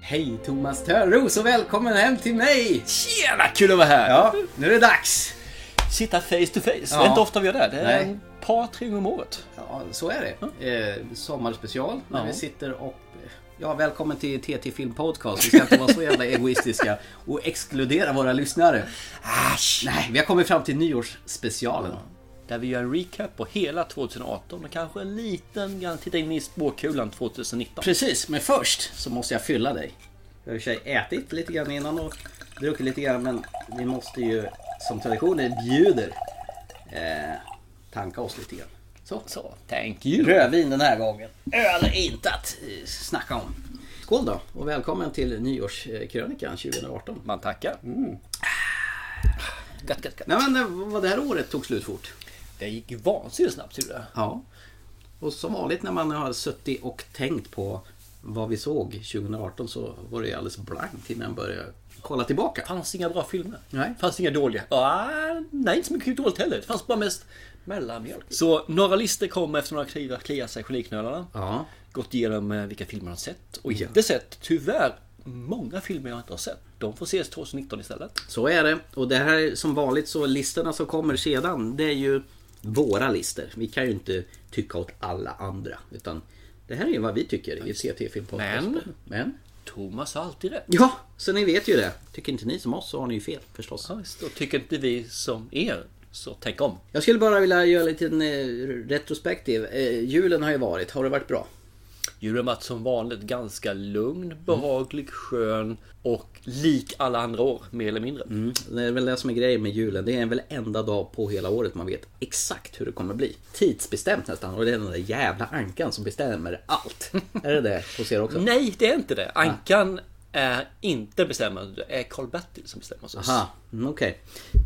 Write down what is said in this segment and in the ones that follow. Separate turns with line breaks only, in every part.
Hej Thomas Törros och välkommen hem till mig!
Tjena, kul att vara här!
Ja, nu är det dags!
Sitta face to face,
Ja.
det är inte ofta vi gör det. Det är
Nej.
en par, tre gånger om året.
Ja, så är det. Eh, sommarspecial när
Ja.
vi sitter och... Ja, välkommen till TT Film Podcast. Vi ska inte vara så jävla egoistiska och exkludera våra lyssnare.
Asch.
Nej, vi har kommit fram till nyårsspecialen.
Där vi gör en recap på hela 2018 och kanske en liten grann titta in i spåkulan 2019.
Precis, men först så måste jag fylla dig. Jag har i och för sig ätit lite grann innan och druckit lite grann men vi måste ju som traditionen bjuder eh, tanka oss lite grann. Så.
Så, thank you!
Rödvin den här gången. Öl är inte att eh, snacka om. Skål då och välkommen till nyårskrönikan 2018.
Man tackar. Ah, Gott, gott, gott.
Nej men eh, vad det här året tog slut fort.
Det gick ju vansinnigt snabbt gjorde det.
Ja. Och som vanligt när man har suttit och tänkt på vad vi såg 2018 så var det ju alldeles blankt innan man började kolla tillbaka.
Fanns inga bra filmer.
Nej.
Fanns inga dåliga. Ah, nej, inte så mycket dåligt heller. Det fanns bara mest mellanmjölk. Så några listor kom efter några kliva, kliar sig i geniknölarna.
Ja.
gått igenom eh, vilka filmer de har sett och inte sett. Tyvärr, många filmer jag inte har sett. De får ses 2019 istället.
Så är det. Och det här är som vanligt så listorna som kommer sedan det är ju våra listor. Vi kan ju inte tycka åt alla andra. Utan det här är ju vad vi tycker i ct film
Men?
Men?
Thomas har alltid rätt.
Ja, så ni vet ju det. Tycker inte ni som oss så har ni ju fel förstås.
Ja, visst. Och tycker inte vi som er, så tänk om.
Jag skulle bara vilja göra en liten eh, retrospektiv. Eh, julen har ju varit. Har det varit bra?
Julen har varit som vanligt ganska lugn, behaglig, skön och lik alla andra år, mer eller mindre.
Mm. Det är väl det som är grejen med julen. Det är väl enda dag på hela året man vet exakt hur det kommer bli. Tidsbestämt nästan. Och det är den där jävla ankan som bestämmer allt. är det det hos er också?
Nej, det är inte det. Ankan är inte bestämmande. Det är Karl-Bertil som bestämmer oss.
Aha, mm, okej.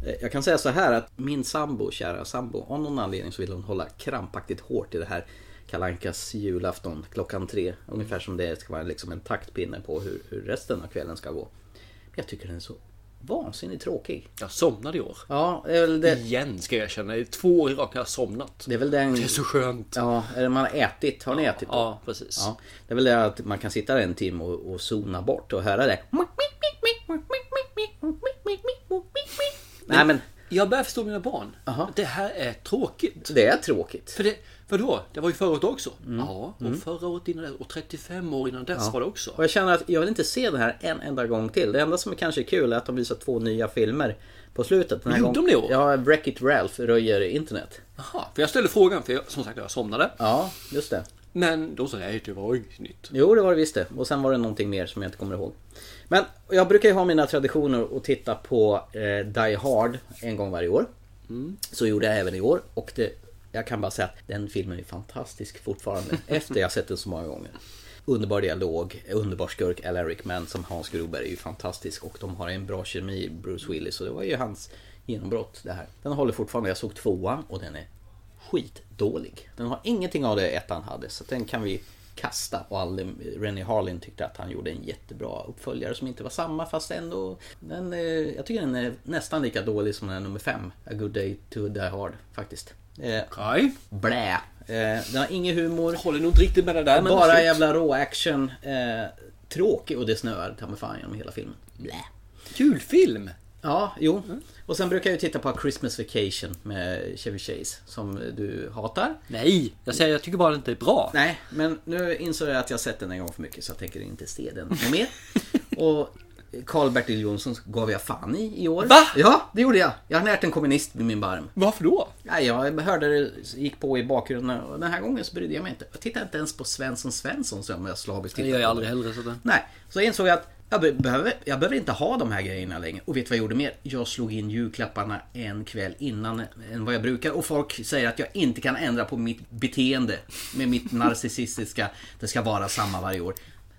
Eh, Jag kan säga så här att min sambo, kära sambo, av någon anledning så vill hon hålla krampaktigt hårt i det här Kalankas julafton klockan tre. Ungefär som det ska vara liksom en taktpinne på hur, hur resten av kvällen ska gå. Men jag tycker den är så vansinnigt tråkig.
Jag somnade i år.
Ja, det är väl, det,
Igen, ska jag erkänna. Det är två år i rad jag har somnat.
det är väl den...
Det är så skönt.
Ja, är det man har ätit. Har ni ätit? då?
Ja, precis.
Ja, det är väl det att man kan sitta där en timme och, och zona bort och höra det. Nej men,
Jag börjar förstå mina barn.
Aha.
Det här är tråkigt.
det är tråkigt.
För det, vadå? Det var ju förra året också. Ja, och förra året innan det, och 35 år innan dess var det också.
Och jag känner att jag vill inte se den här en enda gång till. Det enda som är kanske är kul är att de visar två nya filmer på slutet. Den här
Gjorde
gången-
de det i år?
Ja, Wreck-It Ralph röjer internet.
Jaha, för jag ställde frågan, för jag, som sagt jag somnade.
Ja, just det.
Men då sa jag, nej det var inget nytt.
Jo, det var det visst det. Och sen var det någonting mer som jag inte kommer ihåg. Men jag brukar ju ha mina traditioner och titta på eh, Die Hard en gång varje år. Så gjorde jag även i år. Och det, jag kan bara säga att den filmen är fantastisk fortfarande. efter jag sett den så många gånger. Underbar dialog, underbar skurk Alan Rickman som Hans Gruber är ju fantastisk. Och de har en bra kemi, Bruce Willis. Och det var ju hans genombrott det här. Den håller fortfarande. Jag såg tvåan och den är skitdålig. Den har ingenting av det ettan hade, så att den kan vi kasta. Och aldrig, Rennie Harlin tyckte att han gjorde en jättebra uppföljare som inte var samma, fast ändå... Den, eh, jag tycker den är nästan lika dålig som den här nummer fem, A Good Day to Die Hard, faktiskt. Eh,
Okej.
blä! Eh, den har ingen humor,
Håller nog inte riktigt med det där. Men
bara
absolut.
jävla rå-action. Eh, tråkig och det snöar ta mig fan genom hela filmen. Blä!
Julfilm!
Ja, jo. Och sen brukar jag ju titta på Christmas Vacation med Chevy Chase, som du hatar.
Nej, jag säger jag tycker bara det inte är bra.
Nej, men nu insåg jag att jag sett den en gång för mycket så jag tänker inte se den något mer. Och Karl-Bertil Jonsson gav jag fan i i år.
Va?
Ja, det gjorde jag. Jag har närt en kommunist vid min barm.
Varför då?
Nej, jag hörde det, gick på i bakgrunden och den här gången så brydde jag mig inte. Jag tittade inte ens på Svensson Svensson som jag slaviskt
Det
tittade
gör jag
på.
aldrig heller. Så det.
Nej, så insåg jag att jag be- behöver, jag behöver inte ha de här grejerna längre. Och vet du vad jag gjorde mer? Jag slog in julklapparna en kväll innan än vad jag brukar. Och folk säger att jag inte kan ändra på mitt beteende med mitt narcissistiska, det ska vara samma varje år.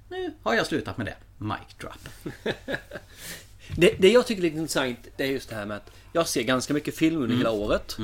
Nu har jag slutat med det. Mic drop.
Det, det jag tycker är lite intressant det är just det här med att jag ser ganska mycket film
Mm.
under hela året.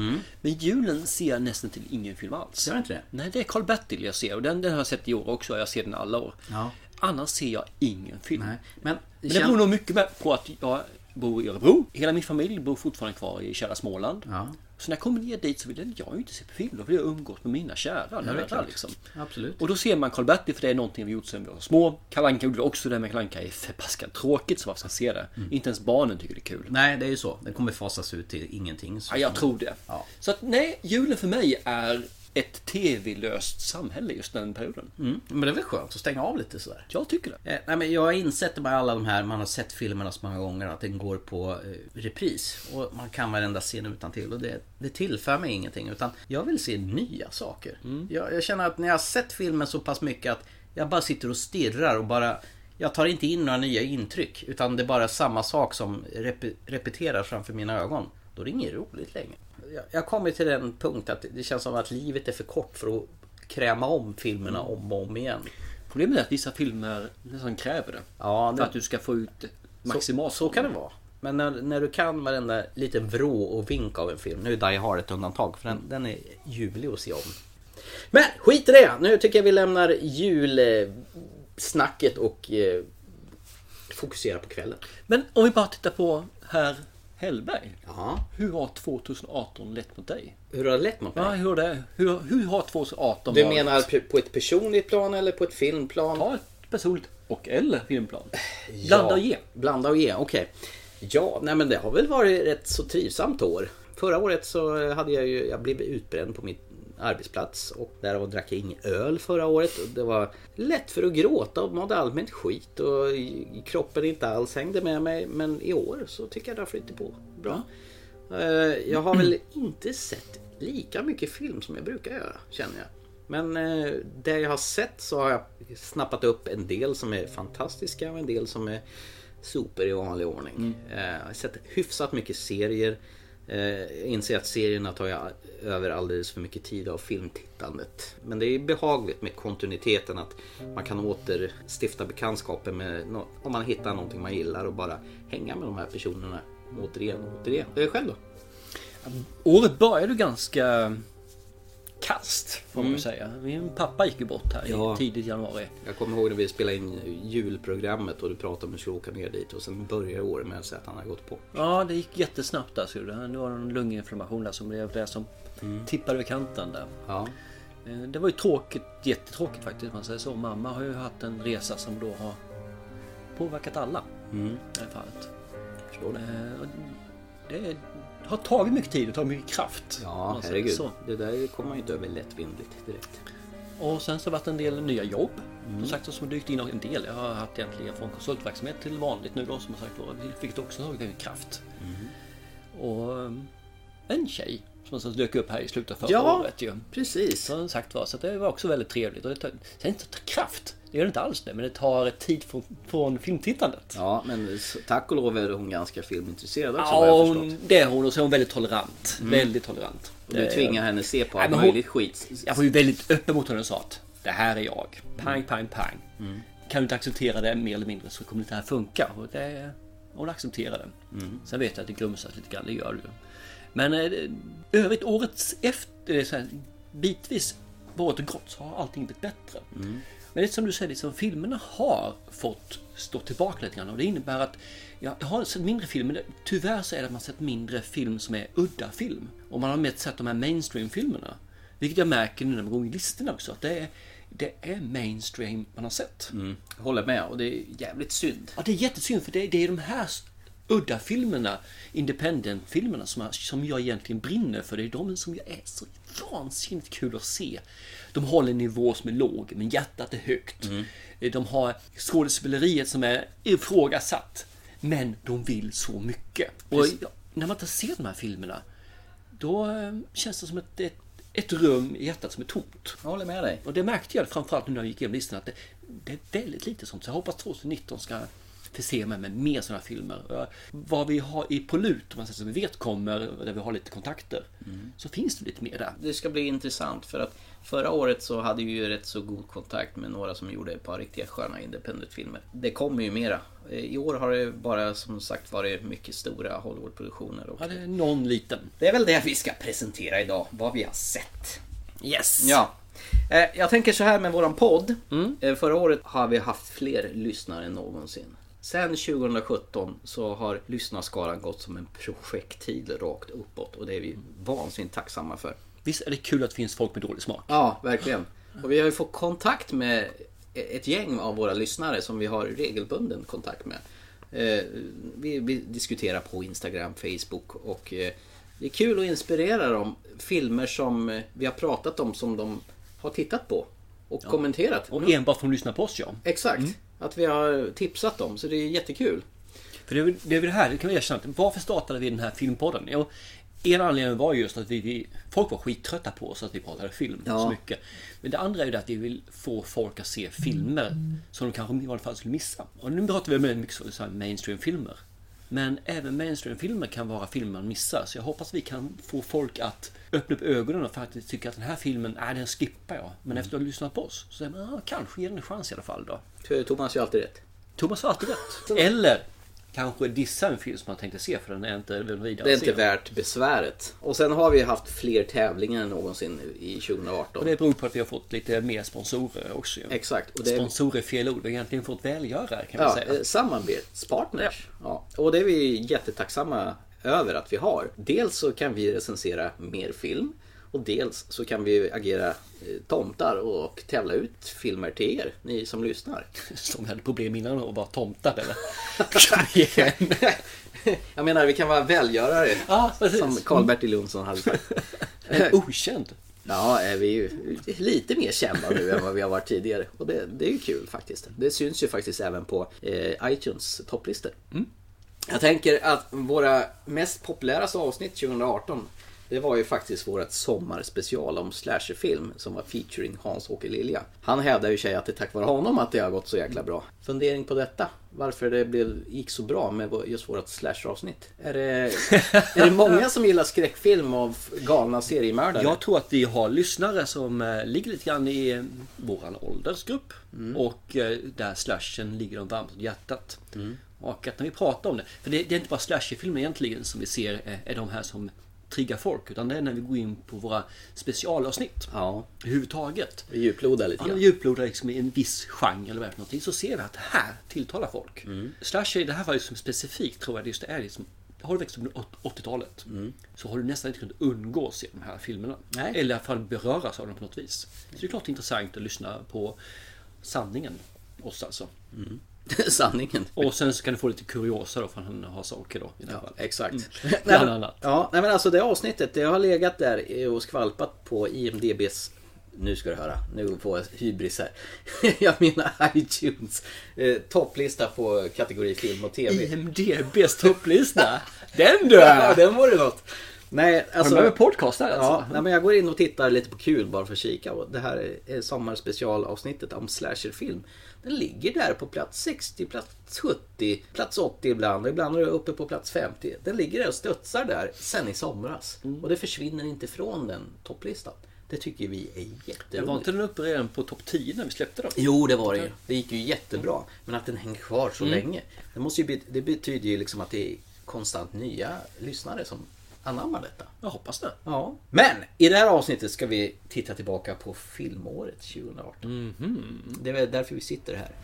Men julen ser jag nästan till ingen film alls.
Gör inte det?
Nej, det är Karl-Bertil jag ser och den, den har jag sett i år också. Jag ser den alla år.
Ja.
Annars ser jag ingen film.
Nej, men...
Men det beror nog mycket med- på att jag bor i Örebro. Hela min familj bor fortfarande kvar i kära Småland.
Ja.
Så när jag kommer ner dit så vill jag ju inte se på film. Då vill jag umgås med mina kära nära
klart.
liksom.
Absolut.
Och då ser man Karl-Bertil för det är någonting vi gjort sedan vi var små. Kalanka gjorde också det, men Kalanka är förbaskat tråkigt så varför ska jag se det?
Mm.
Inte ens barnen tycker det är kul.
Nej, det är ju så. Den kommer fasas ut till ingenting. Så
Ja, jag tror det.
Ja.
Så att nej, julen för mig är ett tv-löst samhälle just den perioden.
Mm. Men det är väl skönt att stänga av lite sådär.
Jag tycker det.
Eh, nej, men jag har insett med alla de här, man har sett filmerna så många gånger, att den går på eh, repris. Och man kan varenda scen utan till och det, det tillför mig ingenting. Utan jag vill se nya saker. Jag, jag känner att när jag har sett filmen så pass mycket att jag bara sitter och stirrar och bara jag tar inte in några nya intryck utan det är bara samma sak som rep- repeterar framför mina ögon. Då är det inget roligt längre. Jag, jag kommer till den punkt att det känns som att livet är för kort för att kräma om filmerna om och om igen.
Problemet är att vissa filmer nästan kräver det.
Ja,
För att du ska få ut maximalt.
Så kan det vara. Men när, när du kan varenda liten vrå och vink av en film. Nu är Die Hard ett undantag för den, den är ljuvlig att se om. Men skit i det! Nu tycker jag vi lämnar julsnacket och eh, fokuserar på kvällen.
Men om vi bara tittar på herr Hellberg.
Ja.
Hur har 2018 lett mot dig?
Hur har det lett mot mig?
Ja, hur, har det, hur, hur har 2018
Du
varit?
menar pe- på ett personligt plan eller på ett filmplan?
Ta ett personligt och eller filmplan. Blanda och ge.
Blanda och ge, okej. Ja, nej men det har väl varit ett så trivsamt år. Förra året så hade jag ju, jag blev utbränd på min arbetsplats och därav drack jag ingen öl förra året. Och det var lätt för att gråta och mådde allmänt skit och i- kroppen inte alls hängde med mig. Men i år så tycker jag det har flyttat på bra. Eh, Jag har väl inte sett lika mycket film som jag brukar göra, känner jag. Men eh, det jag har sett så har jag snappat upp en del som är fantastiska och en del som är super i vanlig ordning. Eh, jag har sett hyfsat mycket serier. Eh, jag inser att serierna tar jag över alldeles för mycket tid av filmtittandet. Men det är behagligt med kontinuiteten att man kan återstifta bekantskapen med nå- om man hittar någonting man gillar och bara hänga med de här personerna återigen och återigen. Eh, själv då?
Året började ju ganska kast får man säga. Min pappa gick ju bort här
Mm. Ja.
i tidigt januari.
Jag kommer ihåg när vi spelade in julprogrammet och du pratade om att du skulle åka ner dit och sen börjar året med att säga att han har gått bort.
Ja, det gick jättesnabbt där. Så det Nu var det en lunginflammation där som blev det som
Mm.
tippade över kanten där.
Ja.
Eh, Det var ju tråkigt, jättetråkigt faktiskt om man säger så. Mamma har ju haft en resa som då har påverkat alla
Mm.
i det här fallet.
Förstår det.
Eh, och Det har tagit mycket tid och tagit mycket kraft. om
Ja,
man säger
herregud.
så.
Det där kommer man ju inte över lättvindigt direkt.
Och sen så har det varit en del nya jobb.
Mm.
Som sagt som har dykt in en del. Jag har haft egentligen från konsultverksamhet till vanligt nu då som sagt var. Vilket också har tagit en kraft.
Mm.
Och um, en tjej som alltså dök upp här i slutet av förra
Ja.
året ju.
Precis.
Som sagt var, så att det var också väldigt trevligt. Och det tar, sen inte kraft, det gör det inte alls det. Men det tar tid från, från filmtittandet.
Ja, men s- tack och lov är hon ganska filmintresserad också
Ja,
vad jag Mm. förstått.
hon, det är hon och så är hon väldigt tolerant. Väldigt tolerant.
Du tvingar henne se på
Nej,
allt
men hon-
möjligt skit.
Jag var ju väldigt öppen mot henne och sa att det här är jag. Pang, pang, pang. Kan du inte acceptera det mer eller mindre så kommer inte det här funka. Och det, hon accepterade det. Sen vet jag att det grumsas lite grann, det gör det ju. Men eh, det- övrigt årets efter, eh, så här, bitvis på året och grått så har allting blivit bättre. Men det är som du säger, liksom, filmerna har fått stå tillbaka lite grann och det innebär att ja, jag har sett mindre film, men det- tyvärr så är det att man sett mindre film som är udda film. Och man har mest sett de här mainstream-filmerna. Vilket jag märker nu när man går in i listorna också, att det är, det är mainstream man har sett.
Mm. Jag Håller med och det är jävligt synd.
Ja, det är jättesynd för det, det är de här s- udda filmerna, independent-filmerna som, jag- som jag egentligen brinner för. Det är de som jag är så vansinnigt kul att se. De håller en nivå som är låg, men hjärtat är högt. Eh, De har skådespeleriet som är ifrågasatt. Men de vill så mycket. Och jag- när man inte ser de här filmerna, då eh, känns det som ett, ett, ett rum i hjärtat som är tomt.
Jag håller med dig.
Och det märkte jag framförallt nu när jag gick igenom listan att det, det är väldigt lite sånt. Så jag hoppas 2019 ska förse mig med mer sådana filmer. Och jag- Vad vi har i på lut, om man säger så, som vi vet kommer, där vi har lite kontakter, så finns det lite mer där.
Det ska bli intressant för att förra året så hade vi ju rätt så god kontakt med några som gjorde ett par riktiga sköna independent-filmer. Det kommer ju mera. I år har det bara som sagt varit mycket stora Hollywood-produktioner. Och
Ja, det är någon liten.
Det är väl det vi ska presentera idag, vad vi har sett.
Yes!
Ja. Eh, Jag tänker så här med våran podd. Eh, Förra året har vi haft fler lyssnare än någonsin. Sen 2017 så har lyssnarskalan gått som en projektil rakt uppåt och det är vi vansinnigt tacksamma för.
Visst är det kul att det finns folk med dålig smak?
Ja, verkligen. Och vi har ju fått kontakt med ett gäng av våra lyssnare som vi har regelbunden kontakt med. Eh, Vi, vi diskuterar på Instagram, Facebook och eh, det är kul att inspirera dem. Filmer som eh, vi har pratat om som de har tittat på och kommenterat.
Och Mm. enbart för att de lyssnar på oss ja.
Exakt. Att vi har tipsat dem, så det är jättekul.
För det är, väl- det är väl det här, det kan vi erkänna. att Varför startade vi den här filmpodden? Jo, en anledning var just att vi, vi, folk var skittrötta på oss att vi pratade film
Ja.
så mycket. Men det andra är ju det att vi vill få folk att se filmer som de kanske i alla fall skulle missa. Och nu pratar vi väldigt mycket så- så här mainstream-filmer. Men även mainstream-filmer kan vara filmer man missar. Så jag hoppas vi kan få folk att öppna upp ögonen och faktiskt tycka att den här filmen, nej den skippar jag. Men efter att ha lyssnat på oss så säger man, ah, kanske ge den en chans i alla fall då.
För Thomas har ju alltid rätt.
Thomas har alltid rätt. Eller kanske dissa en film som man tänkte se för den är inte väl vidare
Det är inte
sen.
värt besväret. Och sen har vi haft fler tävlingar än någonsin i 2018.
Och det beror på att vi har fått lite mer sponsorer också. ju.
Exakt. Och det är
Sponsorer är fel ord. Vi har egentligen fått välgörare kan man
ja,
säga.
eh, samarbetspartners. Ja. Och det är vi jättetacksamma över att vi har. Dels så kan vi recensera mer film. Och dels så kan vi agera eh, tomtar och tävla ut filmer till er, ni som lyssnar.
Som hade problem innan och bara tomtat eller? Kom igen.
Jag menar, vi kan vara välgörare.
Ja, precis.
som Karl-Bertil Jonsson hade sagt.
En okänd.
Ja, är vi är ju lite mer kända nu än vad vi har varit tidigare. Och det, det är ju kul faktiskt. Det syns ju faktiskt även på eh, iTunes topplistor. Jag tänker att våra mest populära avsnitt 2018 det var ju faktiskt vårt sommarspecial om slasherfilm som var featuring Hans-Åke Lilja. Han hävdar ju sig att det är tack vare honom att det har gått så jäkla bra. Fundering på detta? Varför det blev, gick så bra med vår- just vårt slasheravsnitt? Är det, är det många som gillar skräckfilm av galna seriemördare?
Jag tror att vi har lyssnare som eh, ligger lite grann i eh, våran åldersgrupp. Och eh, där slashen ligger dem varmt om hjärtat. Och att när vi pratar om det. För det, det är inte bara slasherfilmer egentligen som vi ser eh, är de här som triggar folk. Utan det är när vi går in på våra specialavsnitt.
Ja,
Överhuvudtaget.
vi djuplodar lite
Om
grann.
vi djuplodar liksom i en viss genre eller vad det är för någonting så ser vi att det här tilltalar folk.
Mm.
Slasher i det här fallet som specifikt tror jag det just är liksom har du växt upp under 80-talet så har du nästan inte kunnat undgå att se de här filmerna.
Mm. Nej.
Eller i alla fall beröras av dem på något vis. Så det är klart intressant att lyssna på sanningen. Oss alltså.
Sanningen.
Och sen så kan du få lite kuriosa då för han har saker då. I det här
Ja,
fallet.
exakt.
Mm. Bland
men-
annat.
Ja, nej, men alltså det avsnittet, det har legat där eh, och skvalpat på IMDBs nu ska du höra, nu får jag hybris här. Jag menar iTunes eh, topplista på kategori film och TV.
IMDBs topplista. Den du!
Ja,
Har
den vore något. Nej,
du
alltså...
med podcastar
Ja,
alltså?
nej, men jag går in och tittar lite på kul bara för att kika. Och det här är sommarspecialavsnittet om slasherfilm. Den ligger där på plats 60, plats 70, plats 80 ibland. Och ibland är det uppe på plats 50. Den ligger där och studsar där sen i somras.
Mm.
Och det försvinner inte från den topplistan. Det tycker vi är
Det var
jätteroligt.
inte den uppe redan på topp 10 när vi släppte dem?
Jo, det var det ju. Det gick ju jättebra. Men att den hänger kvar så länge. Det, måste ju, bet- det betyder ju liksom att det är konstant nya lyssnare som anammar detta.
Jag hoppas det.
Ja. Men i det här avsnittet ska vi titta tillbaka på filmåret 2018. Det är väl därför vi sitter här.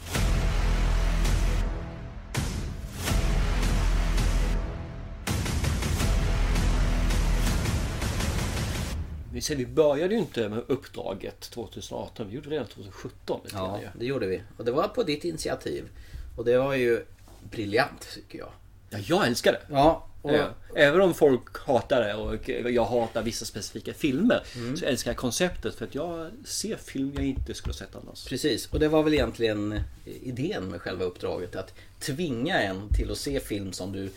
Vi, ser, vi började ju inte med uppdraget 2018, vi gjorde det redan 2017. lite
Ja,
grann ju.
det gjorde vi. Och det var på ditt initiativ. Och det var ju briljant tycker jag.
ja, jag älskar det.
Ja, och
Ja. Även om folk hatar det och jag hatar vissa specifika filmer
Mm.
så älskar jag konceptet för att jag ser film jag inte skulle ha sett annars.
precis. Och det var väl egentligen eh, idén med själva uppdraget. Att tvinga en till att se film som du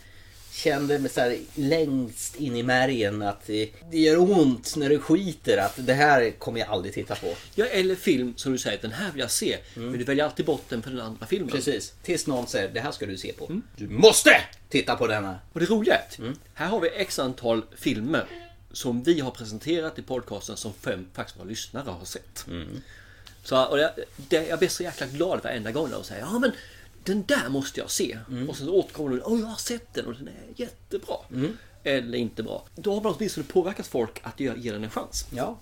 kände med så här, längst in i märgen att eh, det gör ont när du skiter. Att det här kommer jag aldrig titta på.
Ja, eller film som du säger att den här vill jag se men du väljer alltid bort den för den andra filmen.
Mm. Precis, tills någon säger det här ska du se på.
Mm.
Du MÅSTE titta på denna.
Och det roliga är att
Mm.
här har vi x antal filmer som vi har presenterat i podcasten som fem faktiskt våra lyssnare har sett.
Mm.
Så, och jag, det, jag blir så jäkla glad varenda gång när de säger ja men den där måste jag se.
Mm.
Och sen så återkommer de åh jag har sett den och den är
Mm.
jättebra. Eller inte bra. Då har man åtminstone påverkat folk att ge, ge den en chans.
Ja.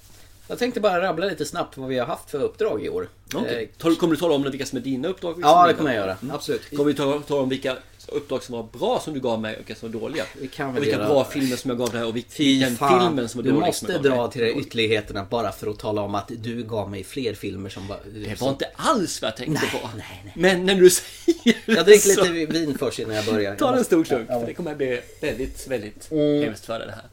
Jag tänkte bara rabbla lite snabbt vad vi har haft för uppdrag i år.
Okej. Mm.
Eh,
Tal- Kommer du tala om vilka som är dina uppdrag? liksom? vilka som
Ja,
är
det
dina?
kommer jag göra. Absolut.
Kommer vi ta, ta om vilka uppdrag som var bra som du gav mig och vilka som var dåliga?
Vi kan väl
och vilka
göra-
bra filmer som jag gav dig och vil-
Fy
vilken
fan,
filmen som liksom var
du
dålig som
måste
jag gav
dra
dig.
till de ytterligheterna bara för att tala om att du gav mig fler filmer som var...
Det var inte alls vad jag tänkte
Nej,
på.
nej, nej.
Men när du säger
Jag dricker
så-
lite vin först innan jag börjar.
Ta en stor klunk,
Ja.
för det kommer att bli väldigt, väldigt
Mm.
hemskt för dig det här.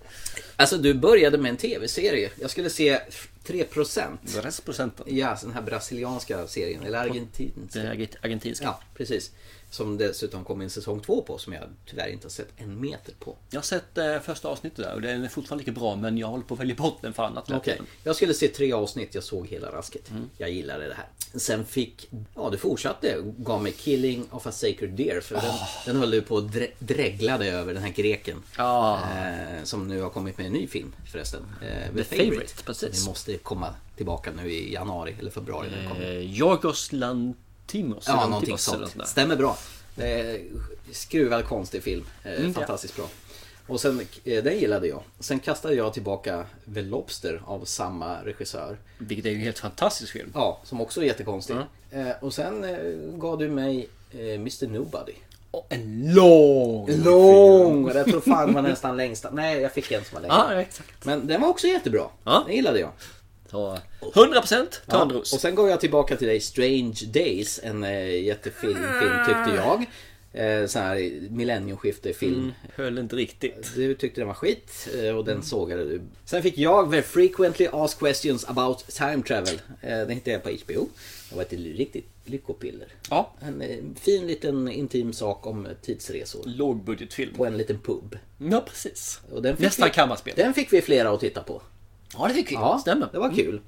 Alltså du började med en tv-serie. Jag skulle se 3%.
Restprocenten.
Ja, alltså den här brasilianska serien. Eller argentinska.
Den argent- argentinska.
Ja, precis. Som dessutom kom en säsong två på som jag tyvärr inte har sett en meter på.
Jag har sett eh, första avsnittet där och den är fortfarande lika bra men jag håller på att välja bort den för annat. hela
Okej.
tiden.
Jag skulle se tre avsnitt, jag såg hela rasket.
Mm.
Jag gillade det här. Sen fick, ja du fortsatte, gav mig Killing of a Sacred Deer. För den, den höll du på att drä- dreglade över den här greken.
Ah.
Eh, som nu har kommit med en ny film förresten. Eh, The,
Favourite, precis.
Som måste komma tillbaka nu i januari eller februari. när den kommer.
Eh, Jorgos Lantimos.
Ja,
Lantimos
någonting
eller
sånt.
något där.
Stämmer bra. Eh, skruvad konstig film. Eh,
Mm,
fantastiskt bra. Och sen, eh, den gillade jag. Sen kastade jag tillbaka The Lobster av samma regissör.
Vilket är ju en helt fantastisk film.
Ja, som också är jättekonstig. Eh, och sen eh, gav du mig eh, Mr Nobody.
Och en lång
Lång! Jag tror fan var nästan längsta. Nej, jag fick en som var längre.
Ah, Ja, exakt.
Men den var också jättebra.
Ja.
Den gillade jag.
Så 100%
Ja,
Törnros.
Och sen går jag tillbaka till dig Strange Days, en eh, jättefin film tyckte jag. Eh, sån här millenniumskifte-film.
Mm. Höll inte riktigt.
Du tyckte den var skit eh, och den sågade du. Sen fick jag Very Frequently Asked Questions About Time Travel. Eh, Den hittade jag på HBO. Det var ett riktigt lyckopiller.
Ja.
En eh, fin liten intim sak om tidsresor.
Mm. Lågbudgetfilm.
På en liten pub.
Ja, precis.
Och den fick
Nästan
vi,
kammarspel.
Den fick vi flera att titta på.
Ja, det fick vi. Stämmer. Mm.
det var kul.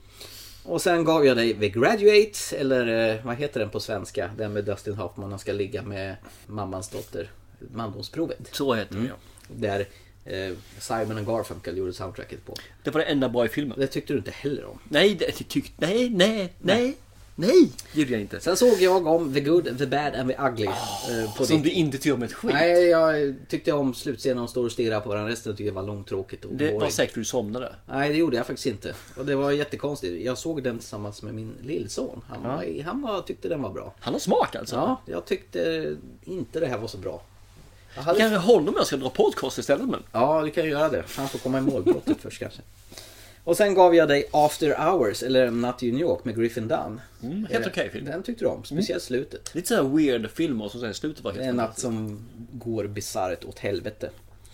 Och sen gav jag dig The Graduate, eller eh, vad heter den på svenska? Den med Dustin Hoffman, han ska ligga med mammans dotter. Mandomsprovet.
Så heter det, ja.
Där eh, Simon och Garfunkel gjorde soundtracket på.
Det var det enda bra i filmen.
Det tyckte du inte heller om.
Nej, det det tyckte... Nej, nej, nej. Nej, det gjorde jag inte.
Sen såg jag om The Good, The Bad and The Ugly. eh, på
Ah, Som
ditt-
du inte tycker om ett skit.
Nej, jag tyckte om slutscenen. De står och stirrar på varandra. Resten tyckte jag var långtråkigt och
Det var
boring.
säkert du somnade.
Nej, det gjorde jag faktiskt inte. Och det var jättekonstigt. Jag såg den tillsammans med min lillson. Han, var, han var, tyckte den var bra.
Han har smak alltså.
Ja, jag tyckte inte det här var så bra. Jag hade...
Kanske honom jag ska dra podcast istället men.
Ja, du kan ju göra det. Han får komma i målbrottet först kanske. Och sen gav jag dig After Hours, eller Natt i New York med Griffin Dunn.
Mm, helt
Eh,
okej film. Mm.
Den tyckte du om, speciellt slutet.
Lite sådär weird filmer som sen i slutet var helt
En natt
fantastiskt.
som går bisarrt åt helvete.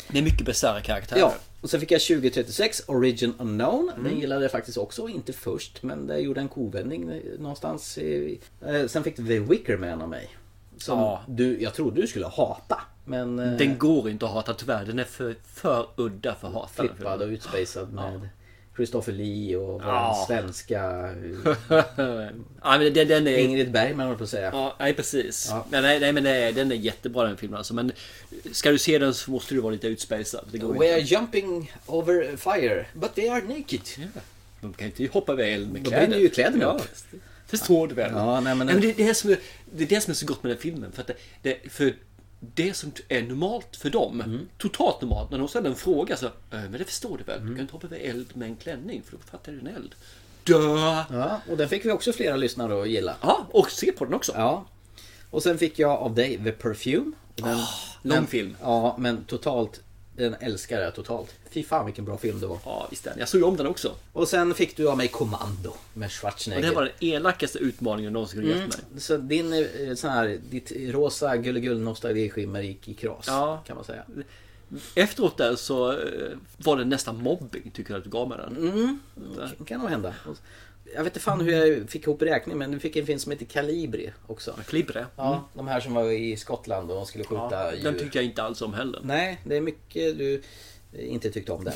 Det är mycket bisarra karaktärer.
Ja, och sen fick jag 2036, Origin Unknown.
Mm.
Den gillade jag faktiskt också, inte först, men det gjorde en kovändning eh, någonstans. i- Eh, Sen fick du The Wicker Man av mig. Som
Ja.
du, jag trodde du skulle hata, men... eh,
Den går inte att hata tyvärr. Den är för, för udda för att hata. den
flippad och utspejsad med Christopher Lee och vår
Ja.
svenska
filmen. ja, men den, den är...
Ingrid Bergman höll på att säga.
Ja, nej precis.
Ja.
Men, nej, nej, men nej, den är jättebra den filmen alltså. Men ska du se den så måste du vara lite utspejsad. Det går
We
inte.
are jumping over fire, but they are naked.
De kan ju inte hoppa över eld med
Då
kläder.
brinner ju kläderna upp.
Ja, förstår du väl?
Ja, nej, men-
nej, men det, är det, här som är, det är det som är så gott med den filmen. För, att det, det, för det som är normalt för dem,
Mm.
totalt normalt, när de ställer en fråga så, "Eh, men det förstår du väl?
Mm.
Du kan inte hoppa över eld med en klänning för då fattar du en eld. Dö!
Ja, och den fick vi också flera lyssnare att gilla.
Ja, och se på den också.
Ja. Och sen fick jag av dig The Perfume. Den,
lång
den-
film.
Ja, men totalt. Den älskar jag totalt. Fy fan vilken bra film det var.
Ja, visst den. Jag såg ju om den också.
Och sen fick du av mig Kommando med
Och
Schwarzenegger.
det här var den elakaste utmaningen jag någonsin
Mm.
kunde gett mig.
Så din eh, sån här, ditt rosa gulligull nostalgiskimmer gick i kras
Ja.
kan man säga.
Efteråt där så eh, var det nästan mobbing tycker jag att du gav mig den.
Mm. Det kan nog hända. Och- Jag vet inte fan hur jag fick ihop räkningen men du fick en film som heter Calibri också.
Klibre.
Ja, de här som var i Skottland och de skulle skjuta djur.
Den tycker jag inte alls om heller.
Nej, det är mycket du inte tyckte om den.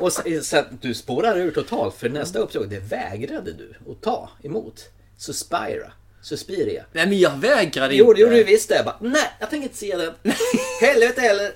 och sen, sen, du spårar ur totalt för nästa uppdrag det vägrade du att ta emot. Suspira. Suspiria.
Nej men jag vägrade
Jo,
inte.
det gjorde du visst det. Jag bara, nej, jag tänker inte se den. Helvete heller.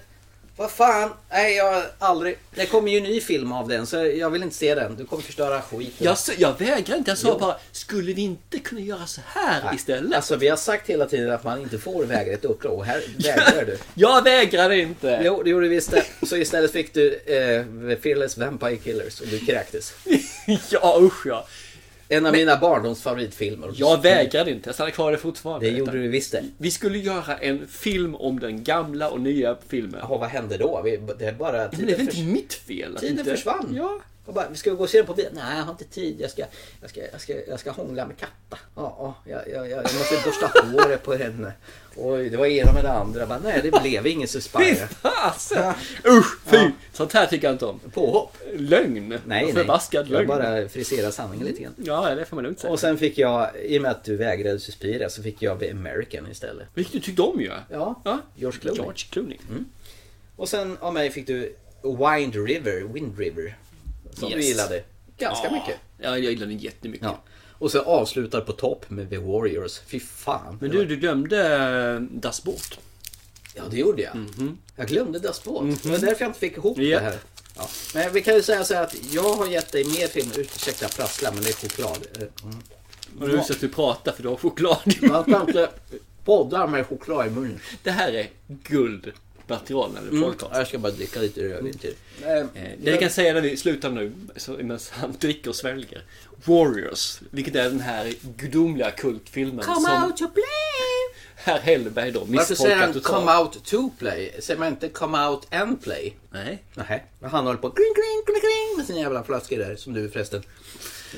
Vad fan, nej jag aldrig. Det kommer ju en ny film av den så jag vill inte se den. Du kommer förstöra skiten.
Jag, s- jag vägrar inte. Jag sa bara, skulle vi inte kunna göra så här istället?
Alltså vi har sagt hela tiden att man inte får vägra ett uppdrag och här vägrar du.
Jag vägrade inte!
Jo, det gjorde vi istället. Så istället fick du eh, Fearless Vampire Killers och du kräktes.
ja, usch ja.
En av mina barndoms favoritfilmer.
Jag vägrade inte. Jag stannade kvar där fortfarande.
Det gjorde du visst det.
Vi skulle göra en film om den gamla och nya filmen.
Jaha, vad hände då? Vi, det är bara
Men det är väl
tiden,
inte
förs-
mitt fel? att
tiden
inte...
försvann.
Ja.
Jag bara, vi ska gå och se den på bio. Nej, jag har inte tid. Jag ska, jag ska, jag ska, jag ska hångla med Katta. Ja, ja, jag, jag, jag jag måste borsta håret på henne. Oj, det var ena med det andra. Jag Bara, nej, det blev ingen
Fy
Suspire.
fasen! Usch, fy! Sånt här tycker jag inte om.
Påhopp?
Lögn!
Nej,
Förbaskad
nej. Jag
lögn.
bara friserar sanningen lite grann.
Ja, det får man lugnt säga.
Och sen fick jag, i och med att du vägrade Suspira, så fick jag The American istället.
Vilket du tyckte om ju.
Ja, George Clooney. Mm.
George Clooney.
Och sen av mig fick du Wind River, Wind River. Som du
Yes.
gillade ganska
Ja.
mycket.
Ja, jag gillar den jättemycket.
Ja. Och så avslutar på topp med The Warriors. Fy fan.
Men du, du glömde eh, Das Boot.
Ja, det gjorde jag.
Mhm.
Jag glömde Das Boot. Det var därför jag inte fick ihop
Japp.
det här. Ja. Men vi kan ju säga så här att jag har gett dig mer filmer. Ursäkta jag prasslar, men det är choklad. Eh, Mm.
Och nu så att du pratar för du har choklad.
Jag kan inte podda med choklad i munnen.
Det här är guldmaterial när du podcast.
Mm. Jag ska bara dricka lite rödvin till.
Eh, Det jag kan säga när vi slutar nu, så- medan han dricker och sväljer. Warriors, vilket är den här gudomliga kultfilmen som
to play!
herr Hellberg då
Varför säger
misstolkar
han
totalt.
come out to play? Säger man inte come out and play?
Nej.
Nej, men han håller på kring, kring, kring, kring med sina jävla flaskor där som du förresten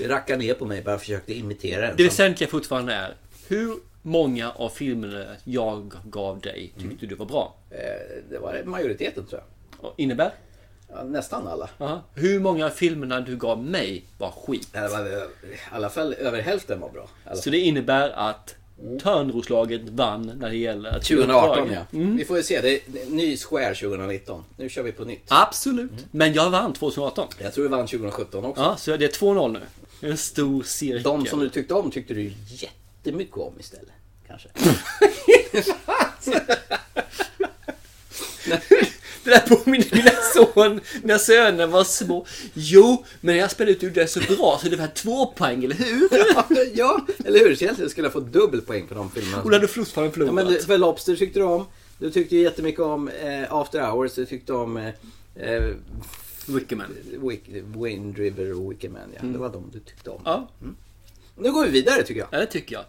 rackade ner på mig bara försökte imitera en.
Det
som-
väsentliga fortfarande är, hur många av filmerna jag gav dig tyckte du var bra?
Eh, det var majoriteten tror jag.
Och Innebär?
Ja, nästan alla.
Aha. Hur många av filmerna du gav mig var skit?
Nej, det var, I alla fall över hälften var bra. Alltså, Alla-
Så det innebär att Törnroslaget vann när det gäller att
2018
uppdragen.
ja. Mm. Vi får ju se. Det är det är ny Square 2019. Nu kör vi på nytt.
Absolut. Men jag vann 2018.
Jag tror vi vann 2017 också.
Ja, så det är 2-0 nu. En stor cirkel.
De som du tyckte om tyckte du jättemycket om istället. Kanske.
Det där påminner mina son, när söner var små. Jo, men jag spelade ut ur det så bra så det var två poäng, eller hur?
ja, eller hur? Så egentligen skulle jag få dubbel poäng för de filmerna.
Och då hade fortfarande
Ja,
förlorat.
men du, för Lobster tyckte du om. Du tyckte ju jättemycket om eh, After Hours. Du tyckte om eh, eh,
Wickerman.
Wick, Wind River och Wickerman. Ja. Det var de du tyckte om.
Ja,
Nu går vi vidare tycker jag.
ja, det tycker jag.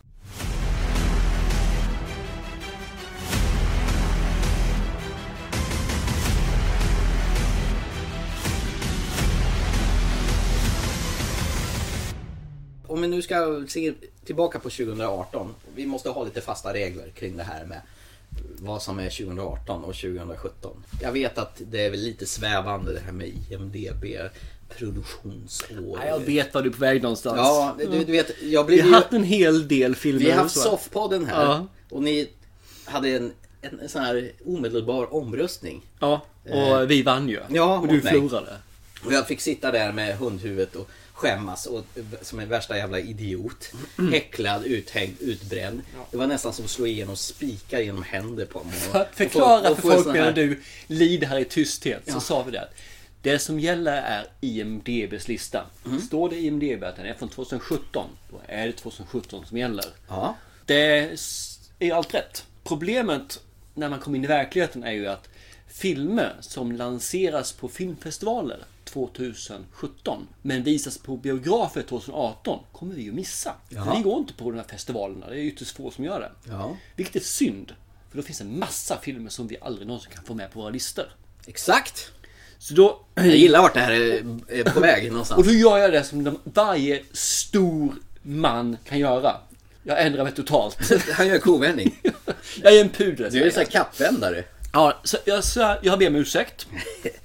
Om vi nu ska se tillbaka på 2018. Vi måste ha lite fasta regler kring det här med vad som är 2018 och 2017. Jag vet att det är väl lite svävande det här med IMDB produktionsår.
Ja, jag vet var du är på väg någonstans.
Ja, du, du vet, jag
Mm. Vi
blir
har
ju...
haft en hel del filmer.
Vi har haft
och så.
soffpodden här
Ja.
och ni hade en, en, en sån här omedelbar omröstning.
Ja, och vi vann ju.
Ja,
och du
mot mig.
förlorade.
Och jag fick sitta där med hundhuvudet och skämmas och, som en värsta jävla idiot.
Mm.
Häcklad, uthängd, utbränd. Det var nästan som att slå igenom spikar genom händer på mig. Och- och få-
Förklara
och
för
få en
folk
sån
medan
här-
du lider här i tysthet. Så
Ja.
sa vi det. att Det som gäller är IMDBs lista. Står det i IMDB att den är från 2017, då är det 2017 som gäller.
Ja.
Det s- är allt rätt. Problemet när man kommer in i verkligheten är ju att filmer som lanseras på filmfestivaler 2017 men visas på biografer 2018 kommer vi ju missa. För
Ja.
vi går inte på de här festivalerna. Det är ytterst få som gör det.
Ja.
Vilket är synd. För då finns det en massa filmer som vi aldrig någonsin kan få med på våra listor.
Exakt!
Så då...
Jag gillar vart det här är, är på väg
Och
någonstans.
då gör jag det som de, varje stor man kan göra. Jag ändrar mig totalt.
Han gör en kovändning.
jag är en pudel.
Du är
säger
en sån här kappvändare.
Ja, så jag, så jag ber om ursäkt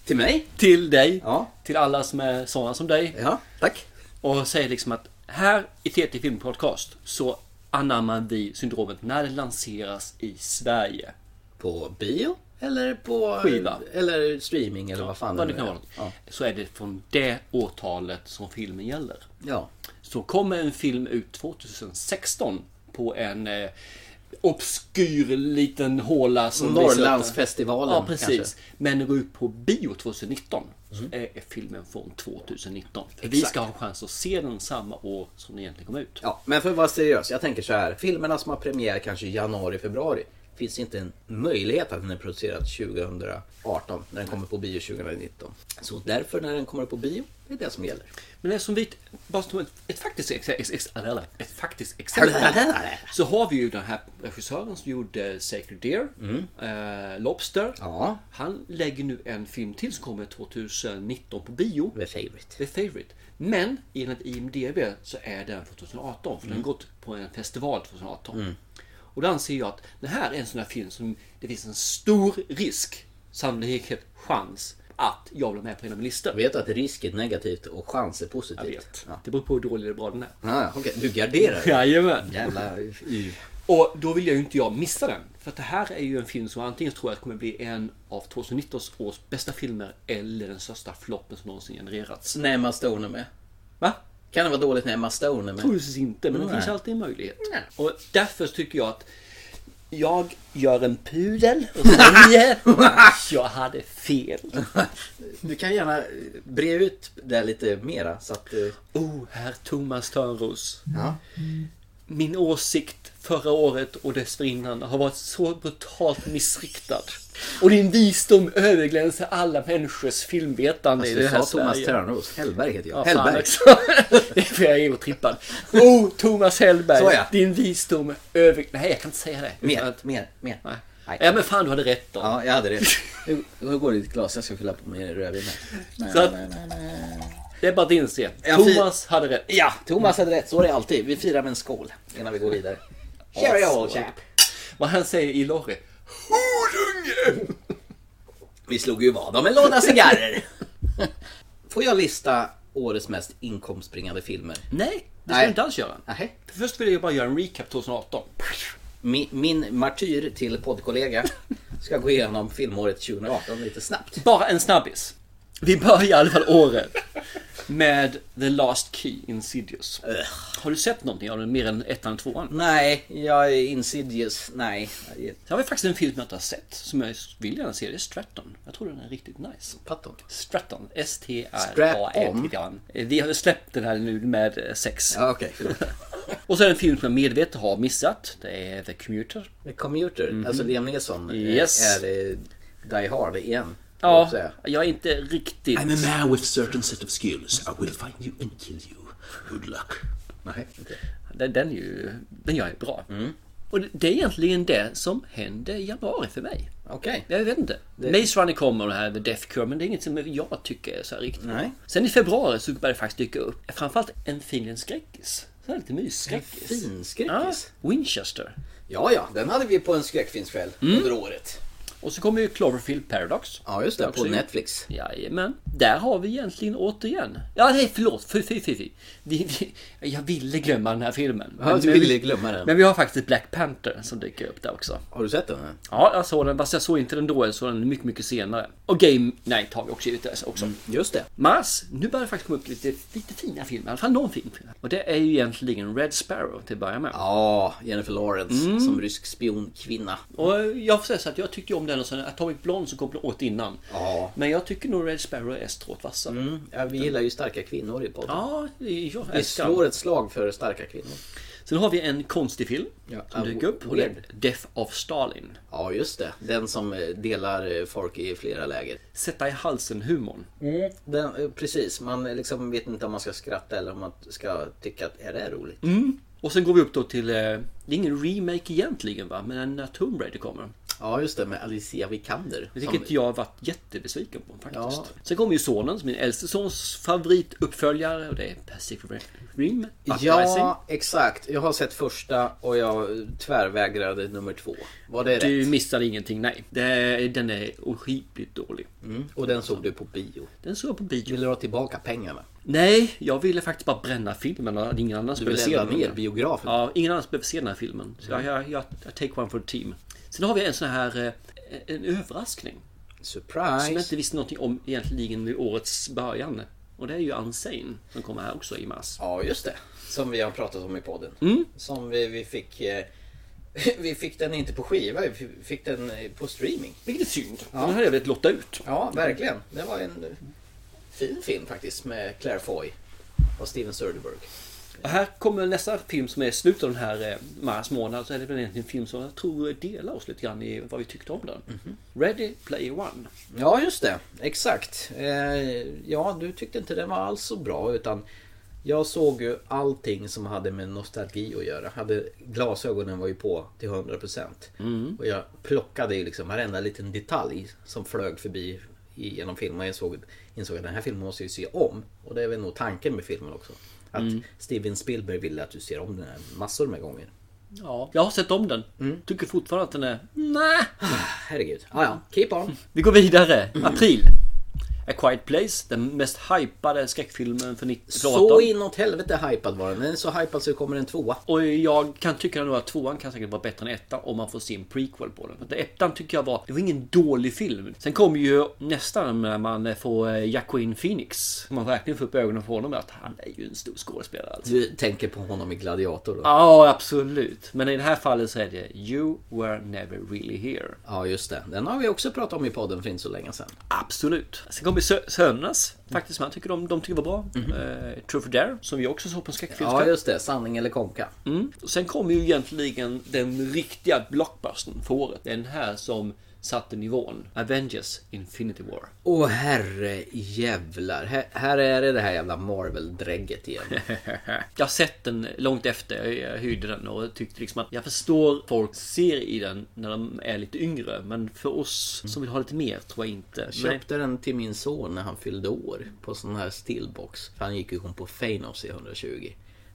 Till mig?
till dig,
Ja.
till alla som är sådana som dig
Ja, tack.
och säger liksom att här i TT Film Podcast så anammar vi syndromet när det lanseras i Sverige.
På bio? Eller på...
Skiva.
Eller streaming eller vad fan
Vad det
nu
kan
är.
vara.
Ja.
Så är det från det årtalet som filmen gäller.
ja.
Så kommer en film ut 2016 på en eh, obskyr liten håla som visar upp det.
Norrlandsfestivalen
Ja, precis.
kanske. Mm.
Men gå ut på bio 2019 så är filmen från 2019. För vi ska ha en chans att se den samma år som den egentligen kom ut.
Ja, men för att vara seriös. Jag tänker så här. Filmerna som har premiär kanske i januari, februari. Finns inte en möjlighet att den är producerad 2018 när den kommer på bio 2019. Så därför när den kommer på bio, det är det som gäller.
Men eftersom vi, bara som ett, ett faktiskt ex, ex, ex, eller, ett faktiskt exempel. Så har vi ju den här regissören som gjorde Sacred Deer, eh, Lobster.
Mm. Ja.
Han lägger nu en film till som kommer 2019 på bio.
The favorite.
The Favourite. Men enligt IMDB så är den från 2018. För
Mm.
den har gått på en festival 2018. Och då anser jag att det här är en sån här film som det finns en stor risk, sannolikhet, chans att jag blir med på en av mina listor.
Jag vet att risk är negativt och chans är positivt.
Jag vet.
Ja.
Det beror på hur dålig eller bra den är.
Ah, okej. Du garderar dig.
Jajamän.
Jävla...
Och då vill jag ju inte jag missa den. För att det här är ju en film som antingen tror jag kommer bli en av 2019 års bästa filmer eller den största floppen som någonsin genererats.
När Emma Stone är med.
Va?
Kan det vara dåligt när Emma Stone är med?
Troligtvis inte, men det
Nej.
finns alltid en möjlighet.
Nej.
Och därför tycker jag att jag gör en pudel och säger att jag hade fel.
Du kan gärna eh, bre ut det lite mera så att... eh,
Oh, herr Thomas Törnros. Min åsikt förra året och dessförinnan har varit så brutalt missriktad. Och din visdom överglänser alla människors filmvetande i
Du
det här
sa Alltså, Thomas
Sverige.
Törnros. Hellberg heter jag.
Ja, fan
Hellberg.
också. Det är för jag är otrippad. Oh, Thomas Hellberg.
Så ja.
Din visdom över... Nej, jag kan inte säga det. Utan
Mer,
att-
mer, mer.
Nej.
Nej.
Ja men fan du hade rätt då.
Ja, jag hade det. Hur, hur går det i ditt glas? Jag ska fylla på med rödvin här. Nej,
Så att-
nej, nej, nej.
Det är bara att inse.
Ja,
Thomas hade rätt.
Ja, Thomas hade rätt. Så är det alltid. Vi firar med en skål innan vi går vidare. Cheerio old chap.
Vad han säger i Lorry. Horunge!
Vi slog ju vad om en låda cigarrer. Får jag lista årets mest inkomstbringande filmer?
Nej, det ska
Nej.
du inte alls göra.
Nähä.
Först vill jag bara göra en recap 2018.
Min, min martyr till poddkollega ska gå igenom filmåret 2018 lite snabbt.
Bara en snabbis. Vi börjar i alla fall året med The Last Key Insidious. Har du sett någonting av den mer än ettan och tvåan?
Nej, jag är insidious. Nej.
Det var faktiskt en film jag inte har sett som jag vill gärna se. Det är Stratton. Jag tror den är riktigt nice.
Patton.
Stratton.
Strap-on.
S-T-R-A-N. Eh, Vi har släppt den här nu med eh, sex.
Ja, okej. förlåt.
Och så är det en film som jag medvetet har missat. Det är The Commuter.
The Commuter, alltså Liam Neeson, eh,
Yes.
är eh, Die Hard igen.
Ja,
får jag säga.
jag är inte riktigt...
I'm a man with certain set of skills. I will find you and kill you. Good luck.
Nej, inte.
Den, den, är ju, den gör jag bra.
Mm.
Och det- det är egentligen det som hände i januari för mig.
Okej.
Jag vet inte. Maze Runner kommer och det här The Death Cure, men det är inget som jag tycker är så här riktigt.
Nej.
Sen i februari så började det faktiskt dyka upp framförallt en fin liten skräckis. Så här lite mysskräckis.
Fin skräckis.
Ja, Winchester.
Ja, ja, den hade vi på en skräckfilmskväll under året.
Och så kommer ju Cloverfield Paradox.
Ja, just det. På Netflix.
Jajamän. Där har vi egentligen återigen... Ja, nej förlåt. Fy, fy, fy, fy. Vi, vi, jag ville glömma den här filmen.
Ja, du ville glömma den.
Men vi har faktiskt Black Panther som dyker upp där också.
Har du sett den?
Ja, jag såg den. Fast jag såg inte den då. Jag såg den mycket, mycket senare. Och Game Night har vi också givetvis också.
Just det.
Mars, nu börjar det faktiskt komma upp lite, lite fina filmer. I alla fall någon fin film. Och det är ju egentligen Red Sparrow till att börja med.
Ja, Jennifer Lawrence som rysk spionkvinna.
Och jag får säga så att jag tyckte ju om den och sen Atomic Blonde som kom åt innan.
Ja.
Men jag tycker nog Red Sparrow är strået vassa.
Mm. Ja, vi gillar ju starka kvinnor i podden.
Ja, jag
Vi
älskar
slår ett slag för starka kvinnor.
Sen har vi en konstig film
Ja,
som
ah,
dyker upp. Och det är
weird.
Death of Stalin.
Ja, just det. Den som eh, delar eh, folk i flera läger.
Sätta i halsen-humorn.
Den, eh, precis, man eh, liksom vet inte om man ska skratta eller om man ska tycka att är det här roligt.
Mm. Och sen går vi upp då till, eh, det är ingen remake egentligen va, men när Tomb Raider kommer.
Ja, just det med Alicia Vikander.
Vilket
som,
jag har varit jättebesviken på faktiskt.
Ja.
Sen kommer ju sonen, som är min äldste sons favorituppföljare och det är Pacific Rim Uprising.
ja, exakt. Jag har sett första och jag tvärvägrade nummer två. Var det
Du
rätt?
missar ingenting, nej. Det, den är oskipligt dålig.
Mm. Och den såg du på bio.
Den såg jag på bio.
Vill du ha tillbaka pengarna?
Nej, jag ville faktiskt bara bränna filmen och ingen annan
Du vill
skulle se
elda
den.
ner biografen?
Ja, ingen annan behöver se den här filmen. Så jag, jag, jag, jag take one for the team. Sen har vi en sån här eh, en överraskning. Som jag
Surprise!
inte visste någonting om egentligen vid årets början. Och det är ju Unsane som kommer här också i mars. Mm.
Ja, just det. Som vi har pratat om i podden. Som vi, vi fick eh, Vi fick den inte på skiva, vi fick den eh, på streaming.
Vilket är synd. Ja. Den hade jag velat lotta ut.
Ja, verkligen. Det var en eh, fin film faktiskt med Claire Foy och Steven Soderbergh.
Och här kommer nästa film som är slutet av den här eh, mars månad. Så är det väl egentligen en film som jag tror delar oss lite grann i vad vi tyckte om den. Ready Player One.
Ja, just det. Exakt. Eh, ja, du tyckte inte den var alls så bra utan jag såg ju allting som hade med nostalgi att göra. Hade, glasögonen var ju på till 100%. Och jag plockade ju liksom varenda liten detalj som flög förbi i- genom filmen. Jag såg, insåg att den här filmen måste jag ju se om. Och det är väl nog tanken med filmen också. Att Steven Spielberg ville att du ser om den här massor med gånger.
Ja. Mm. Jag har sett om den. Tycker fortfarande att den är... Nej.
Herregud. Ah, ja, keep on.
Vi går vidare. April. A Quiet Place. Den mest hypade skräckfilmen för 90-talet.
Så inåt helvete hypad var den. Den är så hypad så det kommer en tvåa.
Och jag kan tycka nog att tvåan kan säkert vara bättre än ettan om man får se en prequel på den. För att ettan tycker jag var, det var ingen dålig film. Sen kommer ju nästan när man får eh, Joaquin Phoenix. Man verkligen får upp ögonen för honom att han är ju en stor skådespelare alltså.
Du tänker på honom i Gladiator då?
Ja, absolut. Men i det här fallet så är det You were never really here.
Ja, just det. Den har vi också pratat om i podden för inte så länge sedan.
Absolut. Sen kommer Sö- Sönernas. Faktiskt, man tycker de, de tycker var bra. Mm-hmm. Truth or Dare, som vi också såg på en skräckfilmskväll.
Ja, just det. Sanning eller konka.
Mm. Och Sen kom ju egentligen den riktiga blockbustern för året. Den här som satte nivån. Avengers Infinity War.
Åh, herre jävlar. Här, här är det det här jävla Marvel-drägget igen.
jag har sett den långt efter jag- jag hyrde den och tyckte liksom att jag förstår folk ser i den när de är lite yngre. Men för oss som vill ha lite mer tror jag inte.
Jag
Men,
köpte den till min son när han fyllde år på sån här stillbox. För han gick ju hon på Fenos i 120.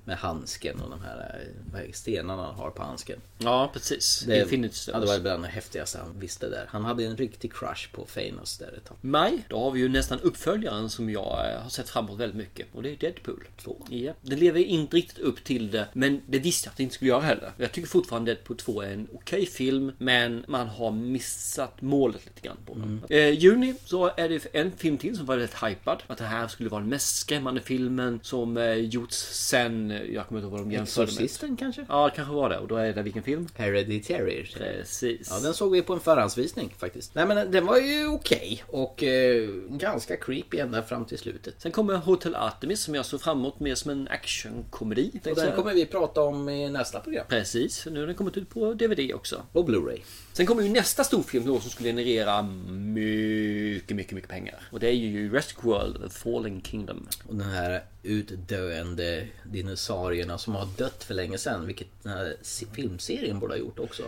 Med handsken och de här eh, vad är det, stenarna han har på handsken.
ja, precis.
Det,
Infinity
ja, det
Stones.
var bland det häftigaste han visste där. Han hade en riktig crush på Fenos där ett tag.
Maj, då har vi ju nästan uppföljaren som jag eh, har sett framåt väldigt mycket. Och det är Deadpool 2. Ja. Den lever inte riktigt upp till det, men det visste jag att det inte skulle göra heller. Jag tycker fortfarande Deadpool 2 är en okej film, men man har missat målet lite grann på den. Eh, juni så är det en film till som var väldigt hypad. Att det här skulle vara den mest skrämmande filmen som eh, gjorts sen, eh, jag kommer inte ihåg vad de jämförde med.
Exorcisten kanske?
Ja, det kanske var det. Och då är det vilken film?
Hereditary.
Precis.
Ja, den såg vi på en förhandsvisning faktiskt. Nej men den var ju okej och eh, ganska creepy ända fram till slutet.
Sen kommer Hotel Artemis som jag såg framåt mer som en actionkomedi. tänkte
Och
jag
den
säga.
kommer vi prata om i nästa program.
Precis, nu har den kommit ut på DVD också.
Och Blu-ray.
Sen kommer ju nästa storfilm då som skulle generera mycket, mycket, mycket pengar. Och det är ju Jurassic World, The Fallen Kingdom.
Och den här utdöende dinosaurierna som har dött för länge sedan. Vilket den här se- filmserien borde ha gjort också.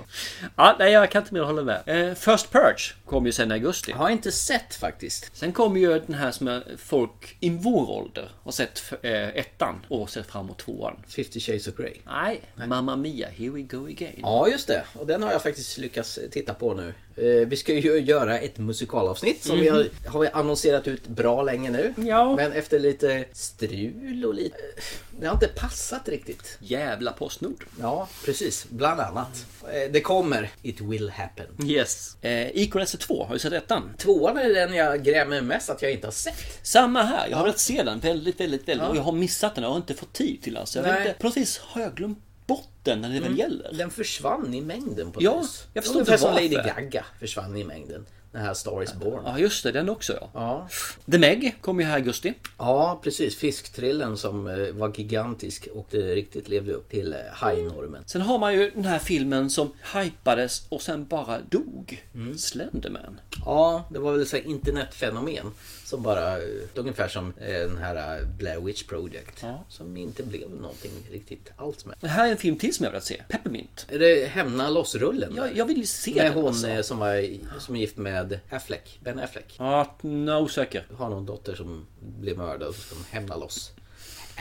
Ja, nej, jag kan inte mer hålla med. Eh, First Purge kom ju sen i augusti.
Jag har inte sett faktiskt.
Sen kommer ju den här som är folk i vår ålder har sett eh, ettan och sett fram emot tvåan.
50 Shades of Grey.
Nej, Mamma Mia, Here We Go Again.
Ja just det, och den har jag faktiskt lyckats titta på nu. Eh, vi ska ju göra ett musikalavsnitt som vi har, har vi annonserat ut bra länge nu.
Mhm. Ja.
Men efter lite strul och lite... eh, Det har inte passat riktigt.
Jävla Postnord.
Ja, precis. Bland annat. Eh, det kommer. It will happen.
Yes. Eh, Equalizer 2, har du sett ettan?
Tvåan är den jag grämer mig mest att jag inte har sett.
Samma här. Jag har velat se den väldigt, väldigt, väldigt. Och jag har missat den. Jag har inte fått tid till den. Så jag vet
Nej.
inte. På något vis har jag glömt bort den när det väl gäller.
Den försvann i mängden på
Ja,
vis.
jag förstår
Ungefär
inte
som Lady
varför.
Gaga försvann i mängden. Den här Star is Born.
Ja, just det. Den också ja.
Ja.
The Meg kom ju här i augusti.
Ja, precis. Fisktrillen som eh, var gigantisk och det riktigt levde upp till eh, hajnormen.
Sen har man ju den här filmen som hypades och sen bara dog. Slenderman.
Ja, det var väl ett internetfenomen som bara, eh, ungefär som eh, den här eh, Blair Witch Project.
Ja.
Som inte blev någonting riktigt alls med.
Det här är en film till som jag velat se. Peppermint.
Är det Hämna loss-rullen? där?
Jag, jag vill ju se
Med
den.
hon
alltså.
eh, som, var, i- som är gift med Affleck, Ben Affleck.
Ja, no, osäker.
Har någon dotter som blir mördad och så ska de hämna loss.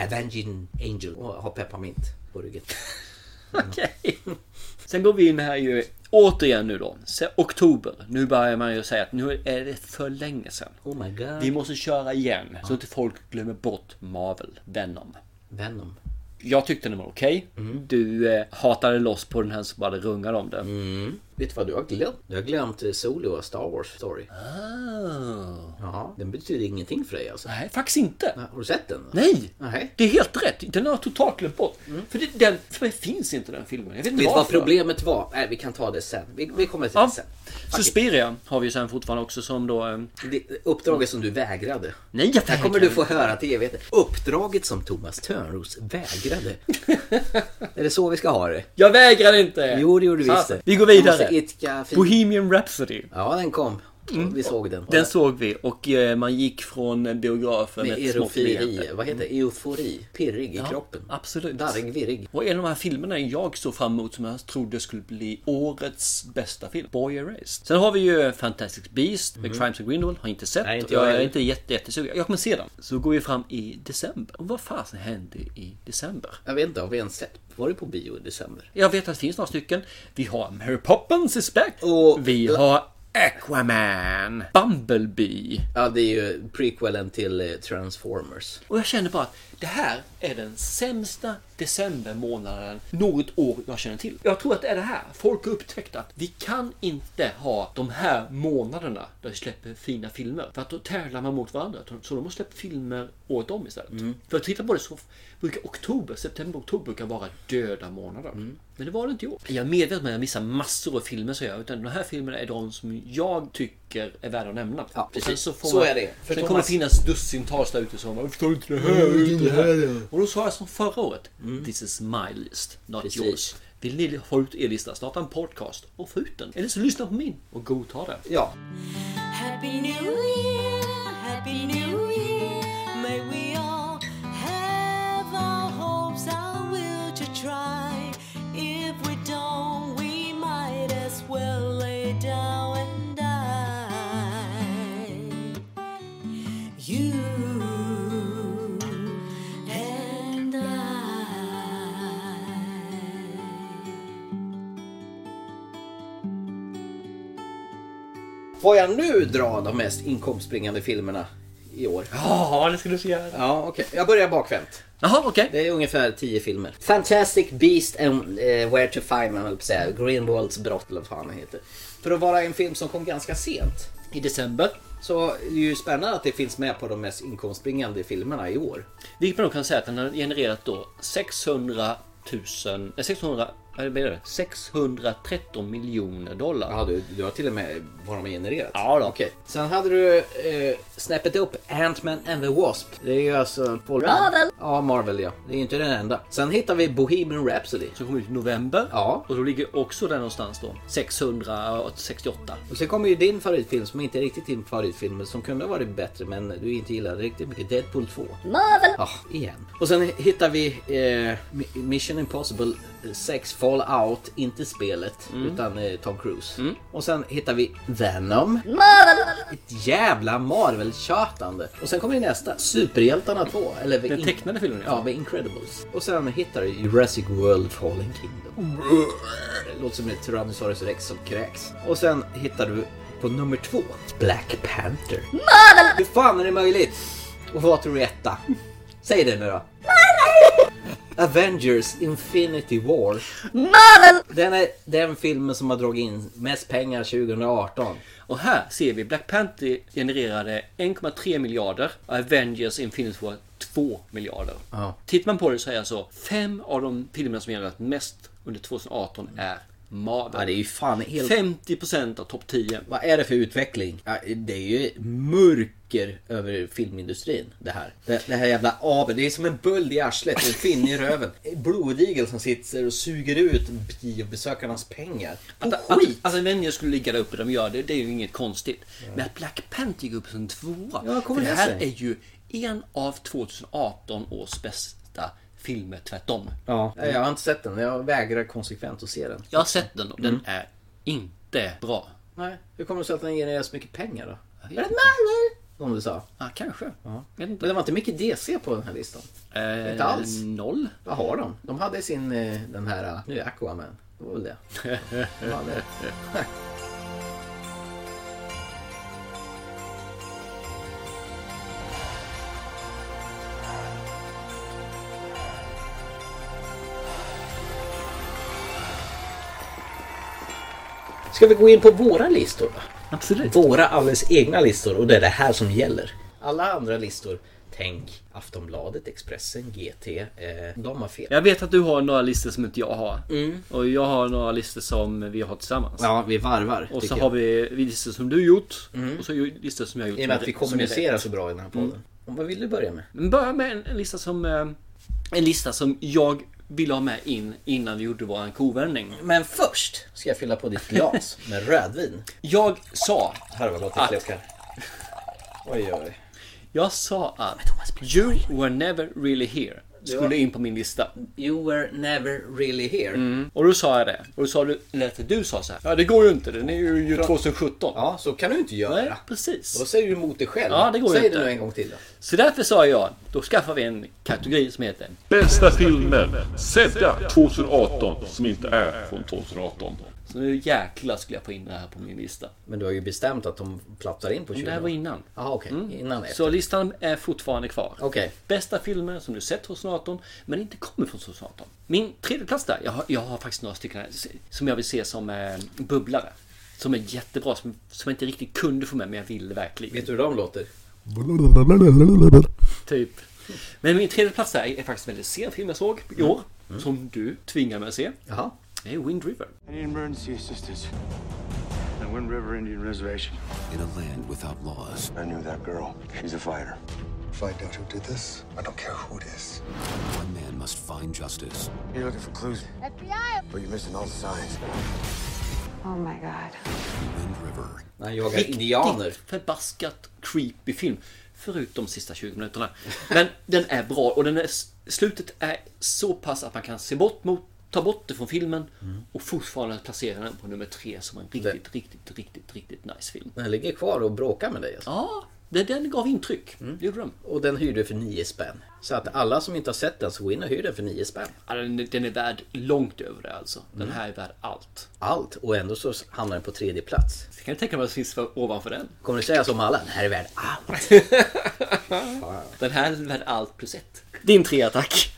Avenging Angel och har pepparmint på ryggen.
Okej. Sen går vi in här ju återigen nu då. Se- Oktober. Nu börjar man ju säga att nu är det för länge sedan.
Oh my god.
Vi måste köra igen så inte folk glömmer bort Marvel, Venom.
Venom. Mhm.
Jag tyckte den var okej. Du eh, hatade loss på den här som bara rungade om det.
Vet du vad du har glömt? Du har glömt eh, Solo och Star Wars Story.
Oh.
Ja, den betyder ingenting för dig alltså.
Nej, faktiskt inte.
Nej, Har du sett den?
Nej!
Nej.
Det är helt rätt. Den har jag totalt glömt bort. För det, den, för mig finns inte den filmen. Jag vet inte
Vet du Mm. vad
varför.
problemet var? Nej, vi kan ta det sen. Vi, vi kommer till det
Ja.
sen.
Suspiria har vi ju sen fortfarande också som då... eh,
Det, uppdraget som du vägrade.
Nej, jag
Här kommer du få höra till evigheten. Uppdraget som Thomas Törnros vägrade. är det så vi ska ha det?
Jag vägrar inte!
Jo, det gjorde vi visst
Alltså,
det.
Vi går
Jag måste
vidare.
idka fin-
Bohemian Rhapsody.
Ja, den kom. Vi såg den.
Mm. Den såg vi och eh, man gick från biografen
med
med ett smått leende.
erofiri, vad heter det? Eufori. Pirrig i kroppen.
absolut.
Darrig, virrig.
Och en av de här filmerna jag såg fram emot som jag trodde skulle bli årets bästa film. Boy Erased. Sen har vi ju Fantastic Beast, The Crimes of Grindelwald. Har inte sett.
Mhm. Nej, inte jag
jag är
heller.
inte jätte, jättesugen. Jag kommer se den. Så går vi fram i december. Och vad fasen hände i december?
Jag vet inte, har vi ens sett? Var det på bio i december?
Jag vet att det finns några stycken. Vi har Mary Poppins is back.
Och-
Vi har Aquaman. Bumblebee.
Ja, det är ju prequelen till eh, Transformers.
Och jag känner bara att det här är den sämsta decembermånaden något år jag känner till. Jag tror att det är det här. Folk har upptäckt att vi kan inte ha de här månaderna där vi släpper fina filmer. För att då tävlar man mot varandra. Så de måste släppa filmer året om istället.
Mm.
För att titta på det så brukar oktober, september, oktober brukar vara döda månader.
Mm.
Men det var det inte i år. Jag är medveten om att jag missar massor av filmer så jag. Utan de här filmerna är de som jag tycker är värda att nämna.
Ja,
Och sen
precis.
får
Så är det. För
sen kommer
Thomas-
det finnas dussintals där ute som bara, Förstår du inte det här? och Mm, inte det här?" Mm. Och då sa jag som förra året. This is my list, not
Precis.
yours. Vill ni få ut er lista, starta en podcast och få ut den. Eller så lyssna på min och godta den.
Ja,
Happy New Year, Happy New Year. May we all have our hopes, our will to try. If we don't, we might as well lay down and die. You and I.
får jag nu dra de mest inkomstbringande filmerna i år?
Ja, det ska du få göra.
Ja, okej. Jag börjar bakvänt.
Jaha, okej.
Det är ungefär tio filmer. Fantastic Beast and eh, Where to Find Man, höll jag på att säga. Greenwalds brott, eller vad fan den heter. För att vara en film som kom ganska sent.
I december.
Så det är ju spännande att det finns med på de mest inkomstbringande filmerna i år.
Vilket man då kan säga att den har genererat då 600 000... eh, 600... Vad blir det? 613 miljoner dollar.
Ja, du, du har till och med vad de har genererat.
Ja då.
Okej. Sen hade du eh, snäppet upp Ant-Man and the Wasp. Det är ju alltså... Marvel! Ja, Marvel ja. Det är ju inte den enda. Sen hittar vi Bohemian Rhapsody.
Som kom ut i november.
Ja.
Och då ligger också den någonstans då. 668.
Och sen kommer ju din favoritfilm som inte är riktigt din favoritfilm men som kunde ha varit bättre men du inte gillade riktigt mycket. Deadpool 2. Marvel! Ja, igen. Och sen hittar vi eh, Mi- Mission Impossible 6 Fallout, inte spelet utan eh, Tom Cruise. Och sen hittar vi Venom. Marvel! Ett jävla Marvel-tjatande. Och sen kommer ju nästa, Superhjältarna 2. Eller
Den tecknade filmen,
Ja, The Incredibles. Och sen hittar du Jurassic World Fallen Kingdom. Det låter som en Tyrannosaurus rex som kräks. Och sen hittar du på nummer två Black Panther. Marvel! Hur fan är det möjligt? Och vad tror du är etta? Säg det nu då. Avengers Infinity War. Marvel! Den är den filmen som har dragit in mest pengar 2018.
Och här ser vi Black Panther genererade 1,3 miljarder och Avengers Infinity War 2 miljarder.
Ja.
Tittar man på det så är alltså fem av de filmerna som genererat mest under 2018 är
Ja, det är
Marvel.
ju fan helt...
50% av topp 10.
Vad är det för utveckling? Ja, det är ju mörker över filmindustrin det här. Det, det här jävla aveln, det är som en böld i arslet, en finne i röven. Blodigel som sitter och suger ut biobesökarnas pengar. På
Att, att,
skit!
att Avengers skulle ligga där uppe de gör det, det är ju inget konstigt. Men att Black Panther går upp som tvåa.
Ja, kommer
för det
det
här
sig?
är ju en av 2018 års bästa filmer tvärtom.
Ja, nej, jag har inte sett den, jag vägrar konsekvent att se den.
Jag har sett den och
Mm.
den är inte bra.
Nej, hur kommer det sig att den genererar så mycket pengar då? Är
vet inte.
det Marvel? Som du sa.
Ja, kanske. Vet inte.
Men det var inte mycket DC på den här listan.
Eh,
Inte alls.
Noll.
Vad har de? De hade sin, eh, den här, eh, nu är Aquaman. Det var väl det. De hade- Ska vi gå in på våra listor då?
Absolut.
Våra alldeles egna listor och det är det här som gäller. Alla andra listor, tänk Aftonbladet, Expressen, GT, eh, de har fel.
Jag vet att du har några listor som inte jag har. Och jag har några listor som vi har tillsammans.
Mm. Ja, vi varvar.
och så
tycker jag. Mm.
har vi listor som du gjort. Och så listor som jag gjort.
I och med
som
att vi
är- som är rätt.
kommunicerar så bra i den här podden. Och Vad vill du börja med?
Men börja med en, en lista som... eh, En lista som jag ville ha med in innan vi gjorde våran kovändning.
Men först ska jag fylla på ditt glas med rödvin.
Jag sa...
Här var något jag klokar. Oj, oj, oj.
Jag sa att... You were never really here. Skulle in på min lista.
You were never really here.
Och då sa jag det. Och då sa du... Eller att du sa så här. Ja det går ju inte. Den är ju ju 2017.
Ja, så kan du inte göra.
Nej,
Då
precis.
säger du emot dig själv.
Ja, det går
Säg
ju inte.
det nu en gång till då.
Så därför sa jag, då skaffar vi en kategori som heter
Bästa filmer sedda 2018 som inte är från 2018.
Så nu jäklar skulle jag få in det här på min lista.
Men du har ju bestämt att de plattar in på 20.
Det här var innan.
Jaha, okej. Innan det.
Så listan är fortfarande kvar.
Okej.
Bästa filmer som du sett 2018 men inte kommer från 2018. Min tredje plats där, jag har, jag har faktiskt några stycken här som jag vill se som eh, bubblare. Som är jättebra, som, som jag inte riktigt kunde få med men jag ville verkligen.
Vet du hur de låter?
Typ. Men min tredje plats där är faktiskt en väldigt sen film jag såg i år. Som du tvingade mig att se.
Jaha.
Det är Wind River.
I need emergency assistance. The Wind River Indian Reservation.
In a land without laws,
I knew that girl. She's a fighter.
Find out who did this. I don't care who it is.
one man must find justice.
You're looking for clues,
FBI!
but you're missing all the signs.
Oh my god.
Wind River.
När jag jagar indianer.
Riktigt förbaskat creepy film. Förutom de sista 20 minuterna. Men den är bra och den är, slutet är så pass att man kan se bort mot, ta bort det från filmen
Mm.
och fortfarande placera den på nummer tre som en riktigt, riktigt, riktigt, riktigt nice film.
Den ligger kvar och bråkar med dig alltså.
Ja, den, den gav intryck.
Mm.
Det gjorde den.
Och den hyrde för 9 spänn. Så att alla som inte har sett den, så gå in och hyr den för 9 spänn.
Ja, den. Den är värd långt över det alltså. Den
Mm.
här är värd allt.
Allt. Och ändå så hamnar den på tredje plats.
Så kan du tänka mig vad som finns för, ovanför den?
Kommer du säga som alla? Den här är värd allt.
Den här är värd allt plus ett. Din trea tack.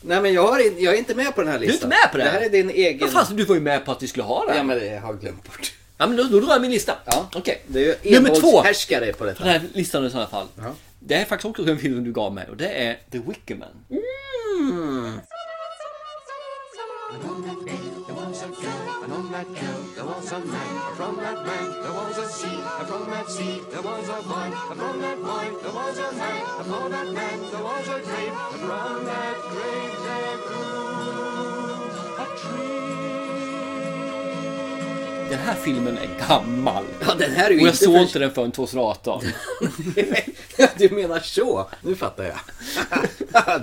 Nej men jag, har in, jag är inte med på den här
Du är
listan.
inte med på det
Det här är din egen...
Vad fan, du var ju med på att vi skulle ha det.
Ja men det har jag glömt bort.
Ja men då, då drar jag min lista.
Ja.
Okej.
Det är ju
Nummer två på
envåldshärskare på detta.
den här listan i sådana fall.
Ja.
Det är faktiskt också en film du gav mig och det är The Wicker Man. Den här filmen är gammal.
Ja, den här är ju
och jag
inte
såg
för-
inte den förrän 2018.
du menar så? Nu fattar jag.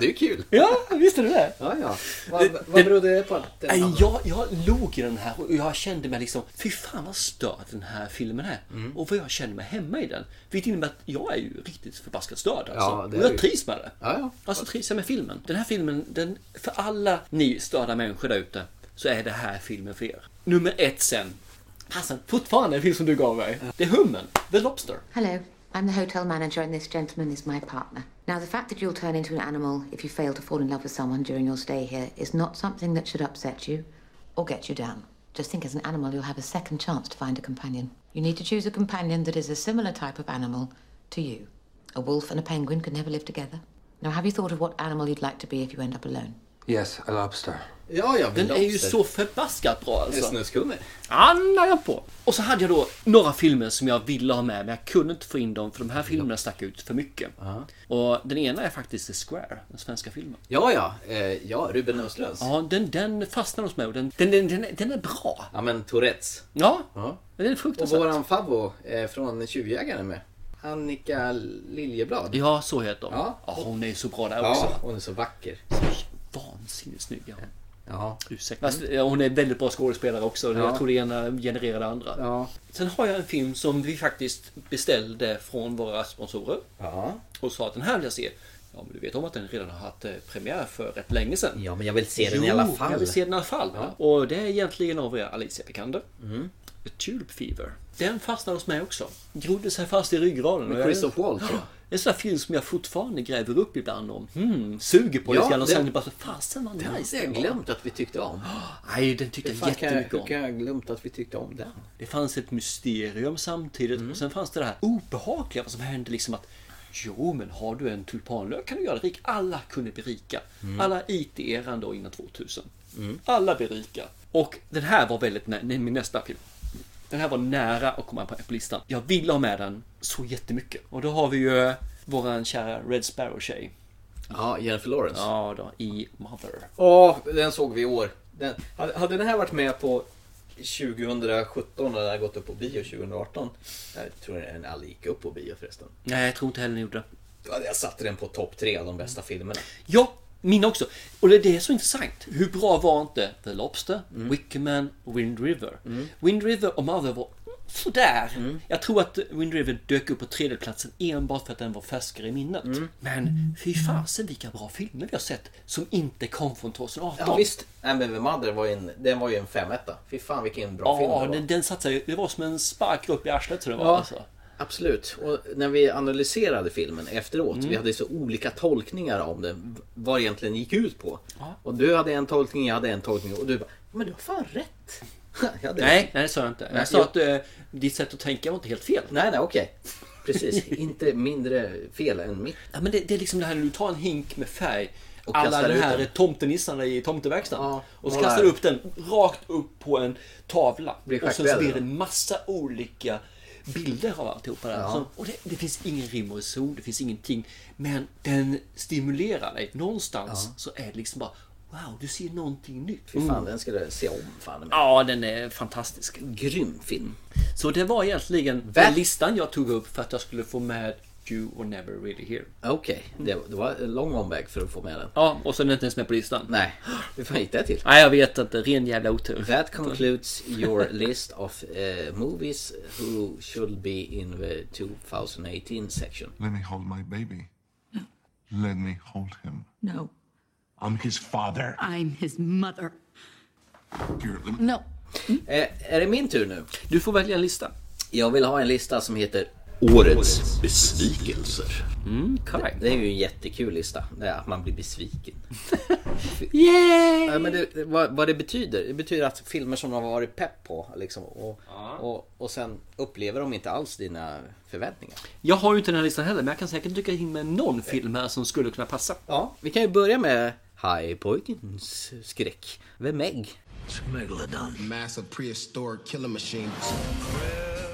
det är kul.
ja, visste du det?
Ja, ja. Vad, vad berodde det på att den
Nej,
hamnade?
jag, jag log i den här och jag kände mig liksom, fy fan vad störd den här filmen är.
Mm.
Och vad jag kände mig hemma i den. Vilket innebär att jag är ju riktigt förbaskat störd alltså.
Ja, det är
och jag
du.
trivs med det.
Ja, ja.
Alltså trivs jag med filmen. Den här filmen, den, för alla ni störda människor där ute, så är det här filmen för er. Nummer ett sen. Fasen, fortfarande en film som du gav mig. Det är Hummen, The Lobster.
Hello, I'm the hotel manager, and this gentleman is my partner. Now, the fact that you'll turn into an animal if you fail to fall in love with someone during your stay here is not something that should upset you or get you down. Just think as an animal, you'll have a second chance to find a companion. You need to choose a companion that is a similar type of animal to you. A wolf and a penguin could never live together. Now, have you thought of what animal you'd like to be if you end up alone?
Yes, a lobster.
Ja, ja.
Den är ju så förbaskat bra alltså.
Snuskummer.
Anna jag på. Och så hade jag då några filmer som jag ville ha med men jag kunde inte få in dem för de här filmerna stack ut för mycket. Och den ena är faktiskt The Square, den svenska filmen.
Ja, ja. Eh, ja, Ruben Östlunds. Ja.
Ja, den, den fastnar hos mig och den, den, den, den, är- den är bra.
men Tourettes.
Ja,
Ja.
den är
Och
fruktansvärt.
våran favvo eh, från Tjuvjägaren är med. Annika Liljeblad.
Ja, så heter hon. Ja.
Ja.
hon är ju så bra där
Ja,
också.
hon är så vacker.
Vansinnigt snygg är hon.
Ja.
Ursäkta. Fast, ja, hon är en väldigt bra skådespelare också. Jag tror det ena genererar det andra.
Ja.
Sen har jag en film som vi faktiskt beställde från våra sponsorer.
Ja.
och sa att den här vill jag se. Ja, men du vet om att den redan har haft eh, premiär för rätt länge sedan.
Ja, men jag vill se den
Jo,
i alla fall.
jag vill se den i alla fall. Och det är egentligen av er Alicia Vikander.
Mm.
The Tulip Fever. Den fastnade hos mig också. Grodde sig fast i ryggraden.
Med
Och jag-
Christoph Waltz, va?
Det är en sån här film som jag fortfarande gräver upp ibland om. Hmm, suger på lite
Ja,
grann och
det-
sen bara så, fasen vad nice
Jag
den
har
var.
glömt att vi tyckte om.
Nej, den tyckte jag
Fan, kan jag,
jättemycket
hur
om.
kan jag ha glömt att vi tyckte om den?
Det fanns ett mysterium samtidigt och sen fanns det det här obehagliga vad som hände liksom att Jo men har du en tulpanlök kan du göra dig rik. Alla kunde bli rika. Alla IT-eran då innan 2000. Alla blir rika. Och den här var väldigt nä- nä- min nästa film. Den här var nära att komma på på listan. Jag vill ha med den så jättemycket. Och då har vi ju eh, våran kära Red Sparrow-tjej.
Ja, Jennifer Lawrence.
Ja då, i Mother.
Ja, den såg vi i år. Den, hade, hade den här varit med på 2017 och den hade gått upp på bio 2018. Jag tror den aldrig gick upp på bio förresten.
Nej, jag tror inte heller den gjorde det.
Då hade jag satt den på topp tre av de bästa filmerna.
Ja, min också. Och det, det är så intressant. Hur bra var inte The Lobster, Wickerman och Wind River? Wind River och Mother var sådär. Jag tror att Wind River dök upp på tredjeplatsen enbart för att den var färskare i minnet. Men fy fasen vilka bra filmer vi har sett som inte kom från 2018.
Ja, visst. Nej, men The Mother var ju en, den var ju en femetta. Fy fan vilken bra film det
Ja,
var.
den, den satsade ju. Det var som en spark upp i arslet tror jag det var.
Ja,
Alltså.
absolut. Och när vi analyserade filmen efteråt, vi hade så olika tolkningar om det, vad det egentligen gick ut på. Och du hade en tolkning, jag hade en tolkning och du bara, men du har fan rätt. Jag hade
Nej, nej det sa jag inte.
Nej,
Jag sa
jag-
att eh, ditt sätt att tänka var inte helt fel.
Nej, nej, okej. Precis. Inte mindre fel än mitt.
Ja, men det, det är liksom det här när du tar en hink med färg och
Och
alla
kastar
de
ut
här
den.
tomtenissarna i tomteverkstan.
Ja,
och så
målar.
kastar du upp den rakt upp på en tavla.
Blir
Och sen så blir
schackbrädor.
det en massa olika bilder av alltihopa där. Så, och det, det finns ingen rim och reson, det finns ingenting. Men den stimulerar dig. Någonstans så är det liksom bara Wow, du ser någonting nytt. Mm.
Fy fan, den skulle jag se om. Fan.
Ja, den är fantastisk.
Grym film.
Så det var egentligen den
Värt-
listan jag tog upp för att jag skulle få med You were never really here.
Okej, det, det var en lång omväg för att få med den.
Ja, och sen är den inte ens med på listan.
Nej, hur fan gick det till?
Nej, jag vet inte. Ren jävla otur.
That concludes your list of eh, movies who should be in the 2018 section.
Let me hold my baby. Let me hold him.
No,
I'm his father.
I'm his mother.
Here, let me-
No.
Eh, är det min tur nu?
Du får välja en lista.
Jag vill ha en lista som heter Årets.
Besvikelser.
Correct.
Det är ju en jättekul lista. Det är att man blir besviken.
Yay!
Nej, men det, vad, vad det betyder? Det betyder att filmer som de har varit pepp på liksom, och, och, och sen upplever de inte alls dina förväntningar.
Jag har ju inte den här listan heller, men jag kan säkert dyka in med någon film här som skulle kunna passa.
Ja, vi kan ju börja med High Pojkens skräck. The Meg.
Massive prehistoric killer machine.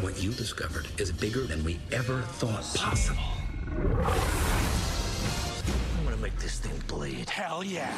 What you discovered is bigger than we ever thought possible. I'm gonna make this thing bleed. Hell yeah.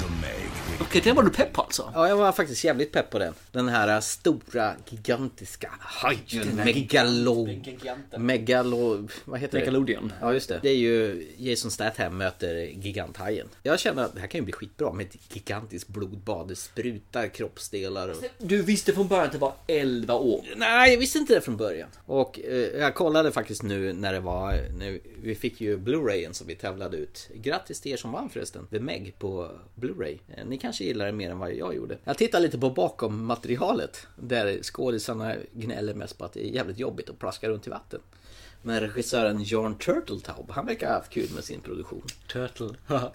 The Meg.
Okej, den var du pepp på alltså?
Ja, jag var faktiskt jävligt pepp på den. Den här stora, gigantiska hajen. Megalo...
giganten.
Megalo... Vad heter
Nickelodeon.
det? Ja, just det. Det är ju Jason Statham möter giganthajen. Jag känner att det här kan ju bli skitbra med ett gigantiskt blodbad. Det sprutar kroppsdelar och...
Du visste från början att det var 11 år.
Nej, jag visste inte det från början. Och eh, jag kollade faktiskt nu när det var... När vi fick ju Blu-rayen som vi tävlade ut. Grattis till er som vann förresten. The Meg på Blu-ray. Eh, ni kanske gillar det mer än vad jag gjorde. Jag tittar lite på bakom materialet. Där skådisarna gnäller mest på att det är jävligt jobbigt att plaska runt i vatten. Men regissören John Turteltaub, han verkar ha haft kul med sin produktion.
Turtle.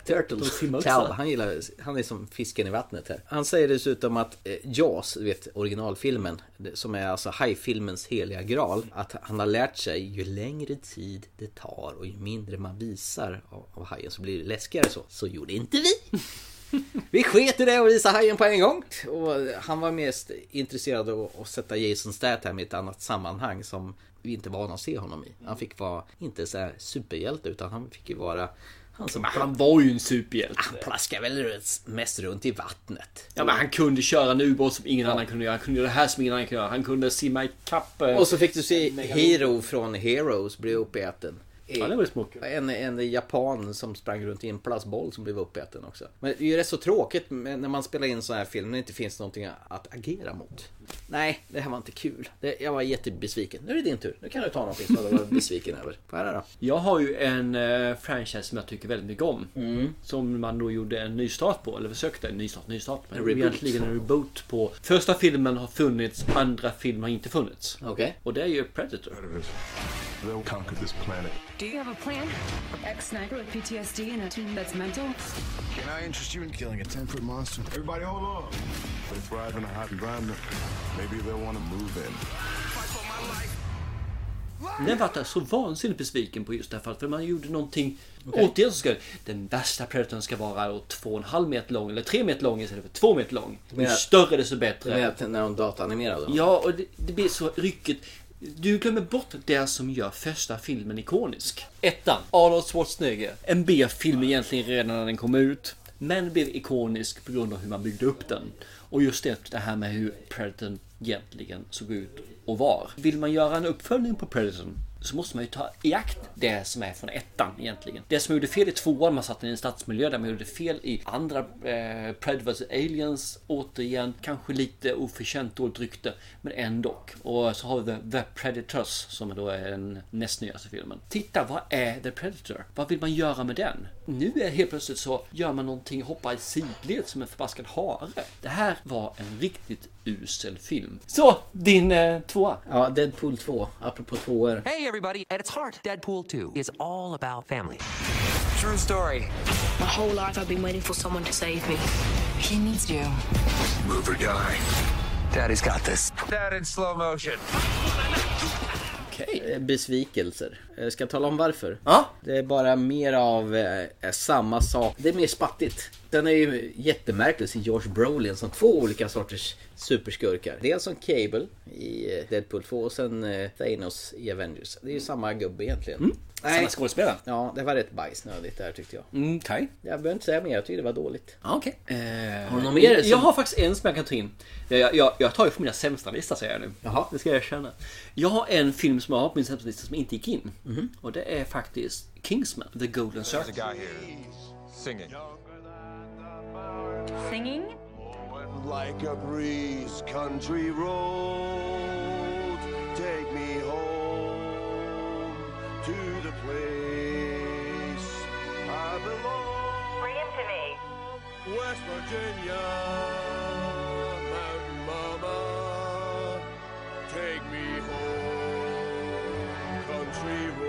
Turtle. Taub, han, gillar, han är som fisken i vattnet här. Han säger dessutom att eh, Jaws, du vet originalfilmen, det- som är alltså hajfilmens heliga graal, att han har lärt sig ju längre tid det tar och ju mindre man visar av, av hajen så blir det läskigare så. Så gjorde inte vi! Vi sket i det och visade hajen på en gång. Och eh, han var mest intresserad av att sätta Jason Statham i ett annat sammanhang som vi inte var vana att se honom i. Han fick vara, inte så här superhjälte, utan han fick ju vara han som
Han var ju en superhjälte.
han plaskar väl mest runt i vattnet.
Ja, men han kunde köra en ubåt som ingen annan kunde göra. Han kunde göra det här som ingen annan kunde göra. Han kunde simma ikapp... eh,
Och så fick du se Hero från Heroes bli uppäten.
Ja, det var ju småkul.
En, en japan som sprang runt i en plastboll som blev uppäten också. Men det är ju rätt så tråkigt med- när man spelar in sådana här filmer när det inte finns någonting att agera mot. Nej, det här var inte kul. Det, jag var jättebesviken. Nu är det din tur. Nu kan du ta någonting som du var besviken över. Får jag höra då?
Jag har ju en eh, franchise som jag tycker väldigt mycket om.
Mm.
Som man då gjorde en nystart på, eller försökte. En nystart, nystart. Men
En
det var
reboot.
egentligen en reboot på. Första filmen har funnits, andra filmen har inte funnits.
Okej.
Och det är ju Predator.
They'll conquer this planet.
Do you have a plan? Ex sniper with PTSD and a team that's mental?
Can I interest you in killing a 10 foot monster? Everybody, hold on. They thrive in a hot environment. Maybe they'll want to move in.
Den vart jag så vansinnigt besviken på just därför att för man gjorde någonting återigen så ska den värsta predatorn ska vara då två och en halv meter lång eller tre meter lång istället för två meter lång. Ju
Men-
större desto
Du menar
bättre.
att när de dataanimerade dem?
Ja, och det, det blir så ryckigt. Du glömmer bort det som gör första filmen ikonisk. Ettan, Arnold Schwarzenegger. En B-film egentligen redan när den kom ut. Men blev ikonisk på grund av hur man byggde upp den. Och just det, det här med hur Predatorn egentligen såg ut och var. Vill man göra en uppföljning på Predatorn så måste man ju ta i akt det som är från ettan egentligen. Det som gjorde fel i tvåan, man satte den i en stadsmiljö där man gjorde fel i andra eh, Predators Aliens. Återigen, kanske lite oförtjänt dåligt rykte, men ändå. Och så har vi The, The Predators som då är den näst nyaste filmen. Titta, vad är The Predator? Vad vill man göra med den? Nu är helt plötsligt så gör man någonting, hoppar i sidled som en förbaskad hare. Det här var en riktigt usel film. Så, din eh, tvåa.
Ja, Deadpool 2. Apropå tvåor.
Hey, everybody. At its heart, Deadpool 2 is all about family. True story.
My whole life I've been waiting for someone to save me. He needs you.
Move or die. Daddy's got this. Dad in slow motion.
Okej. eh, Besvikelser. Eh, Ska jag tala om varför?
Ja.
Det är bara mer av eh, samma sak. Det är mer spattigt. Den är ju jättemärklig, sin George Brolin som två olika sorters superskurkar. Dels som Cable i eh, Deadpool 2 och sen eh, Thanos i Avengers. Det är ju samma gubbe egentligen.
Mm. Samma skådespelare.
Ja, det var rätt bajsnödigt där tyckte jag.
Mm, Okej.
Jag behöver inte säga mer, jag tyckte det var dåligt.
Ja, okej. Eh,
Har du någon mer
Jag
som-
har faktiskt en som jag kan ta in. Jag, jag, jag tar ju från mina sämsta lista säger jag nu. Det ska jag erkänna. Jag har en film som jag har på min sämsta lista som inte gick in.
Mhm.
Och det är faktiskt Kingsman, The Golden Circle.
singing.
Singing?
Like a breeze, country road, take me home to the place I belong. Bring him to me. West Virginia, mountain mama, take me home, country road.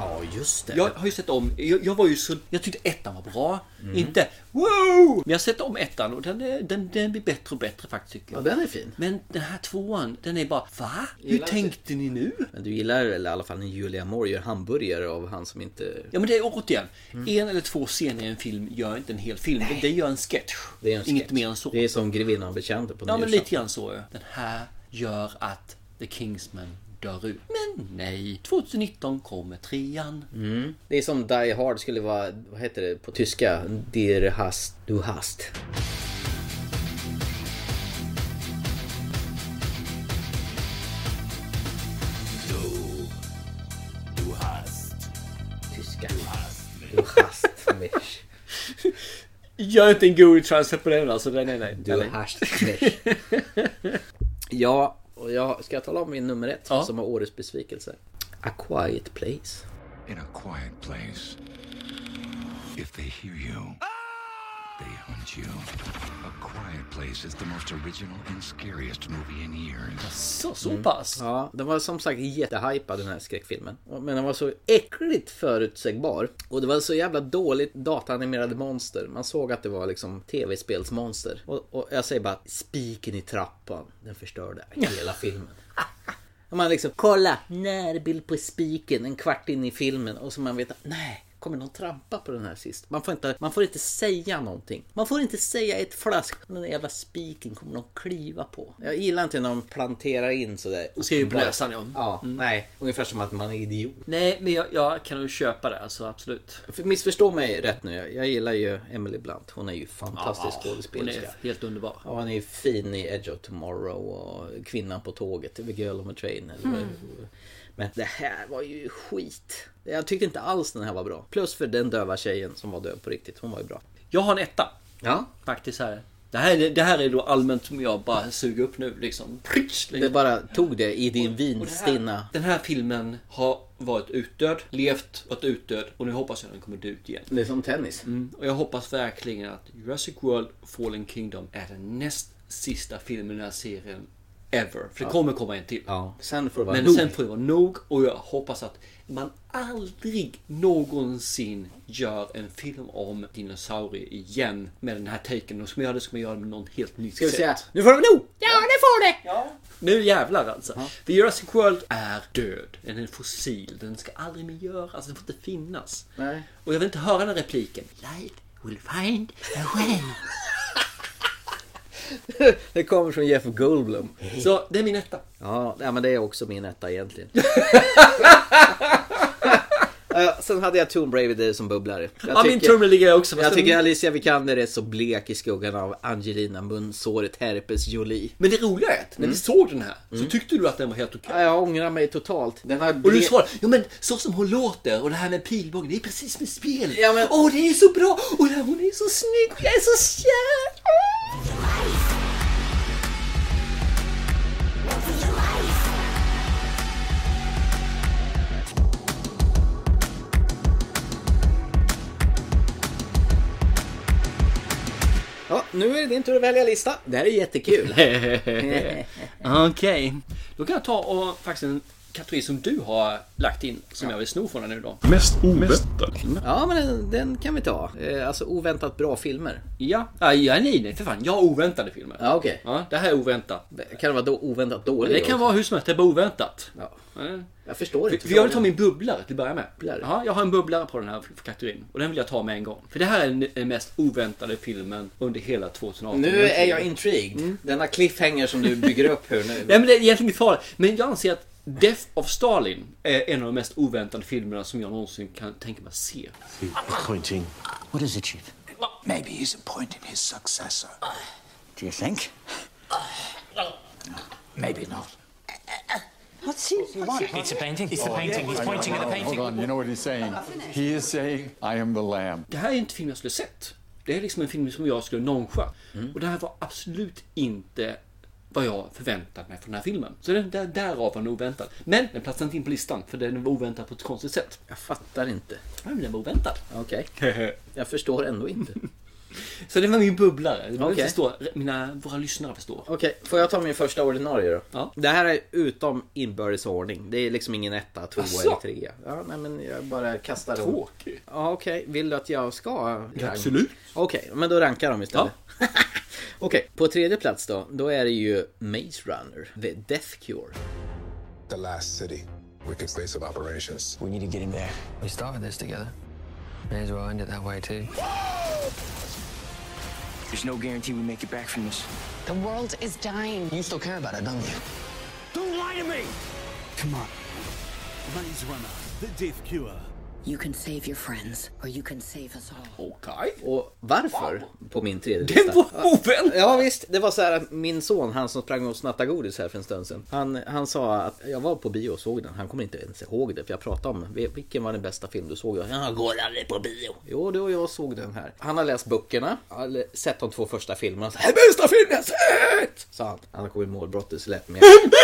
Ja, just det.
Jag har ju sett om, jag, jag var ju så, jag tyckte ettan var bra.
Mhm.
Inte wow! Men jag har sett om ettan och den, är, den, den blir bättre och bättre faktiskt tycker jag.
Ja, den är fin.
Men den här tvåan, den är bara va? Hur
Gillar
tänkte ni nu?
Men du gillar väl i alla fall när Julia Moore gör hamburgare av han som inte...
Ja men det är återigen,
Mm.
en eller två scener i en film gör inte en hel film. Det gör en sketch.
Det är en
Inget
sketch.
mer än så.
Det är som Grevinnan bekände på
Ja men
nyårsafton.
lite grann så. ja. Den här gör att The Kingsman dör ut. Men nej, 2019 kommer trean.
Mm. Det är som Die Hard skulle vara, vad heter det på tyska? Dir hast, du hast.
Du hast.
Tyska.
Du hast.
Du hast mich.
Gör inte en Google Translate på den alltså. Nej, nej, nej.
Du hast mich. Ja, och jag ska jag tala om min nummer ett som var årets besvikelse. A Quiet Place.
In a quiet place. If they hear you, they hunt you. A quiet place is the most original and scariest movie in years.
Så, så
Mm.
pass.
Ja, den var som sagt jättehypad den här skräckfilmen. Men den var så äckligt förutsägbar. Och det var så jävla dåligt dataanimerade monster. Man såg att det var liksom tv-spelsmonster. Och, och jag säger bara, spiken i trappan. Den förstörde hela filmen. Och man liksom, kolla, närbild på spiken en kvart in i filmen. Och så man vet, nej. Kommer någon trampa på den här sist? Man får, inte, man får inte säga någonting. Man får inte säga ett flask. Den där jävla spiken kommer någon kliva på. Jag gillar inte när de planterar in sådär.
Och skriver på näsan, ja.
Ja, nej. Ungefär som att man är idiot.
Nej, men jag, jag kan nog köpa det alltså absolut.
För Missförstå mig rätt nu. Jag- Jag gillar ju Emily Blunt. Hon är ju fantastisk
Ja,
skådespelerska.
Hon är helt underbar.
Ja, hon är ju fin i Edge of Tomorrow och Kvinnan på tåget, The Girl on a Train. Eller...
Mm.
Men det här var ju skit. Jag tyckte inte alls den här var bra. Plus för den döva tjejen som var döv på riktigt. Hon var ju bra.
Jag har en etta.
Ja.
Faktiskt här. Det här, är- det här är då allmänt som jag bara suger upp nu liksom. Pritsch,
Det bara tog det i din vinstinna.
Den här filmen har varit utdöd, levt, varit utdöd och nu hoppas jag den kommer dö ut igen.
Det är som tennis.
Mm. Och jag hoppas verkligen att Jurassic World Fallen Kingdom är den näst sista filmen i den här serien Ever. För det kommer komma en till.
Sen får det vara
Men
nog.
sen får det vara nog och jag hoppas att man aldrig någonsin gör en film om dinosaurier igen med den här taken. Och ska man göra det ska man göra det med någon helt ny
Ska vi säga, nu får det vara nog! Ja, nu får det!
Nu jävlar alltså. För Jurassic World är död. Den är fossil. Den ska aldrig mer göras. Den får inte finnas.
Nej.
Och jag vill inte höra den här repliken. Light will find a way.
Det kommer från Jeff Goldblum.
Så det är min etta.
Ja, nej, men det är också min etta egentligen. Eh, Sen hade jag Tomb Raider som bubblare.
Ja, min Tomb Raider ligger jag också, fast
Jag
den-
tycker Alicia Vikander är så blek i skuggan av Angelina Munsåret Herpes Jolie.
Men det roliga är
Mm.
att när vi såg den här så tyckte du att den var helt okej.
Ja, Jag ångrar mig totalt. Den har
Och du
blek-
svarar, ja men så som hon låter och det här med pilbågen, det är precis som i spel.
Ja, men-
Åh, det är så bra! Och det här, hon är så snygg och jag är så kär!
Ja, nu är det din tur att välja lista. Det här är jättekul.
Okej. Då kan jag ta och faktiskt en kategori som du har lagt in som jag vill sno från dig nu då.
Mest oväntat.
ja, men den, den kan vi ta. Eh, Alltså oväntat bra filmer.
Ja, ja nej, nej för fan. Jag har oväntade filmer.
Ja, okej.
Ja, det här är oväntat.
Kan det vara då oväntat dålig?
Det kan
också?
vara hur som helst, det är bara oväntat.
Ja.
Ja.
Jag förstår inte.
För jag vill ta min bubblare till att börja med.
Bubblare?
Ja, jag har en bubblare på den här kategorin. Och den vill jag ta med en gång. För det här är den- den mest oväntade filmen under hela 2018.
Nu Mm. är jag intrigued. Denna cliffhanger som du bygger upp här nu.
Nej men det är egentligen inget farligt. Men jag anser att Death of Stalin är en av de mest oväntade filmerna som jag någonsin kan tänka mig att se.
Pointing.
What is it, Chief?
Maybe he's appointing his successor.
Do you think?
Maybe not.
What's he? It's a painting. It's a painting. He's pointing at the painting.
Hold on, you know what he's saying? He is saying, I am the lamb.
Det här är inte en film jag skulle sett. Det är liksom en film som jag skulle noncha.
Mm.
Och det här var absolut inte vad jag förväntat mig från den här filmen. Så den där, därav var den oväntad. Men den platsade inte in på listan för den var oväntad på ett konstigt sätt.
Jag fattar inte.
Ja, men den var oväntad.
Okej. Jag förstår ändå inte.
Så det var min bubblare. Det var
Okej.
okay. förstå, mina, våra lyssnare förstår.
Okej, får jag ta min första ordinarie då?
Ja.
Det här är utom inbördes ordning. Det är liksom ingen etta, tvåa
Asså?
eller trea. Ja, nej men jag bara kastar dem.
Tråkigt.
Ja, okej. Vill du att jag ska? ranka?
absolut.
Okej, men då rankar de istället. okej, på tredje plats då. Då är det ju Maze Runner, The Death Cure.
The last city. Wicked place of operations.
We need to get him there. We started this together. May as well end it that way too. There's no guarantee we make it back from this.
The world is dying.
You still care about it, don't you?
Don't lie to me!
Come on.
Maze Runner, the Death Cure.
You can save your friends, or you can save us all.
Okej.
Och varför? På min tredje
Den
lista.
var oväntat!
Ja visst, det var så här att min son, han som sprang och snattade godis här för en stund sedan. Han, han sa att jag var på bio och såg den. Han kommer inte ens ihåg det för jag pratade om "Vil- vilken var den bästa film du såg? Jag, jag går aldrig på bio. Jo, du och jag såg den här. Han har läst böckerna, eller sett de två första filmerna. Han sa, "Den bästa film jag sett! Sa han. Han har kommit i målbrottet så lät mer.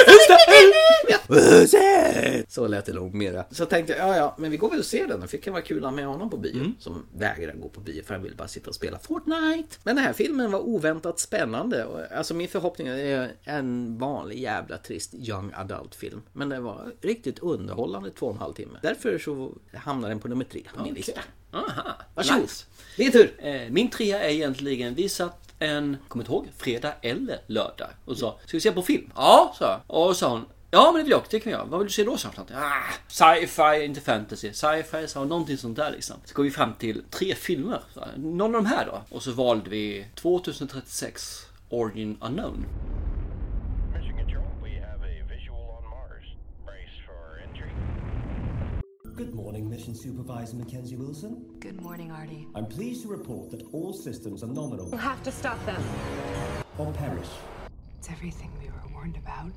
Så lät det nog mera. Så tänkte jag, ja ja, men vi går väl och ser den. Det kan vara kul att ha med honom på
Mm.
bio. Som vägrar gå på bio för han vill bara sitta och spela Fortnite. Men den här filmen var oväntat spännande. Och, Alltså min förhoppning är en vanlig jävla trist young adult film. Men den var riktigt underhållande två och en halv timme. Därför så hamnar den på nummer tre på min
Okej.
lista.
Aha.
Varsågod.
Nice.
Din tur.
Eh, Min trea är egentligen, vi satt en, kommer inte ihåg, fredag eller lördag och sa, ska vi se på film? Ja, sa jag. Och sa hon, ja men det vill jag också, det kan jag. Vad vill du se då? sa jag. Ah, sci-fi, inte fantasy. Sci-fi, sa hon, någonting sånt där liksom. Så kom vi fram till tre filmer. sa jag. Någon av de här då? Och så valde vi 2036 Origin Unknown.
Good morning, Mission Supervisor Mackenzie Wilson.
Good morning, Artie.
I'm pleased to report that all systems are nominal
You have to stop them.
or perish.
It's everything we were warned about.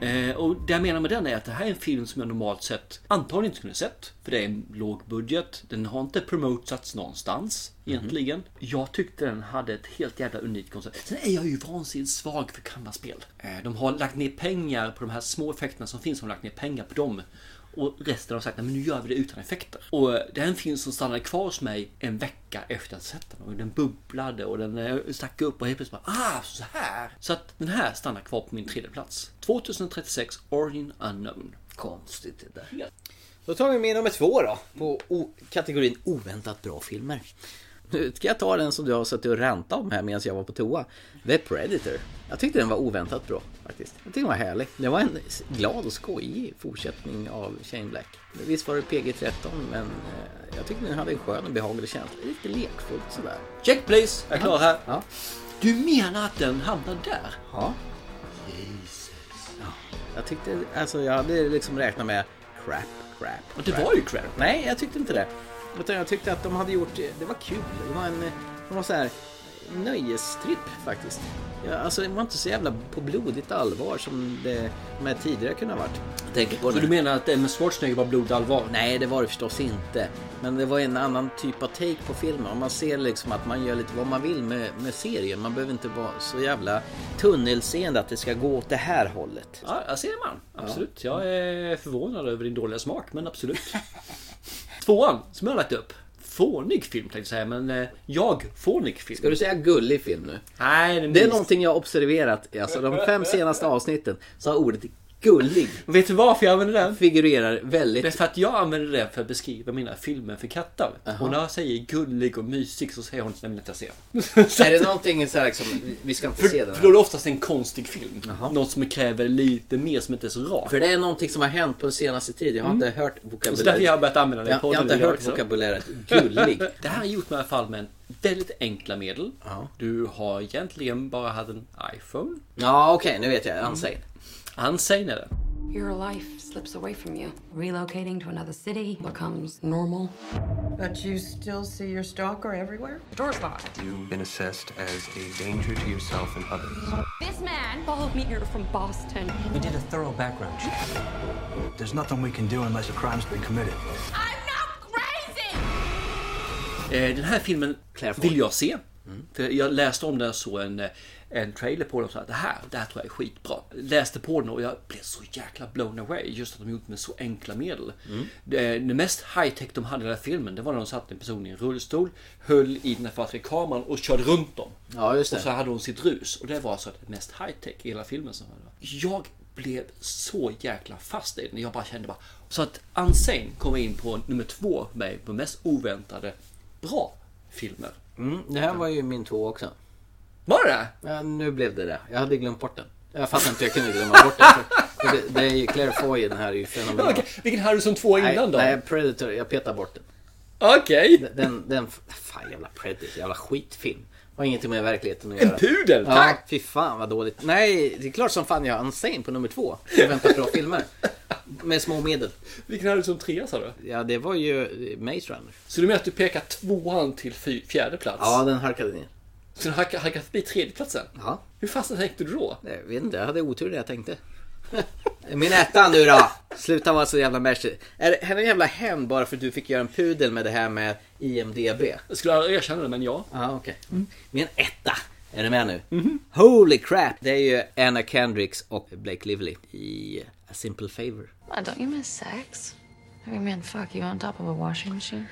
Eh, och det jag menar med den är att det här är en film som jag normalt sett antagligen inte skulle sett. För det är en låg budget. Den har inte promotats någonstans egentligen. Jag tyckte den hade ett helt jävla unikt koncept. Sen är jag ju vansinnigt svag för kammarspel. Eh, de har lagt ner pengar på de här små effekterna som finns. De har lagt ner pengar på dem. Och resten har sagt att nu gör vi det utan effekter. Och eh, den film som stannade kvar hos mig en vecka efter att jag sett den. Och den bubblade och den eh, stack upp och helt plötsligt bara ah, så här. Så att den här stannar kvar på min tredje plats. 2036 Origin Unknown. Konstigt det där.
Då tar vi med nummer två då. På o- kategorin oväntat bra filmer. Nu ska jag ta den som du har suttit och rantat om här medan jag var på toa. The Predator. Jag tyckte den var oväntat bra faktiskt. Jag tyckte den var härlig. Det var en glad och skojig fortsättning av Shane Black. Visst var det PG-13 men eh, jag tyckte den hade en skön och behaglig känsla. Lite lekfullt sådär.
Check please! Jag är klar här.
Ja.
Du menar att den hamnar där?
Ja. Jesus. Ja. Jag tyckte, alltså jag hade liksom räknat med crap, crap, crap.
Och det var ju crap.
Nej, jag tyckte inte det. Utan jag tyckte att de hade gjort, det var kul. Det var en, det var så här nöjestripp faktiskt. Ja, alltså det var inte så jävla på blodigt allvar som det med tidigare kunde ha varit. Jag tänker på
Så
det.
du menar att Emma Schwarzenegger var blodallvar?
Nej, det var det förstås inte. Men det var en annan typ av take på filmen. Och man ser liksom att man gör lite vad man vill med, med serien. Man behöver inte vara så jävla tunnelseende att det ska gå åt det här hållet.
Ja, jag ser man. Absolut. Jag är förvånad över din dåliga smak, men absolut. Tvåan, som jag har lagt upp. Fånig film tänkte jag säga, men eh, jag fånig film.
Ska du säga gullig film nu?
Nej,
Det är någonting jag har observerat. Alltså de fem senaste avsnitten så har ordet gullig
Vet du varför jag använder den?
figurerar
Det är
väldigt...
för att jag använder det för att beskriva mina filmer för katter. Och när jag säger gullig och mysig så säger hon nämligen att jag ser den.
Är det någonting så här liksom, vi ska inte se den
För då är
här.
det oftast en konstig film. Något som kräver lite mer, som inte är så rakt.
För det är någonting som har hänt på den senaste tiden. Jag har inte hört
Mm. Så därför
vokabuläret.
jag har börjat använda den i
Jag, jag har
podden liksom.
inte
idag
hört
också.
vokabuläret gullig.
Det här är gjort med i alla fall med väldigt enkla medel.
Ja.
Du har egentligen bara haft en iPhone.
Ja, okej, nu vet jag.
Mm.
Unsane.
Unsain är det.
Your life slips away from you. Relocating to another city becomes normal.
But you still see your stalker everywhere?
The door's locked.
You've been assessed as a danger to yourself and others.
This man followed me here from Boston.
We did a thorough background check.
There's nothing we can do unless a crime's been committed.
I'm not crazy!
Eh, Den här filmen vill jag se.
Mm.
För jag läste om den och såg en, eh, en trailer på den och sa att det här, det här tror jag är skitbra. Läste på den och jag blev så jäkla blown away. Just att de gjort med så enkla medel.
Mm.
Det, det mest high-tech de hade i den här filmen, det var när de satte en person i en rullstol, höll i den här fasta kameran och körde runt dem.
Ja, just det.
Och så hade hon sitt rus. Och det var alltså det mest high-tech i hela filmen. Som var. Jag blev så jäkla fast i den. Jag bara kände bara... Så att Unsane kommer in på nummer två för mig på mest oväntade bra filmer.
Mm, det här var ju min två också.
Var det?
Ja, nu blev det det. Jag hade glömt bort den. Jag fattar inte, jag kunde glömma bort den. För- för Det, det är ju Claire Foy, den här är ju
Ja,
fenomenal.
okej. Vilken hade du som två
Nej,
innan då?
nej, Predator, jag petar bort den.
Okej.
Den, den, fan jävla Predator, jävla skitfilm. Har ingenting med verkligheten att göra.
pudel,
Ja,
tack!
fy fan vad dåligt. Nej, det är klart som fan jag har Unsane på nummer två. Jag väntar bra filmer. Med små medel.
Vilken hade du som trea sa du?
Ja, det var ju Maze Runner.
Så du menar att du pekar tvåan till fy- fjärde plats?
Ja, den harkade ner.
Så du hackar, hackar förbi tredjeplatsen?
Ja.
Hur fasen tänkte du då?
Nej, Jag vet inte, jag hade otur när jag tänkte. Min etta nu då! Sluta vara så jävla märklig. Är det här är en jävla hen bara för att du fick göra en pudel med det här med IMDB?
Jag skulle aldrig erkänna det, men ja.
Ja, okej. Min etta! Är du med nu? Holy crap! Det är ju Anna Kendricks och Blake Lively i A Simple Favor.
Well, don't you miss sex? Every man fuck you on top of a washing machine?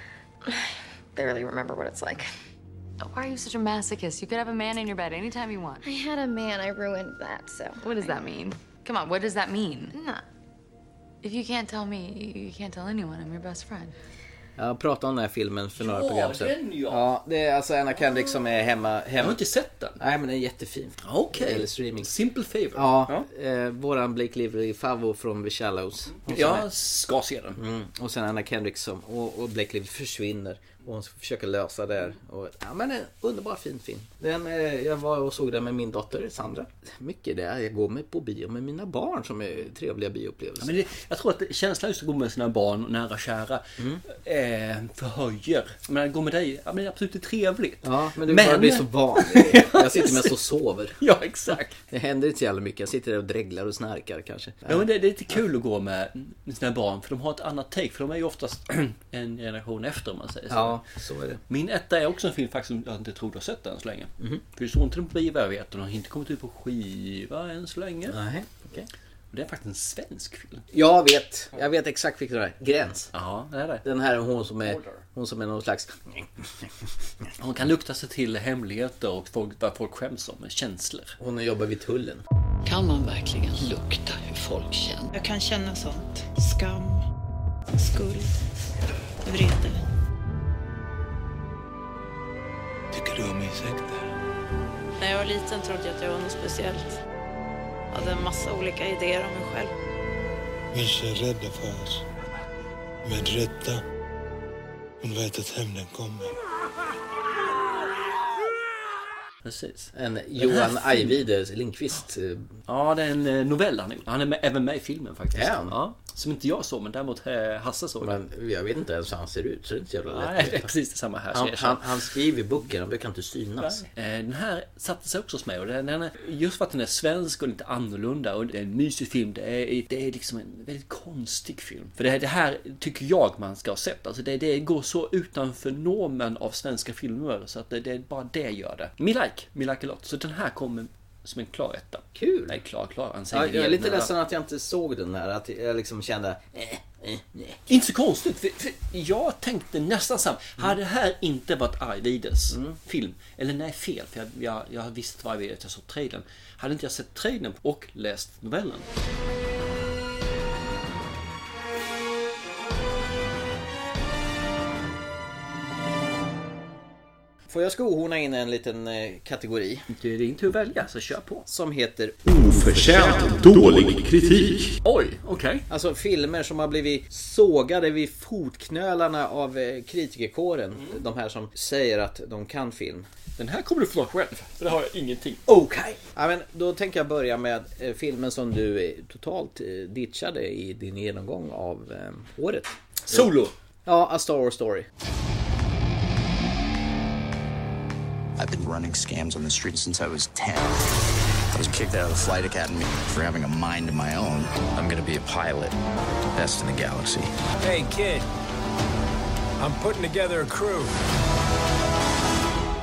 Barely remember what it's like. Why are you such a masochist? You could have a man in your bed anytime you want.
I had a man, I ruined that, so.
What does that mean? Come on, what does that mean?
Nah.
If you can't tell me, you can't tell anyone. I'm your best friend.
Jag pratade om den här filmen för några
Ja,
program sedan.
den ja.
ja! Det är alltså Anna Kendrick som är hemma...
Jag har
hemma.
inte sett den.
Nej, men den är jättefin.
Okej.
Eller streaming.
Simple favor.
Ja, Eh, våran Blake Lively-favvo från The Shallows. Hon som är-
Jag ska se den.
Mm. Och sen Anna Kendrick som, och, och Blake Lively försvinner. Och hon försöker lösa det här. Och, ja men en underbar fin film. Den, eh, jag var och såg den med min dotter Sandra. Mycket det, jag går med på bio med mina barn som är trevliga
Ja,
bioupplevelser.
men det, jag tror att det- känslan just att gå med sina barn och nära och kära eh, förhöjer. Men att gå med dig, ja, men det är absolut trevligt.
Ja, men du bara blir så van. Jag sitter mest och sover.
Ja, exakt.
Det händer inte så jävla mycket. Jag sitter där och dreglar och snarkar kanske.
Ja, men det, det är lite kul att gå med med sina barn för de har ett annat take. För de är ju oftast en generation efter om man säger så.
Ja, så är det.
Min etta är också en film faktiskt som jag inte tror du har sett än så länge. För du såg inte den på bio vad jag vet. och Den har inte kommit ut på skiva än så länge.
Nej, okej.
Det är faktiskt en svensk film.
Jag vet. Jag vet exakt vilken det är. Gräns.
Ja, det är det.
Den här hon som är, hon som är någon slags...
Hon kan lukta sig till hemligheter och folk, vad folk skäms om. Känslor.
Hon jobbar vid tullen.
Kan man verkligen lukta hur folk känner?
Jag kan känna sånt. Skam, skuld, vrede.
Tycker du om insekter?
När jag var liten trodde jag att jag var något speciellt. Jag hade en massa olika idéer om mig själv.
Människor är rädda för oss. Med rätta. De vet att hämnden kommer.
Precis.
En Johan Ajvide Lindqvist. eh,
Ja, det är en eh, novell han gjort. Han är med, även med i filmen faktiskt.
Är han?
Ja, som inte jag såg, men däremot eh, Hasse såg den.
Men jag vet inte ens hur han ser ut, så det är inte så jävla lätt.
Nej, det är precis detsamma här. så
Han,
jag känner-
han, han skriver böcker, han brukar inte synas.
Eh, Den här satte sig också hos mig. Och den, den är, just för att den är svensk och lite annorlunda. Och det är en mysig film. Det är, det är liksom en väldigt konstig film. För det, det här tycker jag man ska ha sett. Alltså det, det går så utanför normen av svenska filmer. Så att det, det är bara det gör det. Me like, me like a lot. Så den här kommer som en klar etta.
Kul!
Nej, klar, klar. Han säger
Ja,
det
jag är
igen,
lite
eller?
ledsen att jag inte såg den här. Att jag liksom kände... Eh, eh, nej.
Inte så konstigt. För, för jag tänkte nästan samma.
Mm.
Hade det här inte varit Arvides film. Eller nej, fel. För jag, jag, jag visste vad Arvides jag såg trailern. Hade inte jag sett trailern och läst novellen.
Får jag skohorna in en liten eh, kategori
Det är din tur att välja, så kör på.
som heter
Oförtjänt dålig kritik.
Oj, okej.
Alltså filmer som har blivit sågade vid fotknölarna av eh, kritikerkåren.
Mm.
De här som säger att de kan film.
Den här kommer du få ta själv. För det har jag ingenting.
Okej. Ja, men då tänker jag börja med eh, filmen som du eh, totalt eh, ditchade i din genomgång av eh, året.
Solo!
Ja, A Star Wars Story.
I've been running scams on the street since I was 10. I was kicked out of the flight academy for having a mind of my own. I'm gonna be a pilot, best in the galaxy.
Hey, kid. I'm putting together a crew.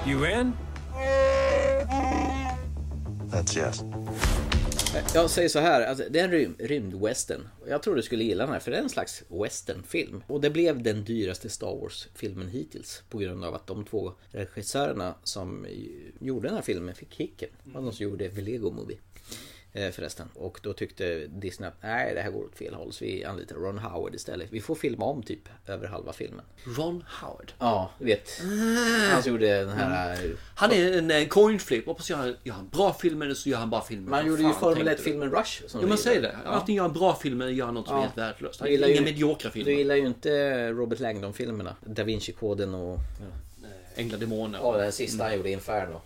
You in?
That's yes.
Eh, Jag säger så här, alltså, det är en rym- rymdwestern. Jag tror du skulle gilla den här, för det är en slags westernfilm. Och det blev den dyraste Star Wars-filmen hittills. På grund av att de två regissörerna som ju- gjorde den här filmen fick kicken. Det var de som gjorde Lego Movie. eh, Förresten. Och då tyckte Disney att nej, det här går åt fel håll. Så vi anlitar Ron Howard istället. Vi får filma om typ över halva filmen.
Ron Howard.
Ja, du vet. Han som gjorde den här... eh,
Han är en eh, coin flip. Hoppas jag gör han bra filmer eller så gör han bara filmer.
Man
Vad
gjorde ju
fan
Formel
tänkte
1-filmen
du?
Rush. som
Ja,
vi
man säger
gillade.
det. Antingen gör han bra filmer eller gör han något som är helt värdelöst. Han
Du gillar
gillar inga
ju-
mediokra
Du
filmer.
gillar ju inte Robert Langdon-filmerna. Da Vinci-koden och...
Änglar, demoner.
Ja, den sista han gjorde, Inferno.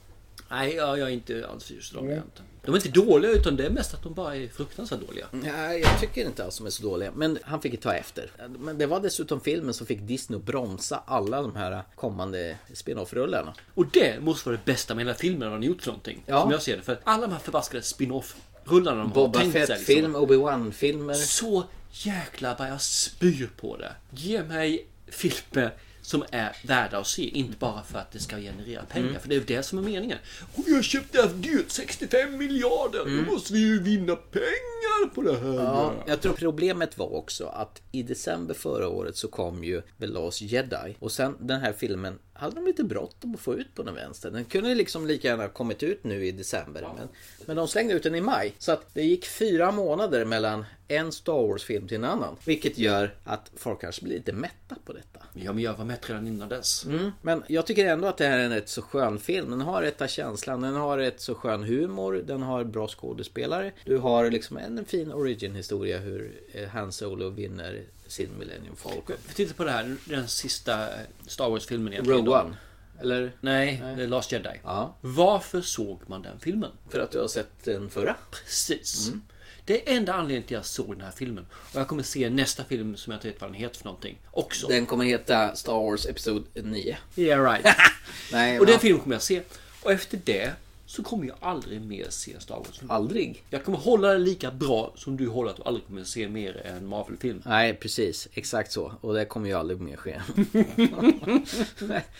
Nej, jag, jag är inte alls förtjust i dem egentligen. De är inte dåliga utan det är mest att de bara är fruktansvärt dåliga.
Nej, jag tycker inte alls de är så dåliga. Men han fick ju ta efter. Men det var dessutom filmen som fick Disney att bromsa alla de här kommande spin-off-rullarna.
Och det måste vara det bästa med hela filmen när de gjort någonting.
Ja.
Som jag ser det. För att alla de här förbaskade spin-off-rullarna de
Boba
har tänkt sig. liksom.
Fett-film, Obi-Wan-filmer.
Så jäkla vad jag spyr på det. Ge mig filmer som är värda att se, inte bara för att det ska generera pengar.
Mm.
För det är ju det som är meningen. Och jag köpte det här dyrt, 65 miljarder. Då måste vi ju vinna pengar på det här.
Mm. Ja, jag tror problemet var också att i december förra året så kom ju The Last Jedi och sen den här filmen hade de lite bråttom att få ut på den vänster. Den kunde liksom lika gärna ha kommit ut nu i december men, men de slängde ut den i maj. Så att det gick fyra månader mellan en Star Wars-film till en annan. Vilket gör att folk kanske blir lite mätta på detta.
Ja, men jag var med redan innan dess.
Men jag tycker ändå att det här är en rätt så skön film. Den har rätta känslan, den har rätt så skön humor, den har bra skådespelare. Du har liksom en fin origin-historia hur eh, Han Solo vinner sin Millennium Falcon.
Vi tittar på det här, den sista eh, Star Wars-filmen egentligen.
Rogue One. Eller?
Nej, The Last Jedi.
Ja.
Varför såg man den filmen?
För att du har sett den förra?
Precis.
Mm.
Det är enda anledningen till att jag såg den här filmen. Och jag kommer se nästa film som jag inte vet vad den heter för någonting också.
Den kommer heta Star Wars Episod 9.
Yeah right.
Nej,
och den
va?
filmen kommer jag se. Och efter det så kommer jag aldrig mer se Star Wars.
Aldrig?
Jag kommer hålla det lika bra som du håller att du aldrig kommer se mer än Marvel-film.
Nej, precis. Exakt så. Och det kommer ju aldrig mer ske.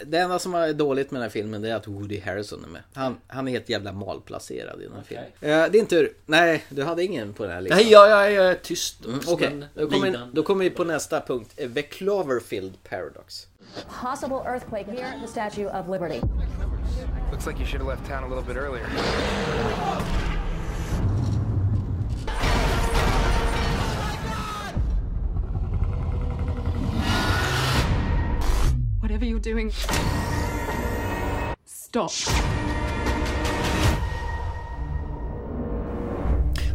det enda som är dåligt med den här filmen det är att Woody Harrison är med. Han, han är helt jävla malplacerad i den här filmen. Eh, din tur. Nej, du hade ingen på den här listan.
Nej, jag, jag, jag är tyst.
Mm, Okej, då, kommer- då kommer vi på nästa punkt. eh, The Cloverfield Paradox.
Possible earthquake near the Statue of Liberty.
Looks like you should have left town a little bit earlier.
Whatever you're doing, stop.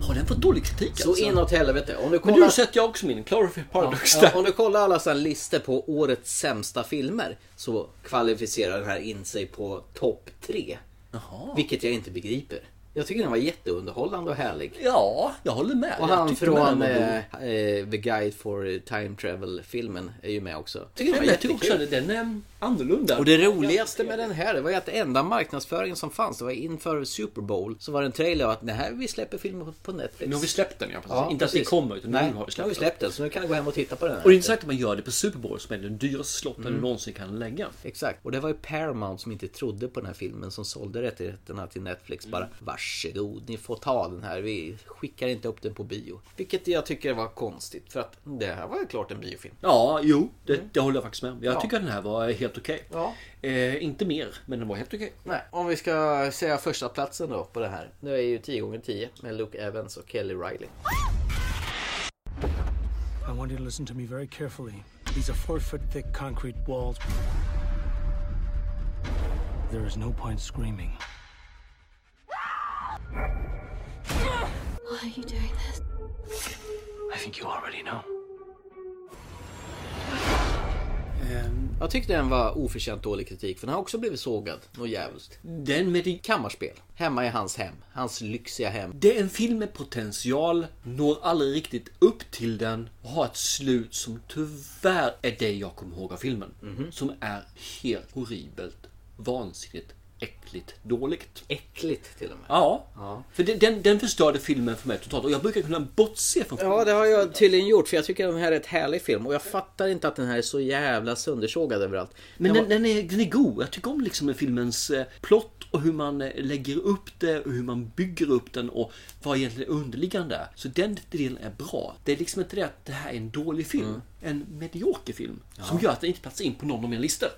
Har den fått dålig kritik
Så
alltså?
inåt helvete. Om du
Men
kollar...
du sätter jag också min Cloverfield Paradox
Ja,
där.
om du kollar alla sådana listor på årets sämsta filmer så kvalificerar den här in sig på topp tre. Vilket jag inte begriper. Jag tycker den var jätteunderhållande och härlig.
Ja, jag håller med.
Och
Jag
han
tyckte den
från
var
eh,
god.
eh, The Guide for Time Travel-filmen är ju med också.
Tycker
Den
jag,
var
jag tycker också
jättekul.
att den är annorlunda.
Och det roligaste med den här, det var ju att det enda marknadsföringen som fanns, det var inför Super Bowl, så var det en trailer av att det här, vi släpper filmen på Netflix.
Nu har vi släppt den, ja, precis. Inte att det kommer, utan nu
Nej,
har vi släppt
nu har vi
den.
släppt den. Så nu kan jag gå hem och titta på den här.
Och det är intressant att man gör det på Super Bowl som är den dyraste slotten
Mm.
du någonsin kan lägga.
Exakt. Och det var ju Paramount som inte trodde på den här filmen som sålde rättigheterna till Netflix bara Varsågod, ni får ta den här. Vi skickar inte upp den på bio. Vilket jag tycker var konstigt för att det här var ju klart en biofilm.
Ja, jo, det, det håller jag faktiskt med om. Jag
Ja.
tycker att den här var helt okej. Eh, inte mer, men den var helt okej.
Nej, om vi ska säga första platsen då på det här. Det är ju 10 gånger 10 med Luke Evans och Kelly Riley.
I want you to listen to me very carefully. These are four foot thick concrete walls. There is no point screaming.
Why are you doing this?
I think you already know.
Jag tyckte den var oförtjänt dålig kritik för den har också blivit sågad något jävligt.
Den med det...
Kammarspel. Hemma i hans hem. Hans lyxiga hem.
Det är en film med potential, når aldrig riktigt upp till den och har ett slut som tyvärr är det jag kommer ihåg av filmen. Som är helt horribelt, vansinnigt, äckligt, dåligt.
Äckligt till och med.
Ja, för den- den, den förstörde filmen för mig totalt och jag brukar kunna bortse från
Ja, det har jag tydligen gjort för jag tycker att den här är ett härlig film och jag fattar inte att den här är så jävla söndersågad överallt.
Men
Den
den, den, är, den är god. Jag tycker om liksom med filmens eh, plott och hur man eh, lägger upp det och hur man bygger upp den och vad egentligen är underliggande. Så den delen är bra. Det är liksom inte det att det här är en dålig film. En medioker film. Som gör att den inte platsar in på någon av mina listor.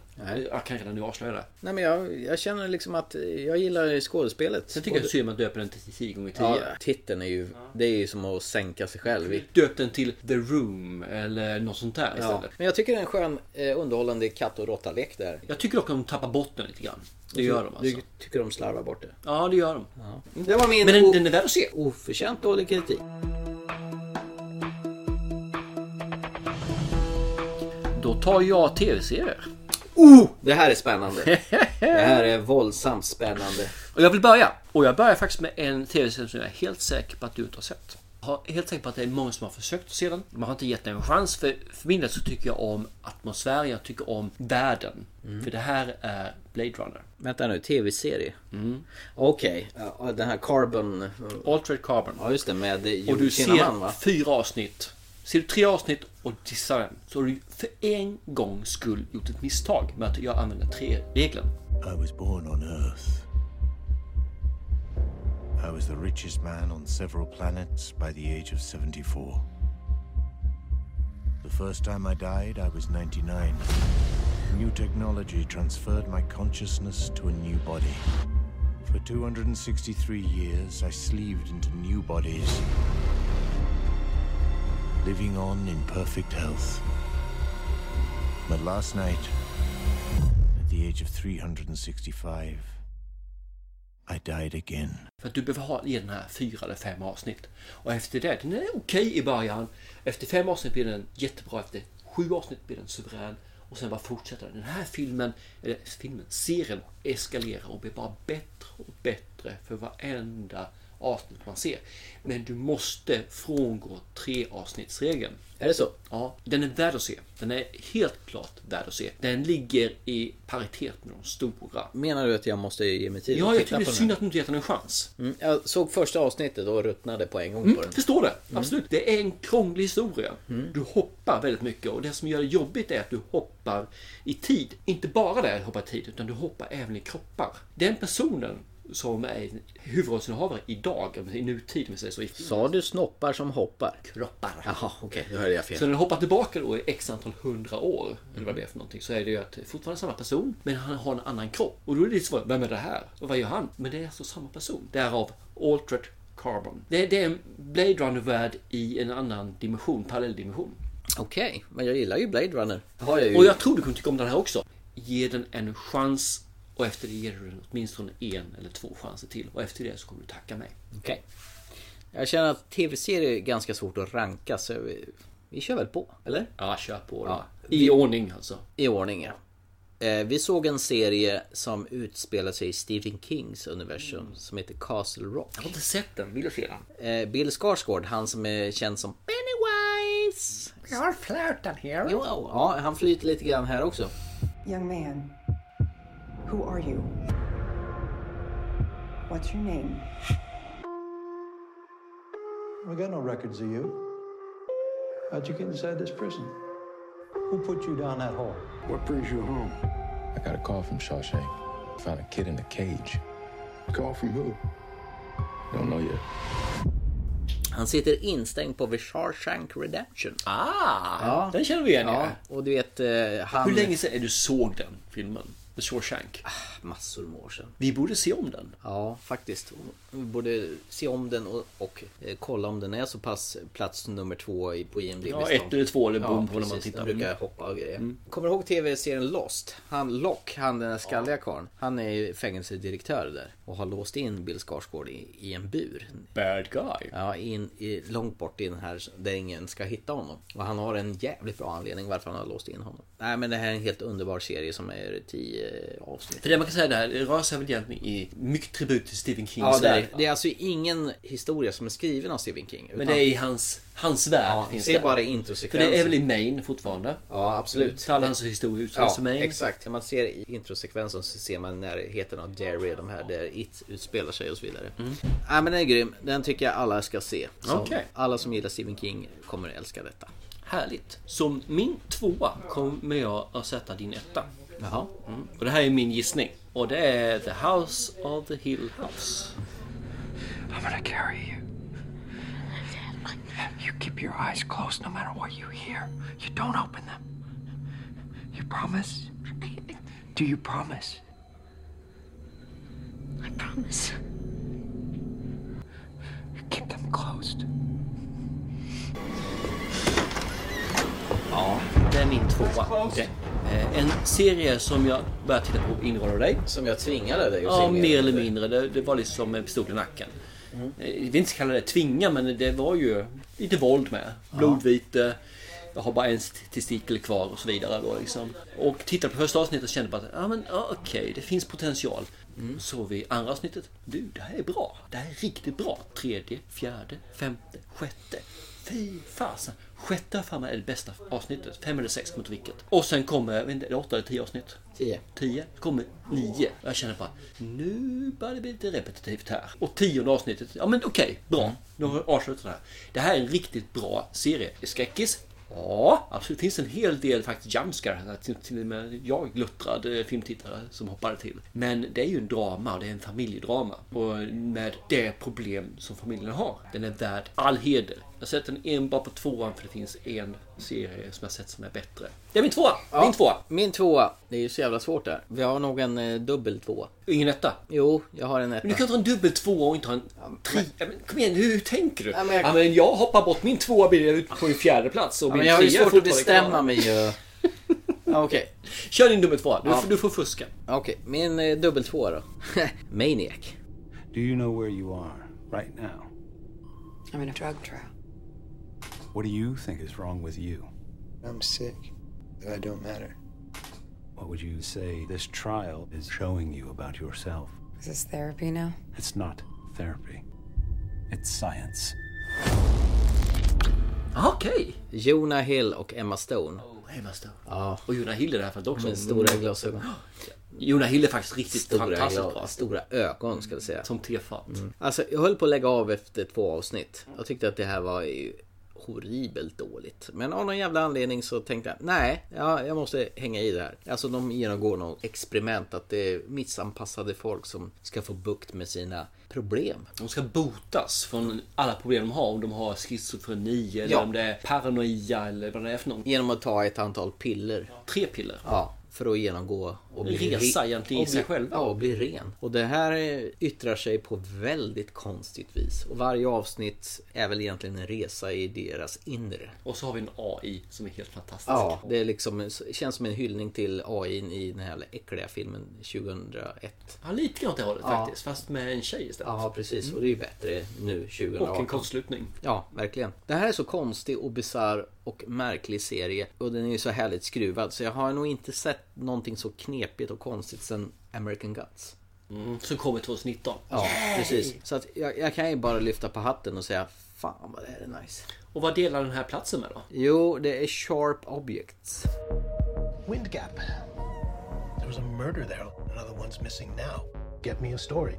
Jag kan redan nu avslöja det.
Nej men jag, jag känner liksom att jag gillar skådespelet.
Sen tycker jag det är
Och-
synd att man döper den till 10 gånger 10
Ja, titeln är ju, det är ju som att sänka sig själv.
Döp den till The Room eller något sånt där
Ja.
istället.
Men jag tycker det är en skön eh, underhållande katt och råttalek där.
Jag tycker dock att de tappar bort den lite grann. Det gör de alltså.
Du tycker de slarvar bort det.
Ja, det gör de.
Det var min
Men den,
o-
den är värd att se.
oförtjänt dålig kritik.
Då tar jag tv-serier.
Oh! Det här är spännande. det här är våldsamt spännande.
Och jag vill börja. Och jag börjar faktiskt med en tv-serie som jag är helt säker på att du inte har sett. Jag är helt säker på att det är många som har försökt se den. Man har inte gett den en chans. För, för min del så tycker jag om atmosfären, jag tycker om världen.
Mm.
För det här är Blade Runner.
Vänta nu, tv-serie? Okej, Mm. ja, den här Carbon...
Altered Carbon.
Mm. Ja just det, med
Och du
Joe Kinnaman va?
ser fyra avsnitt. Ser du tre avsnitt och dissar den så har du för en gångs skull gjort ett misstag med att jag använder tre-regeln.
I was born on Earth. I was the richest man on several planets by the age of 74. The first time I died, I was 99. New technology transferred my consciousness to a new body. For 263 years, I sleeved into new bodies, living on in perfect health. But last night, at the age of 365, I died again.
För att du behöver ha i den här fyra eller fem avsnitt. Och efter det, den är okej i början. Efter fem avsnitt blir den jättebra. Efter sju avsnitt blir den suverän. Och sen bara fortsätter den. Den här filmen, eller filmen, serien eskalerar och blir bara bättre och bättre för varenda avsnitt man ser. Men du måste frångå tre avsnittsregeln.
Är det så?
Ja, den är värd att se. Den är helt klart värd att se. Den ligger i paritet med de stora.
Menar du att jag måste ge mig tid
Ja,
att
jag
titta
tycker det är
på den
synd
här?
att du inte gett den en chans.
Mm, jag såg första avsnittet och ruttnade på en gång på den.
Förstår det, absolut. Det är en krånglig historia. Du hoppar väldigt mycket och det som gör det jobbigt är att du hoppar i tid. Inte bara det att hoppa i tid, utan du hoppar även i kroppar. Den personen som är huvudrollsinnehavare idag, i nutid om vi säger så. I
Sa du snoppar som hoppar?
Kroppar.
Jaha, okej. då hörde jag fel.
Så när du hoppar tillbaka då i x antal hundra år, eller vad det är för någonting, så är det ju att fortfarande samma person, men han har en annan kropp. Och då är det lite svårt, vem är det här? Och vad gör han? Men det är alltså samma person. Därav Altered Carbon. Det, det är en Blade Runner-värld i en annan dimension, parallelldimension.
Okej, men jag gillar ju Blade Runner. Har jag ju...
Och jag tror du kommer tycka om den här också. Ge den en chans och efter det ger du den åtminstone en eller två chanser till. Och efter det så kommer du tacka mig.
Okej. Jag känner att tv-serier är ganska svårt att ranka så vi, vi kör väl på, eller?
Ja, kör på då.
Ja.
I ordning alltså.
I ordning ja. Eh, Vi såg en serie som utspelar sig i Stephen Kings universum som heter Castle Rock.
Jag har inte sett den, vill jag se den?
Eh, Bill Skarsgård, han som är känd som Pennywise.
You're flirting here.
Jo, ja, han flyter lite grann här också.
Young man, who are you? What's your name?
We got no records of you. How'd you get inside this prison? Who put you down that hole?
What brings you home? I got a call from Shawshank. Found a kid in a cage. Call from who? Don't know yet.
Han sitter instängd på The Shawshank Redemption.
Ah,
Ja.
den känner vi igen
Ja,
ja.
och du vet eh, han...
Hur länge sedan är du såg den filmen? The Shawshank.
Massor med år sedan.
Vi borde se om den.
Ja, faktiskt. Vi borde se om den och, och eh, kolla om den är så pass plats nummer två i- på IMDB.
Ja, ett eller två eller bom på när man
precis.
tittar.
Den brukar
Mm.
hoppa och grejer. Kommer du ihåg tv-serien Lost? Han Lock, han den där skalliga karln. Han är ju fängelsedirektör där och har låst in Bill Skarsgård i, i en bur.
Bad guy.
Ja, in, i, långt bort i den här där ingen ska hitta honom. Och han har en jävligt bra anledning varför han har låst in honom. Nej men det här är en helt underbar serie som är tio avsnitt.
För det man kan säga där, det rör sig väl egentligen i mycket tribut till Stephen Kings
Ja, det, är,
värld.
det. det är alltså ingen historia som är skriven av Stephen King.
Men det är i hans, hans värld.
Ja,
finns
det är bara introsekvenser.
För det är väl Mm. i Maine fortfarande?
Ja, absolut.
Alla hans historia utspelar
Ja,
sig i Maine.
exakt. När man ser i introsekvensen så ser man närheten av Jerry och de här där It utspelar sig och så vidare. Mm. Ja, men den är grym. Den tycker jag alla ska se. Så
Okej.
Alla som gillar Stephen King kommer att älska detta.
Härligt. Som min tvåa kommer jag att sätta din etta.
Jaha.
Mm. Och det här är min gissning. Och det är The House of the Hill House.
I'm gonna carry you. You keep your eyes closed no matter what you hear. You don't open them. You promise? Do you promise? I promise. You keep them closed.
Ja, det är min tvåa. Det. Eh, En serie som jag började titta på inråd av dig.
Som jag tvingade dig att
Ja,
se mer
mer eller
eller
mindre. Det, det var liksom som en pistol i nacken. Mm. Vi inte kalla det tvinga, men det var ju lite våld med. Blodvite. Jag har bara en st- testikel kvar och så vidare. Då, liksom. Och tittade på första avsnittet och kände bara att ah, men, ah, okej, det finns potential. Så vi andra avsnittet. Du, det här är bra. Det här är riktigt bra. Tredje, fjärde, femte, sjätte. Fy fasen. Sjätte har för mig är det bästa avsnittet. Fem eller sex, kommer inte ihåg vilket. Och sen kommer, jag vet inte, är det åtta eller tio avsnitt?
Tio.
Tio. Så kommer nio. Jag känner bara, nu börjar det bli lite repetitivt här. Och tionde avsnittet, ja men okej, bra. Nu har jag avslutat det här. Det här är en riktigt bra serie. Skräckis? Ja, absolut. Det finns en hel del faktiskt jumpscare här. Till, till och med jag, gluttrad eh, filmtittare, som hoppade till. Men det är ju en drama och det är en familjedrama. Och med det problem som familjen har. Den är värd all heder. Jag har sett den enbart på tvåan för det finns en serie som jag sett som är bättre. Det är min tvåa! Min tvåa!
Min tvåa. Det är ju så jävla svårt där. Vi har nog en eh, dubbel tvåa.
Ingen etta?
Jo, jag har en etta.
Men du kan inte ha en dubbel tvåa och inte ha en trea. Men Kom igen, hur tänker du?
Ja,
Ja,
men
men
jag-
jag... hoppar bort. Min tvåa blir ut på en fjärde plats och
Ja,
min
men jag har ju
trea är
svårt att
fortfarande kvar.
bestämma mig ju. Ja, Okej.
Kör din nummer två. Du,
Ja.
får- du får fuska.
Okej, min eh, dubbel tvåa då. Maniac.
Do you know where you are right now?
I'm in a drug trial.
What do you think is wrong with you? I'm sick, but I don't matter. What would you say this trial is showing you about yourself?
Is this therapy now?
It's not therapy.
It's science.
Okej!
Jonah Hill och Emma Stone.
Oh, Emma Stone.
Ja.
Och Jonah Hill i det här fallet också.
Med stora glasögon.
Jonah Hill är faktiskt riktigt fantastiskt
gla-
bra.
stora ögon ska jag säga.
Som tefat.
Alltså jag höll på att lägga av efter två avsnitt. Jag tyckte att det här var ju horribelt dåligt. Men av någon jävla anledning så tänkte jag, nej, ja, jag måste hänga i det här. Alltså de genomgår något experiment att det är missanpassade folk som ska få bukt med sina problem.
De ska botas från alla problem de har. Om de har schizofreni eller
Ja.
om det är paranoia eller vad det är för något.
Genom att ta ett antal piller.
Tre piller.
Ja, för att genomgå och bli
Resa
re-
egentligen i
och bli-
sig själva.
Ja, och bli ren. Och det här eh, yttrar sig på väldigt konstigt vis. Och varje avsnitt är väl egentligen en resa i deras inre.
Och så har vi en AI som är helt fantastisk.
Ja, det är liksom, det känns som en hyllning till AI i den här jävla äckliga filmen 2001.
Ja, lite grann åt det hållet
Ja.
faktiskt. Fast med en tjej istället.
Ja, precis. Och det är ju bättre nu 2018.
Och en kortslutning.
Mm. Ja, verkligen. Det här är så konstig och bizarr och märklig serie. Och den är ju så härligt skruvad. Så jag har nog inte sett någonting så knepigt och konstigt sen American Guts.
Mm, som kommer 2019.
Ja, precis. Så att jag, jag kan ju bara lyfta på hatten och säga Fan vad det här är nice.
Och vad delar den här platsen med då?
Jo, det är Sharp Objects.
Wind Gap. There was a murder there. Another one's missing now. Get me a story.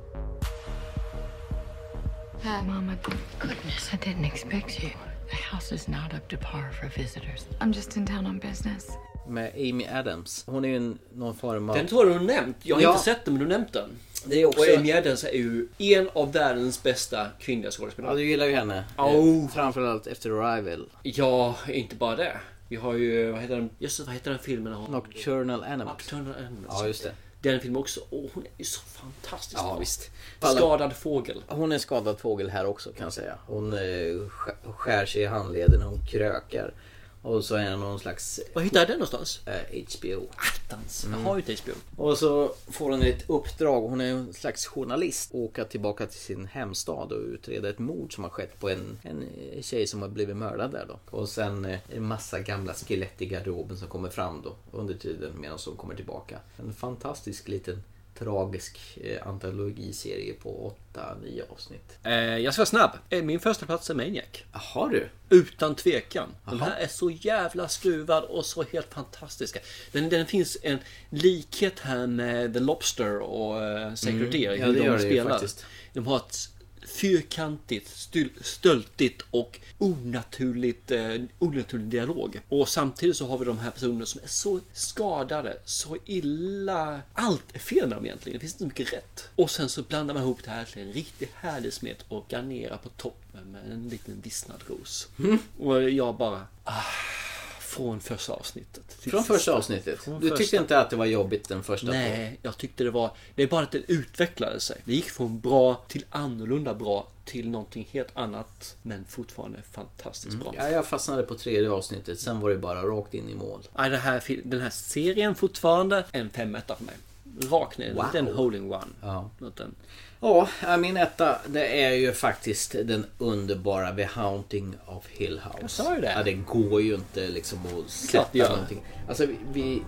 Hi, Mama. Goodness, I didn't expect you. The house is not up to par for visitors. I'm just in town on business.
Med Amy Adams. Hon är ju en, någon form av...
Den tror jag du har nämnt. Jag har
Ja.
inte sett den, men du har nämnt den.
Det är också-
Och Amy Adams är ju en av världens bästa kvinnliga
Ja,
skådespelare.
du gillar ju henne.
Oh.
Eh, Framförallt efter Arrival.
Ja, inte bara det. Vi har ju, vad heter den, just det, vad heter den filmen? hon-
Nocturnal Animals.
Nocturnal Animals.
Ja, just det.
Den filmen också. Åh, hon är ju så fantastisk
Ja,
bra.
visst.
Skadad fågel.
Hon är en skadad fågel här också kan jag säga. Hon eh, sk- skär sig i handleden, hon krökar. Och så är hon någon slags...
Var hittade jag den någonstans?
Eh, HBO.
Attans, jag har ju inte HBO.
Och så får hon ett uppdrag, hon är en slags journalist, åka tillbaka till sin hemstad och utreda ett mord som har skett på en, en eh, tjej som har blivit mördad där då. Och sen eh, en massa gamla skelett i garderoben som kommer fram då under tiden medan hon kommer tillbaka. En fantastisk liten tragisk eh, antologiserie på 8-9 avsnitt.
Eh, jag ska vara snabb. Eh, Min första plats är Maniac.
Jaha du.
Utan tvekan. Den
Jaha.
här är så jävla skruvad och så helt fantastisk. Den, den finns en likhet här med The Lobster och uh, Sacred
Mm.
Deer.
Ja,
hur
det
de
gör det ju
spelar.
faktiskt.
De har ett fyrkantigt, styl- stöltigt och onaturligt, eh, onaturlig dialog. Och samtidigt så har vi de här personerna som är så skadade, så illa. Allt är fel med dem egentligen. Det finns inte så mycket rätt. Och sen så blandar man ihop det här till en riktigt härlig smet och garnerar på toppen med en liten vissnad ros. Och jag bara... Ah, från första avsnittet. till
Från första
sista.
avsnittet?
Från
Du
första.
tyckte inte att det var jobbigt den första?
Nej, jag tyckte det var... Det är bara att det utvecklade sig. Det gick från bra till annorlunda bra till någonting helt annat. Men fortfarande fantastiskt bra.
Ja, jag fastnade på tredje avsnittet, sen var det bara rakt in i mål.
Nej, den, här, fil- den här serien fortfarande en femetta för mig. Rakt ner.
Wow.
Wow. Den holding one.
Ja.
Något den-
Ja, min etta det är ju faktiskt den underbara The Haunting of Hill House.
Jag sa ju det.
Ja, det går ju inte liksom att
klart det
släppa
gör.
någonting. Alltså vi, vi,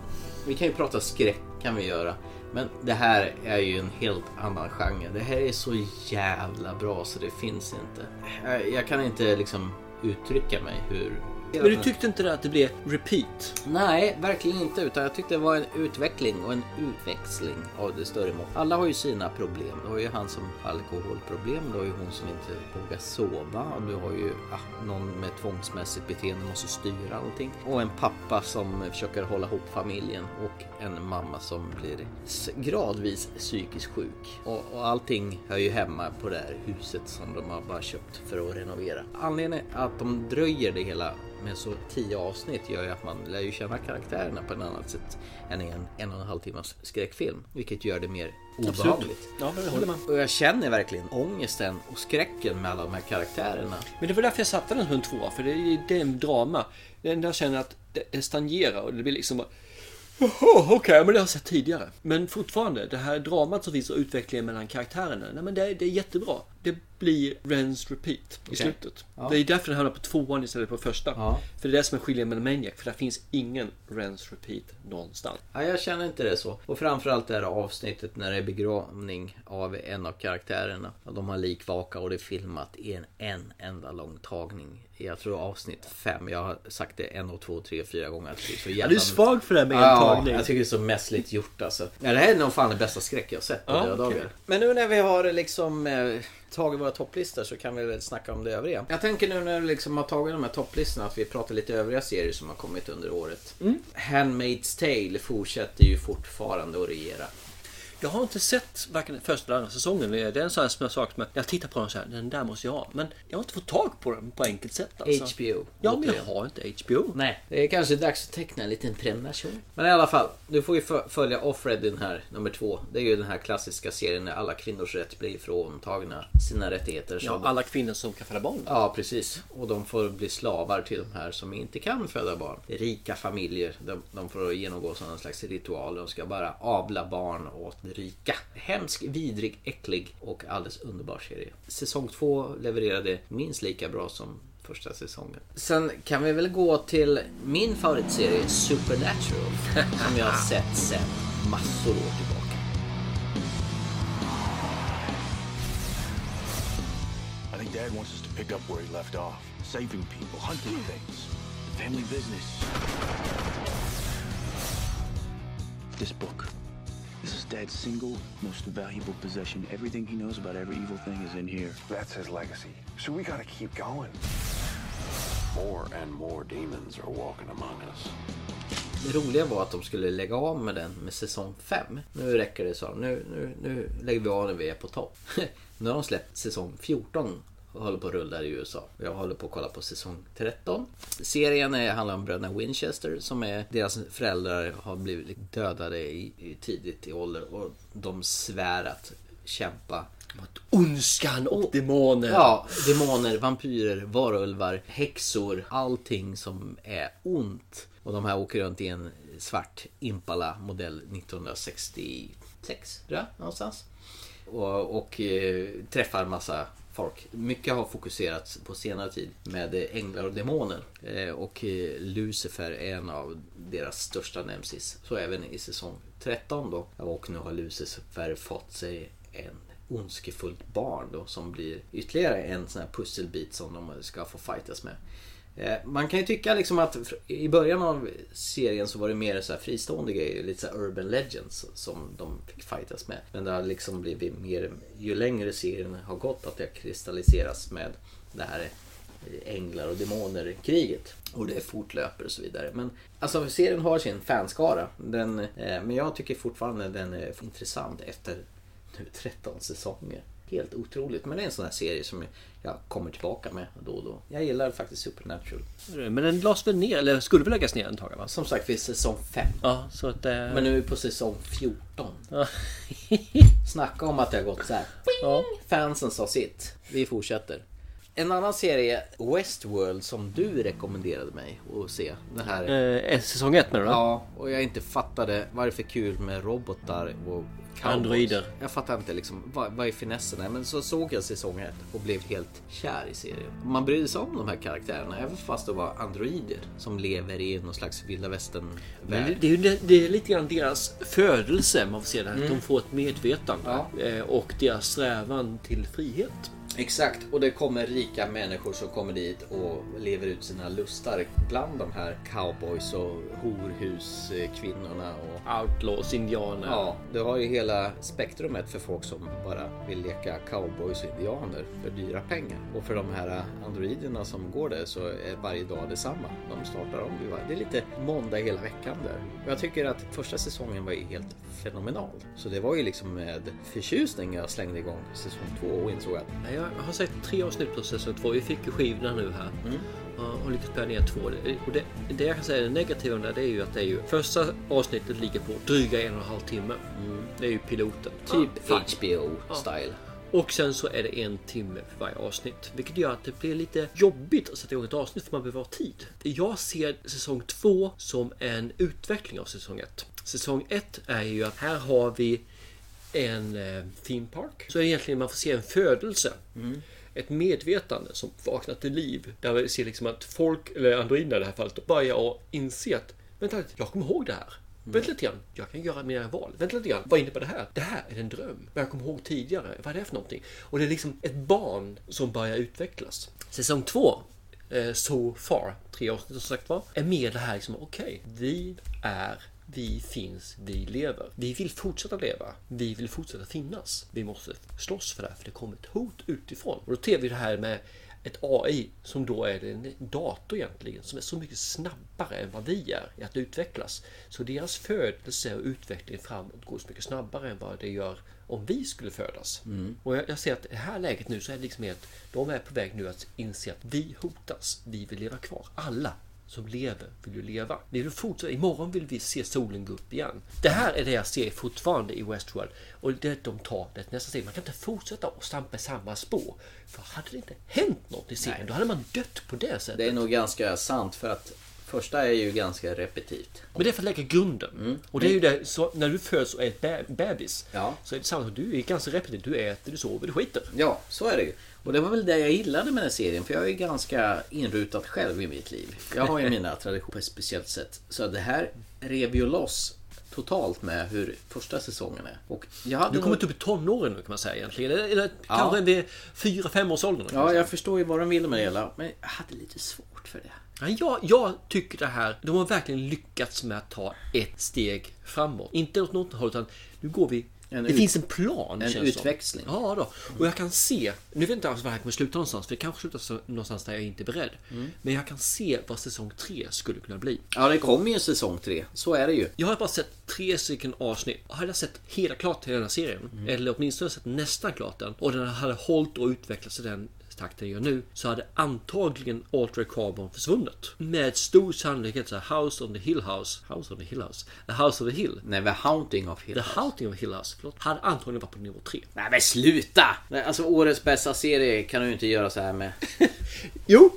vi kan ju prata skräck kan vi göra. Men det här är ju en helt annan genre. Det här är så jävla bra så det finns inte. Jag, jag kan inte liksom uttrycka mig hur...
Men du tyckte inte det att det blev repeat?
Nej, verkligen inte. Utan jag tyckte det var en utveckling och en utväxling av det större måttet. Alla har ju sina problem. Du har ju han som har alkoholproblem, du har ju hon som inte vågar sova, och du har ju ah, någon med tvångsmässigt beteende, måste styra allting. Och en pappa som försöker hålla ihop familjen och en mamma som blir s- gradvis psykiskt sjuk. Och, och allting hör ju hemma på det här huset som de har bara köpt för att renovera. Anledningen att de dröjer det hela med så tio avsnitt gör ju att man lär ju känna karaktärerna på ett annat sätt än i en en och en halv timmas skräckfilm. Vilket gör det mer
Absolut.
obehagligt.
Ja, men det håller man.
Och jag känner verkligen ångesten och skräcken med alla de här karaktärerna.
Men det var därför jag satte den som en tvåa. För det är det är en drama. Det enda jag känner att det, det stagnerar och det blir liksom bara... Jaha, okej, men det har jag sett tidigare. Men fortfarande, det här dramat som finns och utvecklingen mellan karaktärerna. Nej, men det, är- det är jättebra. det blir Rens Repeat i
Okej.
slutet.
Ja.
Det är därför den hamnar på tvåan istället för första.
Ja.
För det är det som är skillnaden med Maniac, för där finns ingen Rens Repeat någonstans.
Nej, jag känner inte det så. Och framförallt det här avsnittet när det är begravning av en av karaktärerna. Och de har likvaka och det är filmat i en, en enda lång tagning. Jag tror avsnitt fem. Jag har sagt det en och två, tre, fyra gånger. att det är så jävla-
du är svag för det här med en
ja, alltså,
tagning.
jag tycker det är så mässligt gjort alltså. Ja, det här är nog fan den bästa skräck jag har sett på
Ja,
döda
okej.
dagar. Men nu när vi har liksom eh, tagit våra topplistor så kan vi väl snacka om det övriga. Jag tänker nu när vi liksom har tagit de här topplistorna att vi pratar lite övriga serier som har kommit under året. Handmaid's Tale fortsätter ju fortfarande att regera.
Jag har inte sett varken första eller andra säsongen. Det är en sån här som jag sagt, men jag tittar på den så här, den där måste jag ha. Men jag har inte fått tag på den på enkelt sätt. Alltså.
HBO.
Ja, men jag
återigen.
har inte HBO.
Nej, det är kanske dags att teckna en liten prenumeration. Men i alla fall, du får ju fö- följa Offred i den här, nummer två. Det är ju den här klassiska serien när alla kvinnors rätt blir fråntagna sina rättigheter.
Ja,
som-
alla kvinnor som kan föda barn.
Ja, precis. Och de får bli slavar till de här som inte kan föda barn. Det är Rika familjer, de, de får genomgå sån slags ritual. De ska bara avla barn åt de rika. Hemsk, vidrig, äcklig och alldeles underbar serie. Säsong två levererade minst lika bra som första säsongen. Sen kan vi väl gå till min favoritserie Supernatural. Som jag har sett sen massor år tillbaka.
I think Dad wants us to pick up where he left off. Saving people, hunting things. Family business. This book. This is Dad's single, most valuable possession. Everything he knows about every evil thing is in here. That's his legacy. So we gotta keep going. More and more demons are walking among us.
Det roliga var att de skulle lägga av med den med säsong 5. Nu räcker det sa de. Nu, nu, nu lägger vi av när vi är på topp. nu har de släppt säsong 14 och håller på att rulla i USA. Jag håller på att kolla på säsong 13. Serien är, handlar om bröderna Winchester som är deras föräldrar har blivit dödade i, i tidigt i ålder och de svär att kämpa
Ondskan och demoner.
Ja, demoner, vampyrer, varulvar, häxor, allting som är ont. Och de här åker runt i en svart Impala modell 1966, tror jag, någonstans. Och, och eh, träffar massa folk. Mycket har fokuserats på senare tid med eh, änglar och demoner. Eh, och eh, Lucifer är en av deras största nemesis. Så även i säsong 13 då. Och nu har Lucifer fått sig en ondskefullt barn då som blir ytterligare en sån här pusselbit som de ska få fightas med. Eh, Man kan ju tycka liksom att fr- i början av serien så var det mer så här fristående grejer, lite så här urban legends som de fick fightas med. Men det har liksom blivit mer, ju längre serien har gått, att det har kristalliserats med det här eh, änglar och demoner kriget. Och det fortlöper och så vidare. Men alltså serien har sin fanskara. Den, eh, men jag tycker fortfarande den är intressant efter nu 13 säsonger. Helt otroligt. Men det är en sån här serie som jag kommer tillbaka med då och då. Jag gillar faktiskt Supernatural.
Men den lades väl ner, eller skulle väl läggas ner en tag? Va?
Som sagt, vi är säsong 5.
Ja, så att... Eh...
Men nu är vi på säsong 14. Snacka om att det har gått så här. Fansen sa sitt. Vi fortsätter. En annan serie, Westworld, som du rekommenderade mig att se. Den här...
Eh, säsong ett menar du?
Ja, och jag inte fattade vad är det för kul med robotar och cowboys.
Androider.
Jag fattar inte liksom, vad, vad är finessen? här? Men så såg jag säsong ett och blev helt kär i serien. Man brydde sig om de här karaktärerna, även fast det var androider som lever i någon slags vilda
Men det,
västern-värld.
det, är ju det, det är lite grann deras födelse, man får se det här.
Mm.
De får ett medvetande. Eh, Och deras strävan till frihet.
Exakt, och det kommer rika människor som kommer dit och lever ut sina lustar bland de här cowboys och horhuskvinnorna och
outlaws, indianer.
Ja, du har ju hela spektrumet för folk som bara vill leka cowboys och indianer för dyra pengar. Och för de här androiderna som går där så är varje dag detsamma. De startar om. vid varje- Det är lite måndag hela veckan där. Och Jag tycker att första säsongen var ju helt fenomenal. Så det var ju liksom med förtjusning jag slängde igång säsong två och insåg att
Nej, Jag har sett tre avsnitt på säsong två. Vi fick ju skivorna nu här. Och- Och lyckats plöja ner två. Och det, det jag kan säga är det negativa där, det är ju att det är ju första avsnittet ligger på dryga en och en halv timme. Det är ju piloten.
Typ
fine.
HBO style.
Och sen så är det en timme för varje avsnitt. Vilket gör att det blir lite jobbigt att sätta igång ett avsnitt för man behöver ha tid. Jag ser säsong 2 som en utveckling av säsong 1. Säsong 1 är ju att här har vi en eh, theme park. Så egentligen man får se en födelse. Ett medvetande som vaknar till liv. Där vi ser liksom att folk, eller androiderna i det här fallet, börjar inse att vänta lite, jag kommer ihåg det här. Vänta lite grann, jag kan göra mina val. Vänta lite grann, vad innebär det här? Det här är en dröm. Vad jag kommer ihåg tidigare. Vad är det för någonting? Och det är liksom ett barn som börjar utvecklas. Säsong två, eh, So far, tre avsnitt som sagt var, är mer det här liksom, okej, vi är vi finns, vi lever. Vi vill fortsätta leva. Vi vill fortsätta finnas. Vi måste slåss för det här, för det kommer ett hot utifrån. Och då ser vi det här med ett AI som då är en dator egentligen som är så mycket snabbare än vad vi är i att utvecklas. Så deras födelse och utveckling framåt går så mycket snabbare än vad det gör om vi skulle födas.
Mm.
Och jag, jag ser att i det här läget nu så är det liksom helt, de är på väg nu att inse att vi hotas. Vi vill leva kvar. Alla som lever vill ju leva. Vi vill fortsätta, imorgon vill vi se solen gå upp igen. Det här är det jag ser fortfarande i Westworld och det de tar det är nästa steg. Man kan inte fortsätta och stampa i samma spår. För hade det inte hänt något i serien då hade man dött på det sättet.
Det är nog ganska sant för att första är ju ganska repetitivt.
Men det är för att lägga grunden. Och det är ju det, så när du föds och är ett bä- bebis så är det samma sak. Du är ganska repetitiv. Du äter, du sover, du skiter.
Ja, så är det ju. Och det var väl det jag gillade med den serien, för jag är ju ganska inrutad själv i mitt liv. Jag har ju mina traditioner på ett speciellt sätt. Så det här rev ju loss totalt med hur första säsongen är. Och jag hade
Du kommer
nog-
inte upp i tonåren nu kan man säga egentligen. Eller, eller kanske vid 4-5 års åldern.
Ja, jag förstår ju vad de vill med det hela. Men jag hade lite svårt för det.
Ja, Jag, jag tycker det här, de har verkligen lyckats med att ta ett steg framåt. Inte åt något håll utan nu går vi det
ut-
finns en plan.
en
känns det som.
utväxling.
Ja, då. och jag kan se. Nu vet jag inte alls var det här kommer sluta någonstans. För det kanske slutar så- någonstans där jag inte är beredd.
Mm.
Men jag kan se vad säsong 3 skulle kunna bli.
Ja, det kommer ju en säsong tre. Så är det ju.
Jag har bara sett tre stycken avsnitt. Hade jag sett hela klart hela den här serien,
Mm.
eller åtminstone sett nästan klart den, och den hade hållit och utvecklats i den takten jag gör nu, så hade antagligen Alter Carbon försvunnit. Med stor sannolikhet så här, House on the Hill House, House on the Hill House, The House of the Hill.
Nej, The Haunting of Hill
House. The Haunting of Hill House, förlåt. Hade antagligen varit på nivå 3.
Nej men sluta! Nej, alltså årets bästa serie kan du ju inte göra så här med.
Jo!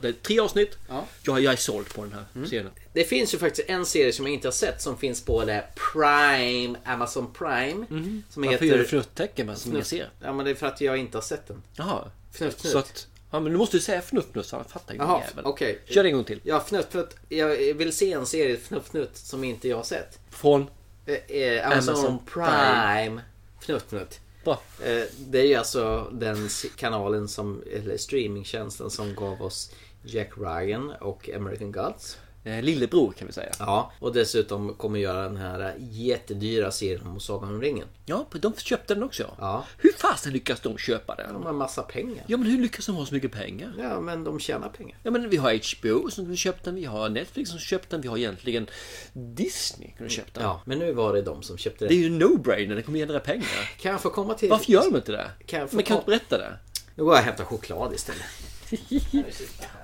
Det är tre avsnitt. Jag, jag är såld på den här
Mm.
serien.
Det finns ju faktiskt en serie som jag inte har sett som finns på det Prime, Amazon Prime. Som
Mhm. Varför gör du fnuttecken med som jag
Fnutt-
ser?
Ja men det är för att jag inte har sett den.
Jaha.
Fnutt, fnutt.
Så att, ja men du måste ju säga fnutt nu så han fattar ju
Jaha,
jävel.
okej.
Kör en gång till.
Ja, fnutt, fnutt. Jag vill se en serie Fnutt Fnutt som inte jag har sett.
Från?
Eh, eh, Amazon,
Amazon
Prime.
Prime.
Fnutt Fnutt.
Bra.
Eh, det är ju alltså den s- kanalen som, eller streamingtjänsten som gav oss Jack Ryan och American Gods.
Lillebror kan vi säga.
Ja, och dessutom kommer göra den här jättedyra serien om Sagan om ringen.
Ja, de köpte den också.
Ja.
Hur fasen lyckas de köpa den?
De har massa pengar.
Ja men hur lyckas de ha så mycket pengar?
Ja men de tjänar pengar.
Ja men vi har HBO som kunde köpt den, vi har Netflix som köpt den, vi har egentligen Disney kunde köpt den.
Mm, Ja, men nu var det de som köpte
Det är
den.
ju en no-brainer, det kommer generera pengar.
Kan jag få komma till...
Varför gör de inte det?
Kan jag få
Men kan du
ta-
inte berätta det?
Nu går jag och hämtar choklad istället.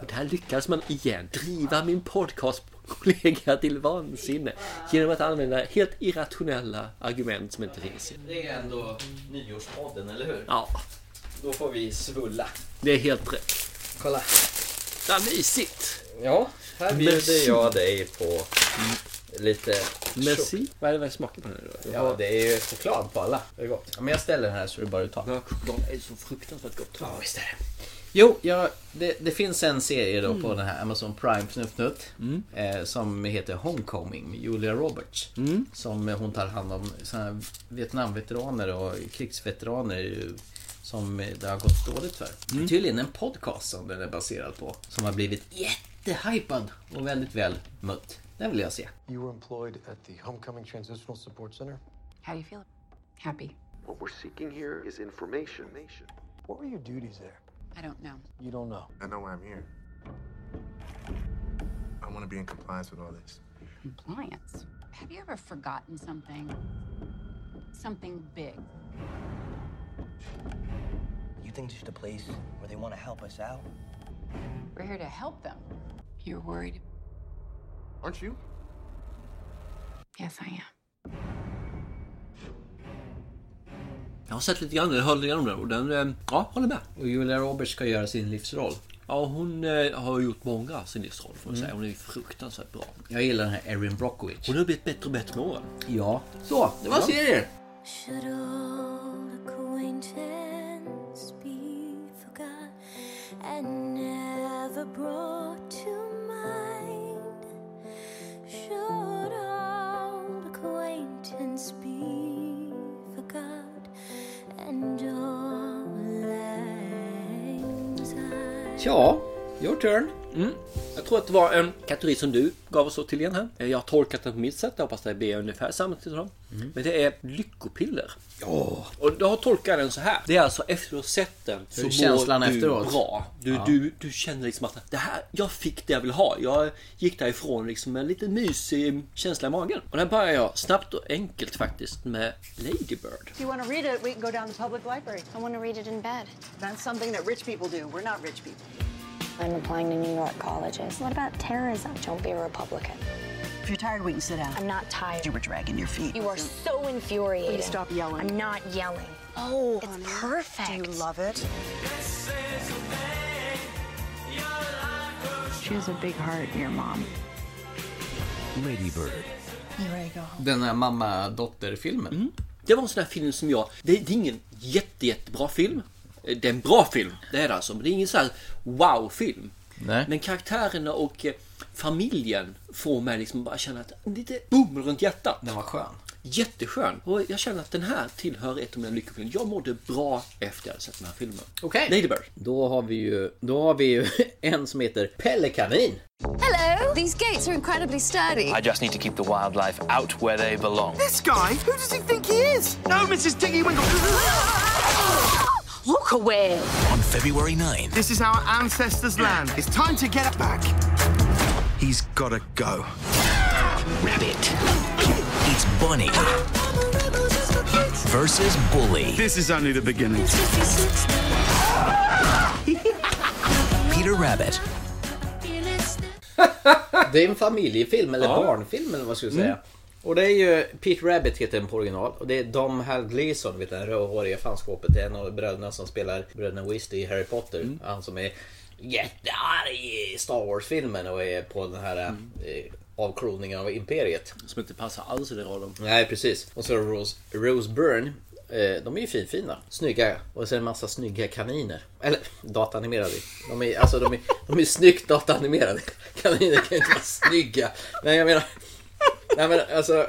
Och där lyckades man igen driva min podcastkollega till vansinne genom att använda helt irrationella argument som inte finns.
Det är ändå nyårspodden, eller hur?
Ja,
Då får vi svulla.
det är helt rätt.
Kolla.
Vad mysigt!
Ja, här bjuder
Merci.
jag dig på lite...
Merci. Vad är det jag smakar på nu då?
Ja, det är ju choklad på alla. Det är gott. Ja, Men jag ställer den här så du bara tar.
Ja, choklad är så fruktansvärt gott.
Ja, visst är det. Mm. Jo, ja, det, det finns en serie då på den här Amazon Prime Fnutt-Fnutt eh, Som heter Homecoming med Julia Roberts Som eh, hon tar hand om såna här Vietnamveteraner och krigsveteraner ju, Som eh, det har gått dåligt för Tydligen en podcast som den är baserad på Som har blivit jättehypad och väldigt väl mött Den vill jag se
You were employed at the Homecoming Transitional Support Center.
How you feel? Happy.
What we're seeking here is information.
What were your duties there?
I don't know.
You don't know.
I know why I'm here. I want to be in compliance with all this.
Compliance. Have you ever forgotten something? Something big.
You think this is the place where they want to help us out?
We're here to help them. You're worried?
Aren't you?
Yes, I am.
Jag har sett lite grann, jag hörde igenom den och den, eh, ja, håller med.
Och Julia Roberts ska göra sin livsroll
Ja, hon eh, har gjort många sin livsroll får man
Mm.
säga. Hon är ju fruktansvärt bra.
Jag gillar den här Erin Brockovich
Hon har blivit bättre och bättre med åren.
Ja, så det var
Ja.
serier
Should old acquaintance be forgot and never brought to mind? Should old acquaintance be forgot and all anxiety?
Ja, your turn. Mm. Jag tror att det var en kategori som du gav oss till igen här. Eh, Jag har tolkat den på mitt sätt. Jag hoppas det blir ungefär samma till dem.
Mm.
Men det är lyckopiller.
Ja.
Och då har tolkat den så här. Det är alltså efter du har sett den så
Hur är känslan
mår du
efteråt?
bra. Du,
Ja.
du, du känner liksom att det här, jag fick det jag vill ha. Jag gick därifrån liksom med en lite mysig känsla i magen. Och där börjar jag snabbt och enkelt faktiskt med Ladybird.
If you want to read it, we can go down to the public library. I want to read it in bed. That's something that rich people do. We're not rich people.
I'm applying to New York colleges. What about terrorism? Don't be a Republican.
If you're tired, we can sit down.
I'm not tired.
You were dragging your feet.
You are so infuriating.
Will you stop yelling?
I'm not yelling. Oh, it's perfect.
Do you love it?
She has a big heart, your mom.
Ladybird.
You ready to go
Den här mamma-dotter-filmen.
Det var en sån här film som jag... Det, det är ingen jätte, jättebra film. Eh, Det är en bra film, det är det alltså. Men det är ingen sån här wow-film. Men karaktärerna och eh, familjen får mig liksom bara känna att lite boom runt hjärtat. Den var skön. Jätteskön. Och jag känner att den här tillhör ett av mina lyckofilmer. Jag mådde bra efter jag hade sett den här filmen.
Okej.
Ladybird.
Då har vi ju, då har vi ju en som heter Pelle Kanin.
Hello! These gates are incredibly sturdy.
I just need to keep the wildlife out where they belong.
This guy? Who does he think he is? No, Mrs. Diggy Winkle. Walk away.
On February 9th,
This is our ancestors' land. It's time to get back.
he's gotta go. Rabbit. It's Bunny. Versus Bully. This is only the beginning. Peter Rabbit.
Det är en familjefilm, eller
Ja.
barnfilm eller vad ska jag säga.
Mm.
Och det är ju Pete Rabbit heter den på original. Och det är Dom Hal Gleason, vet du, det rödhåriga fanskåpet. Det är en av bröderna som spelar bröderna Weasley i Harry Potter.
Mm.
Han som är jättearg i Star Wars-filmen och är på den här
Mm.
eh, avkroningen av Imperiet.
Som inte passar alls i den rollen.
Nej, precis. Och så Rose, Rose Byrne. Eh, De är ju finfina, snygga och sen en massa snygga kaniner. Eller dataanimerade. De är, alltså, de är, de är snyggt dataanimerade. Kaniner kan ju inte vara snygga. Nej, jag menar... Nej men alltså...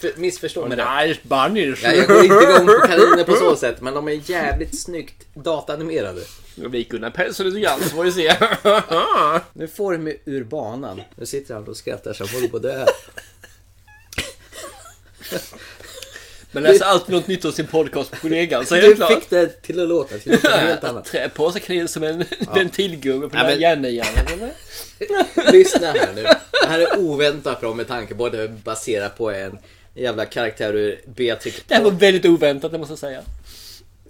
För, missförstå mig rätt.
Nej, Bunny.
Nej, jag går inte igång på kaniner på så sätt, men de är jävligt snyggt dataanimerade.
Nu blir Gunnar Persson lite grann, så får vi se.
Nu får du mig ur banan. Nu sitter han och skrattar så håller på att dö.
Men läser alltid något nytt om sin podcast på kollegan, så är det
Du
klart.
fick det till att låta till något helt annat.
Äh, Trä på sig kaninen som en ventilgubbe på
Ja,
den här
men-
järnnian.
Lyssna här nu. Det här är oväntat bra med tanke på att det är baserat på en jävla karaktär ur Beatrix
Det här var väldigt oväntat, det måste jag säga.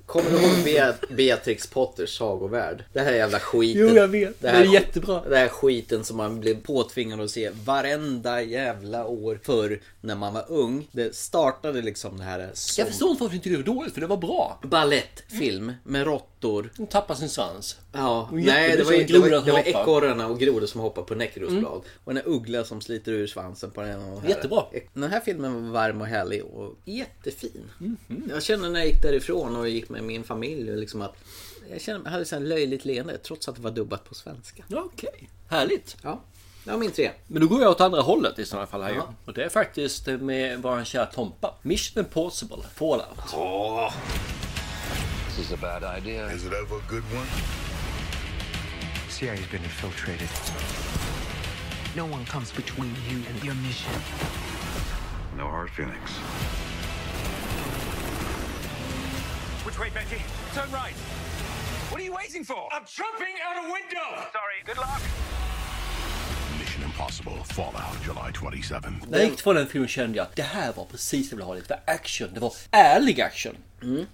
Kommer du ihåg Be- Beatrix Potters sagovärld? Det här jävla skiten.
Jo, jag vet.
här,
Det är jättebra.
Det här skiten som man blev påtvingad att se varenda jävla år förr när man var ung. Det startade liksom det här som
Jag förstår inte varför du inte tyckte det var dåligt, för det var bra.
balettfilm med råttor.
De tappar sin svans.
Ja,
Och
nej det var, ju-
jättemycket
det var,
grodor
det var
som hoppar.
ekorrarna och grodor som hoppar på näckrosblad.
Mm.
Och en uggla som sliter ur svansen på den och här.
Jättebra.
Den här filmen var varm och härlig och jättefin.
Mhm.
Jag kände när jag gick därifrån och gick med min familj och liksom att jag kände, jag hade så här löjligt leende trots att det var dubbat på svenska.
Okej, härligt.
Ja, det var min tre.
Men då går jag åt andra hållet i sådana fall här ju. Och det är faktiskt med våran kära Tompa. Mission Impossible, Fallout.
Oh.
This is a bad idea. Is it ever a good one?
CIA's been infiltrated. No one comes between you and your mission.
No hard feelings.
Which way, Betty? Turn right. What are you waiting for? I'm jumping out a window! Sorry, good luck.
Mission Impossible Fallout, July 27.
När jag gick från den filmen kände jag att det här var precis det jag ville ha. Det var action. Det var ärlig action.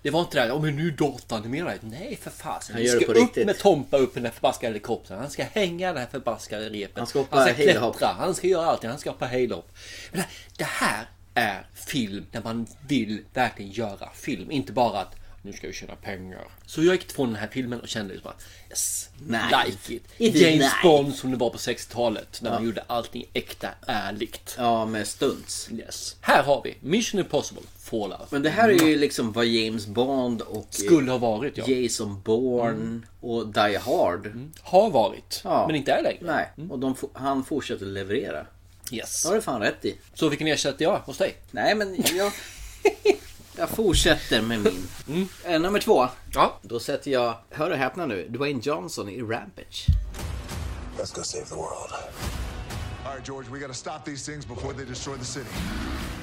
Det var inte det här, "Åh, men nu dataanimerar jag. Nej för fasen.
Mm. Han
Vi
gör det
ska
på
upp
riktigt.
med Tompa upp i den här förbaskade helikoptern. Han ska hänga det här förbaskade repet. Han ska
hoppa
Han ska
halehopp.
klättra. Han ska göra allting. Han ska hoppa halehopp. Men det- Det här är film där man vill verkligen göra film. Inte bara att Nu ska vi tjäna pengar. Så jag gick från den här filmen och kände just bara yes,
Nice.
like it.
It is
James
nice.
Bond som det var på 60-talet när man
Ja.
gjorde allting äkta, ärligt.
Ja, med stunts.
Yes. Här har vi Mission Impossible Fallout.
Men det här är ju liksom vad James Bond och
Skulle ha varit, ja. Mm.
Jason Bourne och Die Hard
har varit.
Ja.
Men inte är längre.
Nej, och de, fo- han fortsätter leverera.
Yes.
Det har du fan rätt i.
Så vilken ersätter jag hos dig?
Nej, men jag... jag fortsätter med min. Eh, nummer två.
Ja.
Då sätter jag, hör och häpna nu, Dwayne Johnson i Rampage.
Let's go save the world. All right, George, we gotta stop these things before they destroy the city.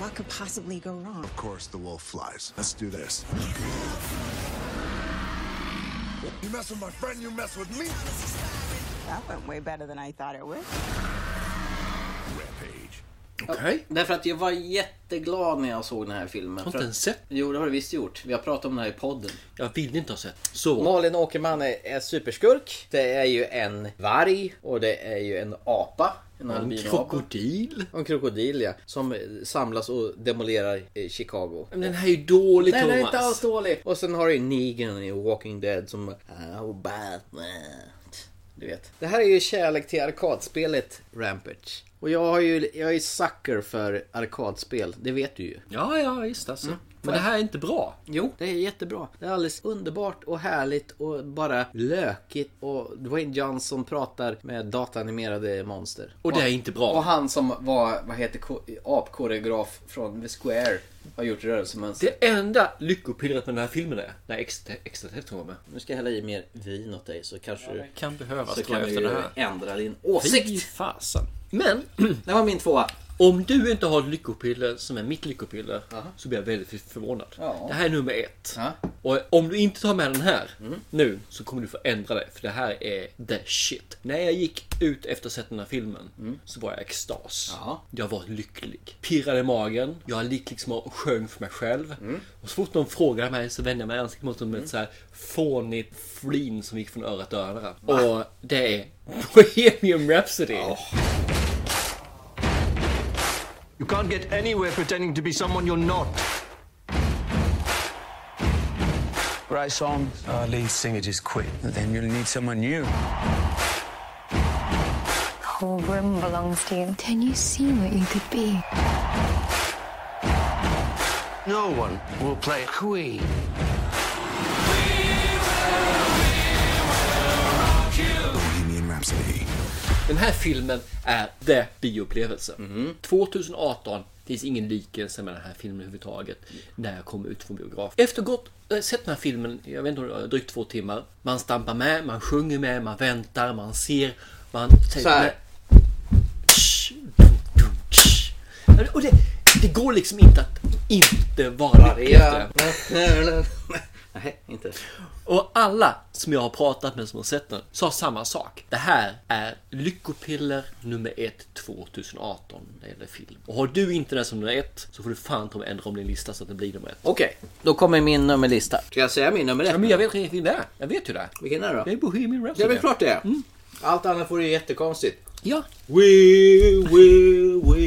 What could possibly go wrong?
Of course, the wolf flies. Let's do this. You mess with my friend, you mess with me.
That went way better than I thought it would.
Ja, därför att jag var jätteglad när jag såg den här filmen.
Har inte
För att-
ens sett?
Jo, det har du visst gjort. Vi har pratat om det här i podden.
Jag vill inte ha sett. Så.
Malin Åkerman är, är superskurk. Det är ju en varg och det är ju en apa. En,
Och en
albinoapa.
krokodil.
Och en krokodil ja. Som eh, samlas och demolerar eh, Chicago.
Men den här är ju dålig
Den är
Thomas.
inte alls dålig. Och sen har du ju Negan i Walking Dead som... Oh, Batman. Du vet. Det här är ju kärlek till arkadspelet Rampage. Och jag har ju, jag är ju sucker för arkadspel. Det vet du ju.
Ja, ja, visst alltså. Men det här är inte bra.
Jo, det är jättebra. Det är alldeles underbart och härligt och bara lökigt. Och Dwayne Johnson pratar med dataanimerade monster.
Och det är inte bra.
Och han som var, vad heter ko- apkoreograf från The Square har gjort rörelsemönster.
Det enda lyckopillret med den här filmen är när extra, extra texten kommer.
Nu ska jag hälla i mer vin åt dig så kanske du...
kan behövas,
så
tror jag,
kan du
efter
ju
det här.
ändra din åsikt.
Fy fasen.
Men, det var min tvåa.
Om du inte har ett lyckopiller som är mitt lyckopiller så blir jag väldigt förvånad.
Ja.
Det här är nummer ett.
Ja. Mm.
Och om du inte tar med den här nu så kommer du få ändra dig för det här är the shit. När jag gick ut efter att ha sett den här filmen så var jag i extas.
Mm. Ja.
Jag var lycklig. Pirrade i magen. Jag gick liksom och sjöng för mig själv.
Mm.
Och så fort någon frågade mig så vände jag mig i ansiktet mot dem med ett så här fånigt flin som gick från örat till örat. Och det är Bohemian Rhapsody.
You can't get anywhere pretending to be someone you're not.
Great song. Our lead singer just quit. Then you'll need someone new.
The whole room belongs to you. Can you see what you could be?
No one will play Queen.
Bohemian Rhapsody.
Den här filmen är the bioupplevelse.
Mhm.
2018 finns ingen liknelse med den här filmen överhuvudtaget när jag kom ut från biograf. Efter gott eh, sett den här filmen, jag vet inte, om det var drygt två timmar. Man stampar med, man sjunger med, man väntar, man ser, man...
Så här.
Tsch, dum, dum, tsch. Och det, det går liksom inte att inte vara lycklig.
Maria. Nej, inte.
Och alla som jag har pratat med som har sett den sa samma sak. Det här är lyckopiller nummer ett 2018 när det gäller film. Och har du inte den som nummer ett så får du fan ta och ändra om din lista så att den blir nummer ett.
Okej, då kommer min nummerlista. Ska jag säga min nummer ett?
Ja, men jag vet vilken film det är. Jag vet ju det.
Vilken är det då?
Det är Mm. Bohemian Rhapsody.
Ja, men klart det är. Allt annat vore ju jättekonstigt.
Ja.
We, we, we,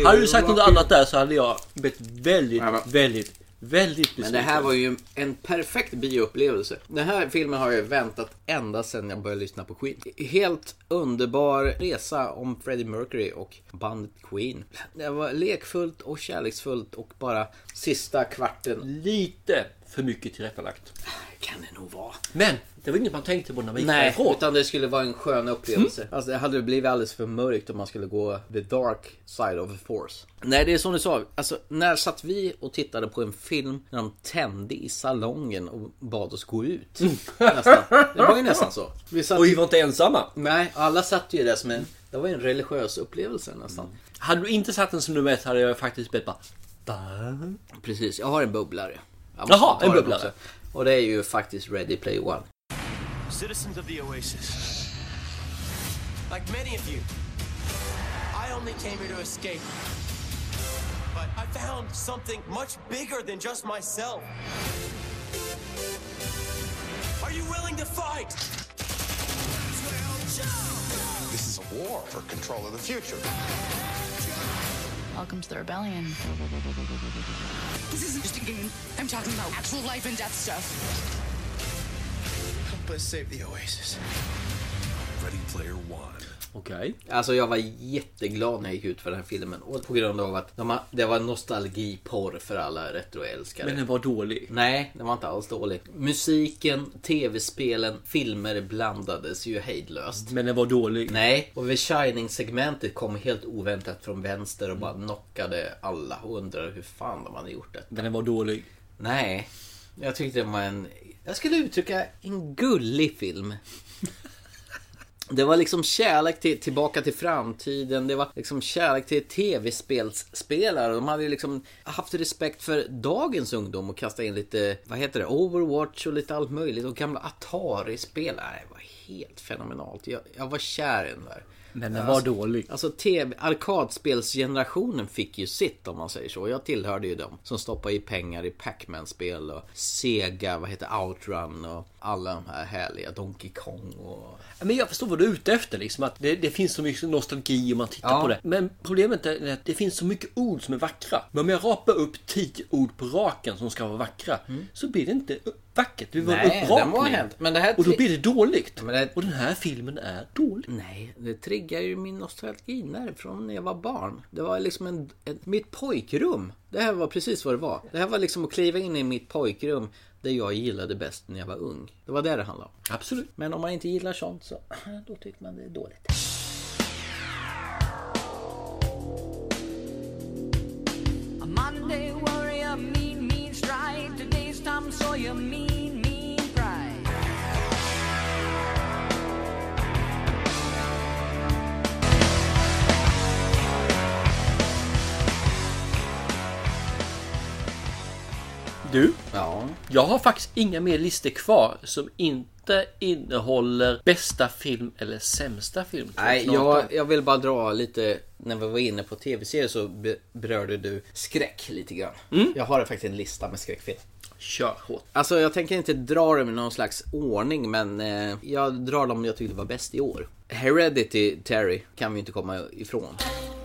we
Hade du sagt något
rock you.
annat där så hade jag blivit väldigt, väldigt, väldigt besviken.
Men det här var ju en perfekt bioupplevelse. Den här filmen har jag väntat ända sedan jag började lyssna på Queen. Helt underbar resa om Freddie Mercury och bandet Queen. Det var lekfullt och kärleksfullt och bara sista kvarten.
Lite för mycket tillrättalagt.
Kan det nog vara.
Men det var inget man tänkte på när man gick
Nej,
därifrån.
utan det skulle vara en skön upplevelse. Alltså, det hade blivit alldeles för mörkt om man skulle gå the dark side of the force. Nej, det är som du sa. Alltså, när satt vi och tittade på en film när de tände i salongen och bad oss gå ut? Nästan. Det var ju nästan så. Mm. Vi satt...
Och vi var inte ensamma.
Nej, alla satt ju där som en... Det var ju en religiös upplevelse nästan.
Hade du inte satt den som nummer ett hade jag faktiskt blivit bara... "Va?"
Precis, jag har en bubblare. Jag måste
Jaha,
ta
en
den
bubblare.
också. Och det är ju faktiskt Ready Play One.
Citizens of the Oasis. Like many of you, I only came here to escape. But I found something much bigger than just myself. Are you willing to fight?
This is a war for control of the future.
Welcome to the rebellion.
This isn't just a game. I'm talking about actual life and death stuff.
Help us save the Oasis.
Ready Player One.
Okej. Alltså jag var jätteglad när jag gick ut för den här filmen. Och på grund av att de har, det var nostalgiporr för alla retroälskare.
Men den var dålig.
Nej, den var inte alls dålig. Musiken, tv-spelen, filmer blandades ju hejdlöst.
Men den var dålig.
Nej, och vid Shining-segmentet kom helt oväntat från vänster och bara knockade alla och undrade hur fan de hade gjort det.
Men den var dålig.
Nej, jag tyckte det var en... Jag skulle uttrycka en gullig film. Det var liksom kärlek till Tillbaka till framtiden, det var liksom kärlek till tv-spelsspelare. De hade ju liksom haft respekt för dagens ungdom och kastat in lite, vad heter det, Overwatch och lite allt möjligt. Och gamla Atari-spelare. Det var helt fenomenalt. Jag, jag var kär i den där.
Men den var dålig.
Alltså TV, arkadspelsgenerationen fick ju sitt om man säger så. Jag tillhörde ju dem som stoppade i pengar i Pac-Man-spel och Sega, vad heter Outrun och alla de här härliga Donkey Kong och...
Men jag förstår vad du är ute efter liksom. Att det, det finns så mycket nostalgi om man tittar
Ja.
på det. Men problemet är att det finns så mycket ord som är vackra. Men om jag rapar upp tio ord på raken som ska vara vackra. Så blir det inte vackert. Det var en
Mm. Nej,
upprapning.
den var hänt. Men det här
Och då
tri-
blir det dåligt.
det-
Och den här filmen är dålig.
Nej, det triggar ju min nostalgi därifrån när jag var barn. Det var liksom en, en, mitt pojkrum. Det här var precis vad det var. Det här var liksom att kliva in i mitt pojkrum det jag gillade bäst när jag var ung. Det var det det handlade om.
Absolut.
Men om man inte gillar sånt så då tycker man det är dåligt.
A Monday warrior, mean, mean stride. Today's Tom Sawyer, mean, mean pride.
Du?
Ja.
Jag har faktiskt inga mer listor kvar som inte innehåller bästa film eller sämsta film.
Nej, jag, jag vill bara dra lite, när vi var inne på tv-serier så be- berörde du skräck lite grann. Jag har faktiskt en lista med skräckfilm.
Kör hårt.
Alltså jag tänker inte dra dem i någon slags ordning men eh, jag drar dem jag tyckte var bäst i år. Heredity, Terry, kan vi inte komma ifrån.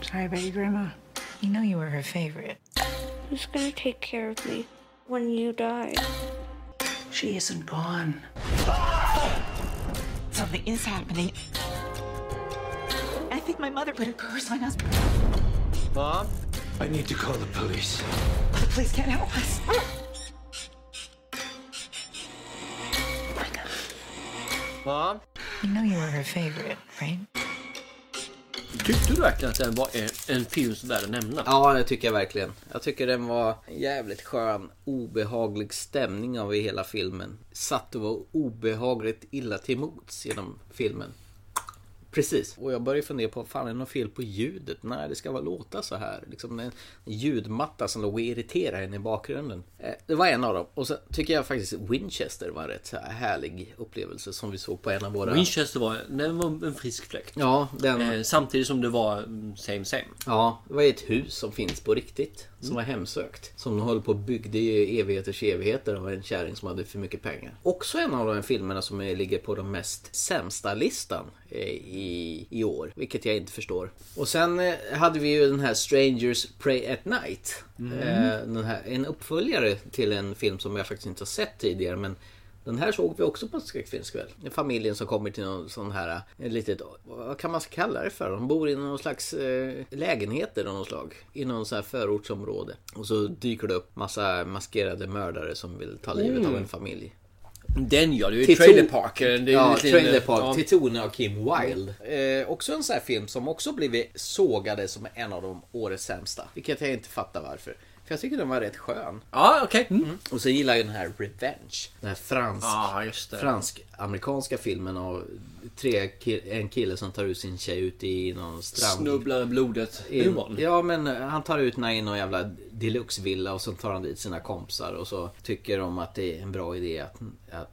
Sorry about your grandma. You know you were her favorite.
Who's gonna take care of me when you die?
She isn't gone.
Something is happening. I think my mother put a curse on us.
Mom? I need to call the police.
The police can't help us.
Mom?
You know you were her favorite, right?
Tyckte du verkligen att den var en, en film som värd att nämna?
Ja, det tycker jag verkligen. Jag tycker den var en jävligt skön, obehaglig stämning av i hela filmen. Satt och var obehagligt illa till mots genom filmen. Precis. Och jag började fundera på, fan är det något fel på ljudet? Nej, det ska väl låta så här. Liksom en ljudmatta som låg och irriterade en i bakgrunden. Eh, Det var en av dem. Och så tycker jag faktiskt Winchester var en rätt så här härlig upplevelse som vi såg på en av våra...
Winchester var, den var en frisk fläkt.
Ja, den...
Eh, samtidigt som det var mm, same same.
Ja, det var ett hus som finns på riktigt. Som var hemsökt. Som de höll på och byggde i evigheters evigheter av en kärring som hade för mycket pengar. Också en av de filmerna som ligger på den mest sämsta listan eh, i, i år. Vilket jag inte förstår. Och sen eh, hade vi ju den här Strangers Pray at Night.
Mm.
Eh, Den här, en uppföljare till en film som jag faktiskt inte har sett tidigare. Men den här såg vi också på en skräckfilmskväll. Familjen som kommer till någon sån här, ett litet, vad kan man kalla det för? De bor i någon slags eh, lägenheter av något slag. I någon sån här förortsområde. Och så dyker det upp massa maskerade mördare som vill ta livet
Mm.
av en familj.
Den ja, det är ju
Till
Trailer
ton-
Park. eh, Det är
ja,
en liten-
Trailer Park.
ja.
Till tonen av Kim Wilde. Eh, också en sån här film som också blivit sågade som en av de årets sämsta. Vilket jag inte fattar varför. För jag tycker den var rätt skön.
Ja, ah, okej. Mm.
Och så gillar jag den här Revenge. Den här fransk,
Ja, Ah, just det.
fransk-amerikanska filmen av tre ki- en kille som tar ut sin tjej ut i någon strand.
Snubblar över blodet.
I-
Hur var den?
Ja men han tar ut henne i någon jävla deluxe-villa och sen tar han dit sina kompisar och så tycker de att det är en bra idé att, att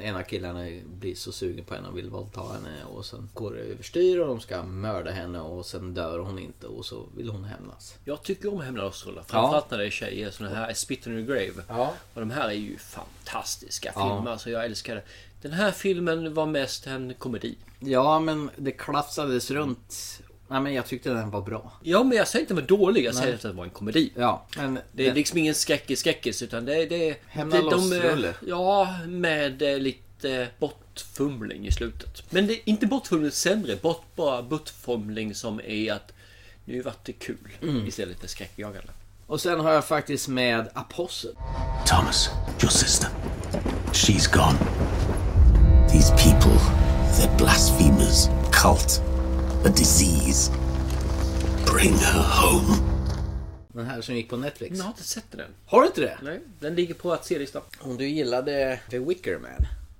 en av killarna blir så sugen på henne och vill våldta henne och sen går det överstyr och de ska mörda henne och sen dör hon inte och så vill hon hämnas.
Jag tycker om hämndlösrullar. Framförallt när det är tjejer. Sådana här Spit in the Grave. Och de här är ju fantastiska
Ja.
filmer. Så jag älskar det. Den här filmen var mest en komedi.
Ja men det klafsades runt Nej, men jag tyckte den var bra.
Ja, men jag säger inte att den var dålig. Jag säger
Nej.
att det var en komedi.
Ja, men
det är
den-
liksom ingen skräckis-skräckis utan det är... Det,
Hämna
det,
loss-rulle.
eh, Ja, med eh, lite bortfumling i slutet. Men det är inte bortfumling sämre. Bort, bara bortfumling som är att nu vart det kul
Mm.
istället för skräckjagande.
Och sen har jag faktiskt med Apostel.
Thomas, your sister. She's gone. These people, they're blasphemers, cult, a disease. Bring her home.
Den här som gick på Netflix.
Jag har inte sett den.
Har du inte det?
Nej, den ligger på att se-listan.
Om du gillade The Wicker Man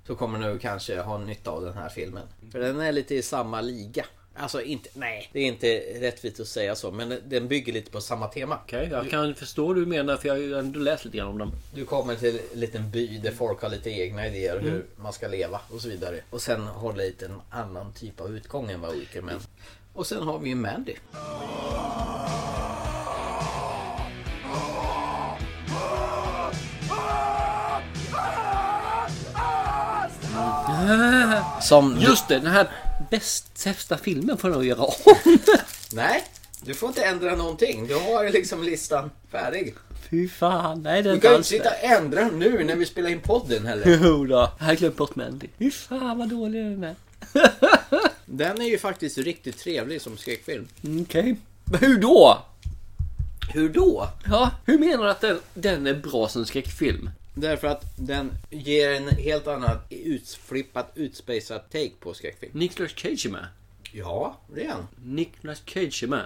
så kommer du kanske ha nytta av den här filmen. För den är lite i samma liga. Alltså inte, nej, det är inte rättvist att säga så, men den bygger lite på samma tema.
Okej, jag kan förstå vad du menar för jag har ju ändå läst lite grann om den.
Du kommer till en liten by där folk har lite egna idéer hur
Mm.
man ska leva och så vidare. Och sen har det lite en annan typ av utgång än vad Wicker Man. Och sen har vi ju Mandy. Som
Just det, den här bäst sämsta filmen får jag nog göra om.
Nej, du får inte ändra någonting. Du har ju liksom listan färdig.
Fy fan, nej den
Du kan ju
är
inte sitta och ändra nu när vi spelar in podden heller.
Jo då, jag har glömt bort Mandy. Fy fan vad dålig den är.
Den är ju faktiskt riktigt trevlig som skräckfilm.
Mm, Okej. Men hur då?
Hur då?
Ja, hur menar du att den, den är bra som skräckfilm?
Därför att den ger en helt annan utflippat, utspejsat take på skräckfilm.
Nicolas Cage är med.
Ja, det är han.
Nicolas Cage är med.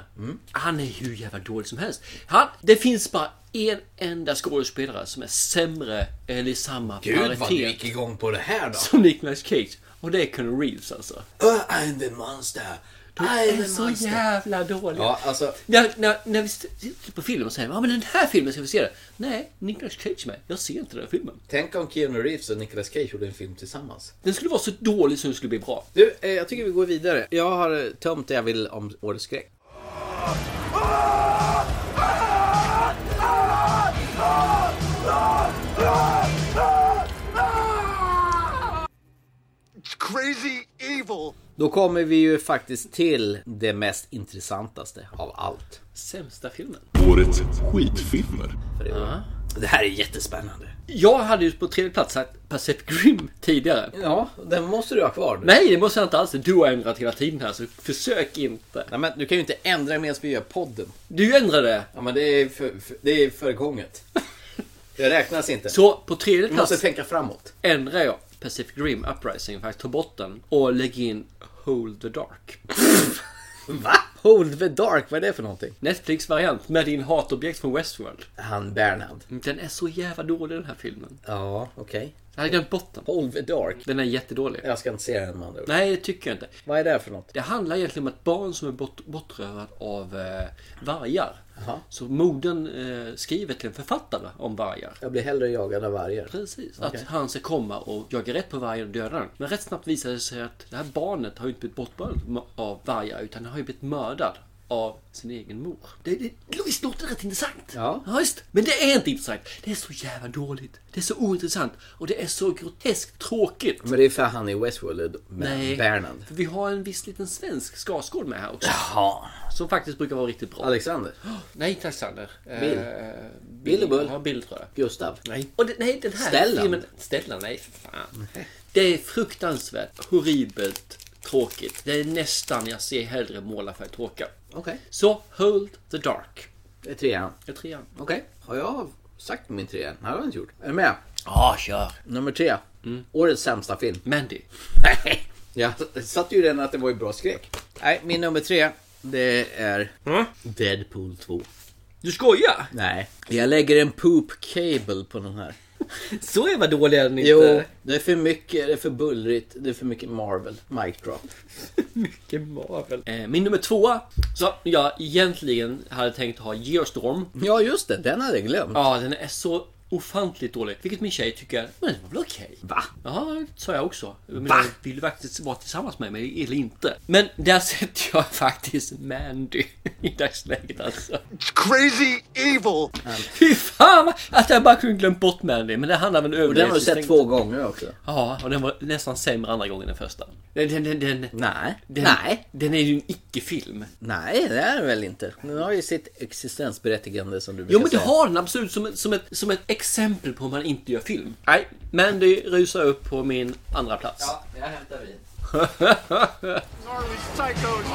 Han är ju hur jävla dålig som helst. Han, det finns bara en enda skådespelare som är sämre eller i samma
Gud vad du gick igång på det här då.
som Nicolas Cage. Och det är Keanu Reeves alltså.
Uh, I'm the monster.
Du
I'm
är
the
så
monster.
jävla dålig.
Ja, alltså.
När, när, när vi sitter på film och säger ja men den här filmen ska vi se. Den. Nej, Nicolas Cage är med. Jag ser inte den här filmen.
Tänk om Keanu Reeves och Nicolas Cage gjorde en film tillsammans.
Den skulle vara så dålig som den skulle bli bra.
Du, eh, jag tycker vi går vidare. Jag har eh, tömt det jag vill om årets skräck.
It's crazy evil.
Då kommer vi ju faktiskt till det mest intressantaste av allt.
Sämsta filmen.
Årets skitfilmer.
För i år. Det här är jättespännande.
Jag hade ju på tredje plats sagt Pacific Rim tidigare.
Ja, den måste du ha kvar. Du.
Nej, det måste jag inte alls. Du har ändrat hela tiden här, så försök inte.
Nej, men du kan ju inte ändra medan vi gör podden.
Du ändrade!
Ja, men det är, för, för, det är förgånget. Det räknas inte.
Så på tredje
du måste
plats
tänka framåt.
ändrar jag Pacific Rim Uprising, faktiskt ta bort den och lägga in Hold the Dark.
Mm. Va? Hold the dark, vad är det för någonting?
Netflix-variant med din hatobjekt från Westworld.
Han Bernhard.
Den är så jävla dålig den här filmen.
Ja, okej.
Jag hade glömt bort den.
Hold the dark.
Den är jättedålig.
Jag ska inte se den med andra ord.
Nej, det tycker jag inte.
Vad är det för något?
Det handlar egentligen om ett barn som är bort, bortrövad av eh, vargar.
Jaha.
Så modern eh, skriver till en författare om vargar.
Jag blir hellre jagad av vargar.
Precis,
Okej.
att han ska komma och jaga rätt på vargen och döda den. Men rätt snabbt visar det sig att det här barnet har ju inte blivit bortbörd av vargar utan han har ju blivit mördad av sin egen mor. Det, det, visst låter det rätt intressant?
Ja.
Ja, just. Men det är inte intressant. Det är så jävla dåligt. Det är så ointressant och det är så groteskt tråkigt.
Men det är för han i Westworld med
Nej.
Bernhard.
För vi har en viss liten svensk Skarsgård med här också.
Jaha.
Som faktiskt brukar vara riktigt bra.
Alexander.
Nej, inte Alexander.
Bill.
Bill
och Bull.
Ja, Bill tror jag.
Gustav.
Nej. Och det, nej, den Mm. här
Stellan.
filmen... Stellan, nej för fan. Det är fruktansvärt, horribelt, tråkigt. Det är nästan jag ser hellre målarfärg tråka.
Okej.
Så, Hold the Dark.
Det är trean.
Det är trean.
Okej. Har jag sagt min trea? Nej, det har jag inte gjort. Är du med? Mm.
Ja, kör.
Nummer tre. Årets sämsta film.
Mandy.
Nej. Jag satt ju redan att det var ju bra skräck. Nej, min nummer tre. Det är Deadpool 2.
Du skojar?
Nej. Jag lägger en poop cable på den här.
Så jävla dålig är den inte.
Jo, det är för mycket, det är för bullrigt, det är för mycket Marvel. Mic drop.
Mycket Marvel. Eh, min nummer tvåa. Så jag egentligen hade tänkt ha Geostorm.
Ja, just det. Den hade jag glömt.
Ja, den är så ofantligt dålig. Vilket min tjej tycker, men det var väl okej? Va? Ja, sa jag också. Men
Va?
Vill du faktiskt vara tillsammans med mig eller inte? Men där sätter jag faktiskt Mandy i dagsläget alltså.
Crazy evil.
Fy fan att jag bara kunde glömt bort Mandy. Men det handlar väl om
Och den har du sett två gånger också.
Ja, och den var nästan sämre andra gången än första. Den, den, den, den,
Nej.
den,
Nej.
Den är ju en icke-film.
Nej, det är det väl inte. Den har ju sitt existensberättigande som du brukar
Jo men det
säga.
har den absolut som ett, som, ett, som ett exempel på hur man inte gör film. Nej, Mandy rusar upp på min andra plats.
jag hämtar vin.
Gnarly psychos.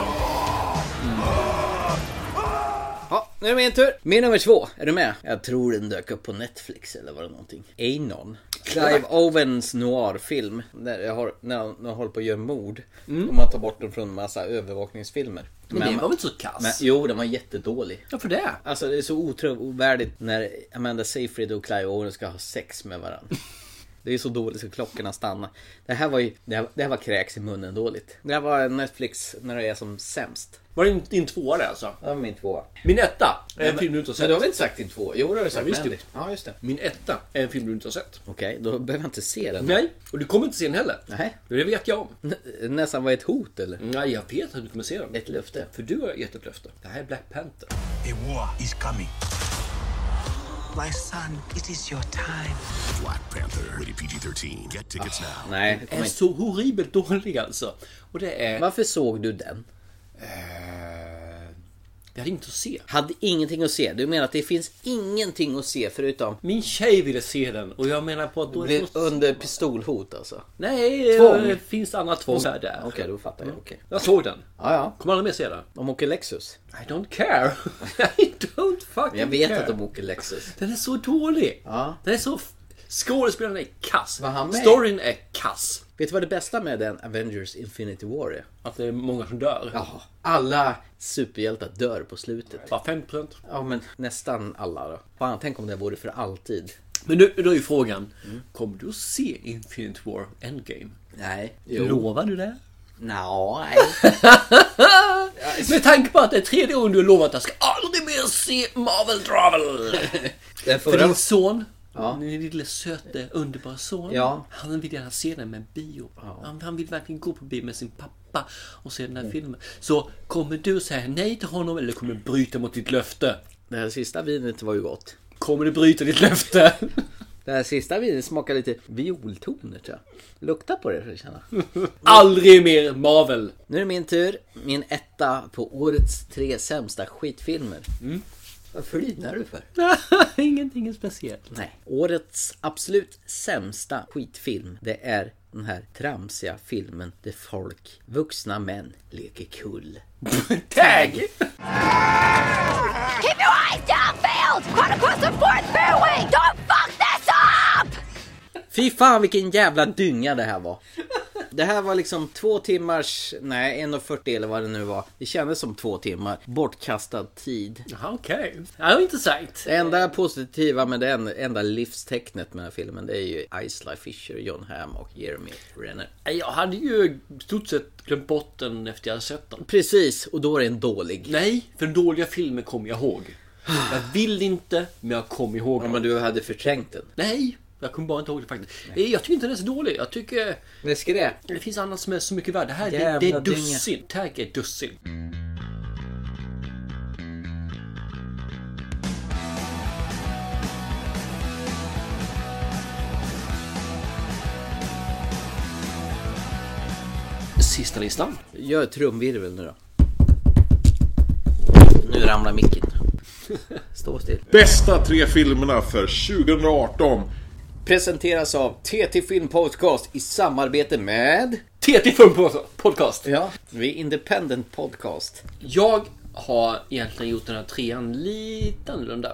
Ja, nu är det min tur. Min nummer två, är du med? Jag tror den dök upp på Netflix eller var det någonting. Anon. Clive Owens noirfilm. När jag har, när jag, när jag håller på att göra mord. Och man tar bort den från en massa övervakningsfilmer.
Mm. Men den var väl inte så kass?
Men, jo, den var jättedålig.
Varför det?
Alltså det är så otrovärdigt när Amanda Seyfried och Clive Owen ska ha sex med varandra. Det är så dåligt så klockorna stannar. Det här var ju, det här, det här var kräks i munnen dåligt. Det här var Netflix när det är som sämst.
Var det din tvåa det alltså?
Det var min tvåa.
Min etta är
Nej,
en
men-
film du inte har sett.
Men du har väl inte sagt din tvåa? Jo, det har du sagt.
Ja, visst
Mandy.
gjort.
Ja, just det.
Min etta är en film du inte har sett.
Okej, då behöver jag inte se den.
Nej, och du kommer inte se den heller.
Nej.
Det vet jag om.
N- nästan var ett hot eller?
Nej, jag vet att du kommer se den.
Mm. Ett löfte.
För du har gett ett löfte. Det här är Black Panther.
A war is coming. My son, it is your time.
Black Panther, rated PG-13. Get tickets now.
Nej, det
Den
kommer
är
inte.
så horribelt dålig alltså. Och det är...
Varför såg du den? Eh.
Det hade inte att se.
Hade ingenting att se. Du menar att det finns ingenting att se förutom...
Min tjej ville se den och jag menar på att då... är det
Blir
något-
under pistolhot alltså?
Nej, eh,
Tvång.
det finns andra tvång här där. Mm.
Okej, då fattar jag. Okej.
Jag såg den.
Ja, ja.
Kommer aldrig mer se den.
De åker Lexus.
I don't care. I don't fucking
Jag vet
care.
att de åker Lexus.
Den är så dålig.
Ja.
Den är så... f- Skådespelaren är kass.
Var han med?
Storyn är kass.
Vet du vad det bästa med den Avengers Infinity War är?
Att det är många som dör.
Ja, alla superhjältar dör på slutet.
Bara 5%.
Ja, men nästan alla då. Fan, tänk om det vore för alltid.
Men nu, då är ju frågan. Kommer du att se Infinite War Endgame?
Nej.
Lovar du det?
Nej.
Med tanke på att det är tredje gången du har lovat att jag ska aldrig mer se Marvel Travel.
Den
För
förra...
din son,
Ja.
din lille söte underbara son.
Ja.
Han vill gärna se den med bio. Han, han vill verkligen gå på bio med sin pappa och se den här filmen. Så kommer du säga nej till honom eller kommer du bryta mot ditt löfte?
Det här sista vinet var ju gott.
Kommer du bryta ditt löfte?
Det här sista vinet smakar lite violtoner tror jag. Lukta på det för att känna.
aldrig mer Marvel!
Nu är det min tur. Min etta på årets tre sämsta skitfilmer. Vad flinar du för?
Ingenting är speciellt.
Nej. Årets absolut sämsta skitfilm, det är den här tramsiga filmen där folk, vuxna män, leker kull.
Tag!
Keep your eyes downfield! Run across the fourth fairway! Don't fuck this up!
Fy fan vilken jävla dynga det här var. Det här var liksom två timmars, nej 1.40 eller vad det nu var. Det kändes som två timmar. Bortkastad tid.
Jaha, Okej, det var intressant.
Det enda positiva med den, enda livstecknet med den här filmen, det är ju Isla Fisher, John Hamm och Jeremy Renner.
Jag hade ju i stort sett glömt bort den efter jag hade sett den.
Precis, och då är den dålig.
Nej, för den dåliga filmen kommer jag ihåg. Jag vill inte, men jag kommer ihåg
Ja,
den.
men du hade förträngt den.
Nej, jag kommer bara inte ihåg det faktiskt. Eh, Jag tycker inte den är så dålig. Jag tycker
Det är skräp.
det finns annat som är så mycket värre. Det här det, det
Jävla
är
dynga.
dussin. Tag är dussin. Sista listan.
Gör trumvirvel nu då. Nu ramlar micken. Stå still.
Bästa tre filmerna för 2018.
Presenteras av TT Film Podcast i samarbete med...
TT Film Podcast.
Ja. Vi är Independent Podcast.
Jag har egentligen gjort den här trean lite annorlunda.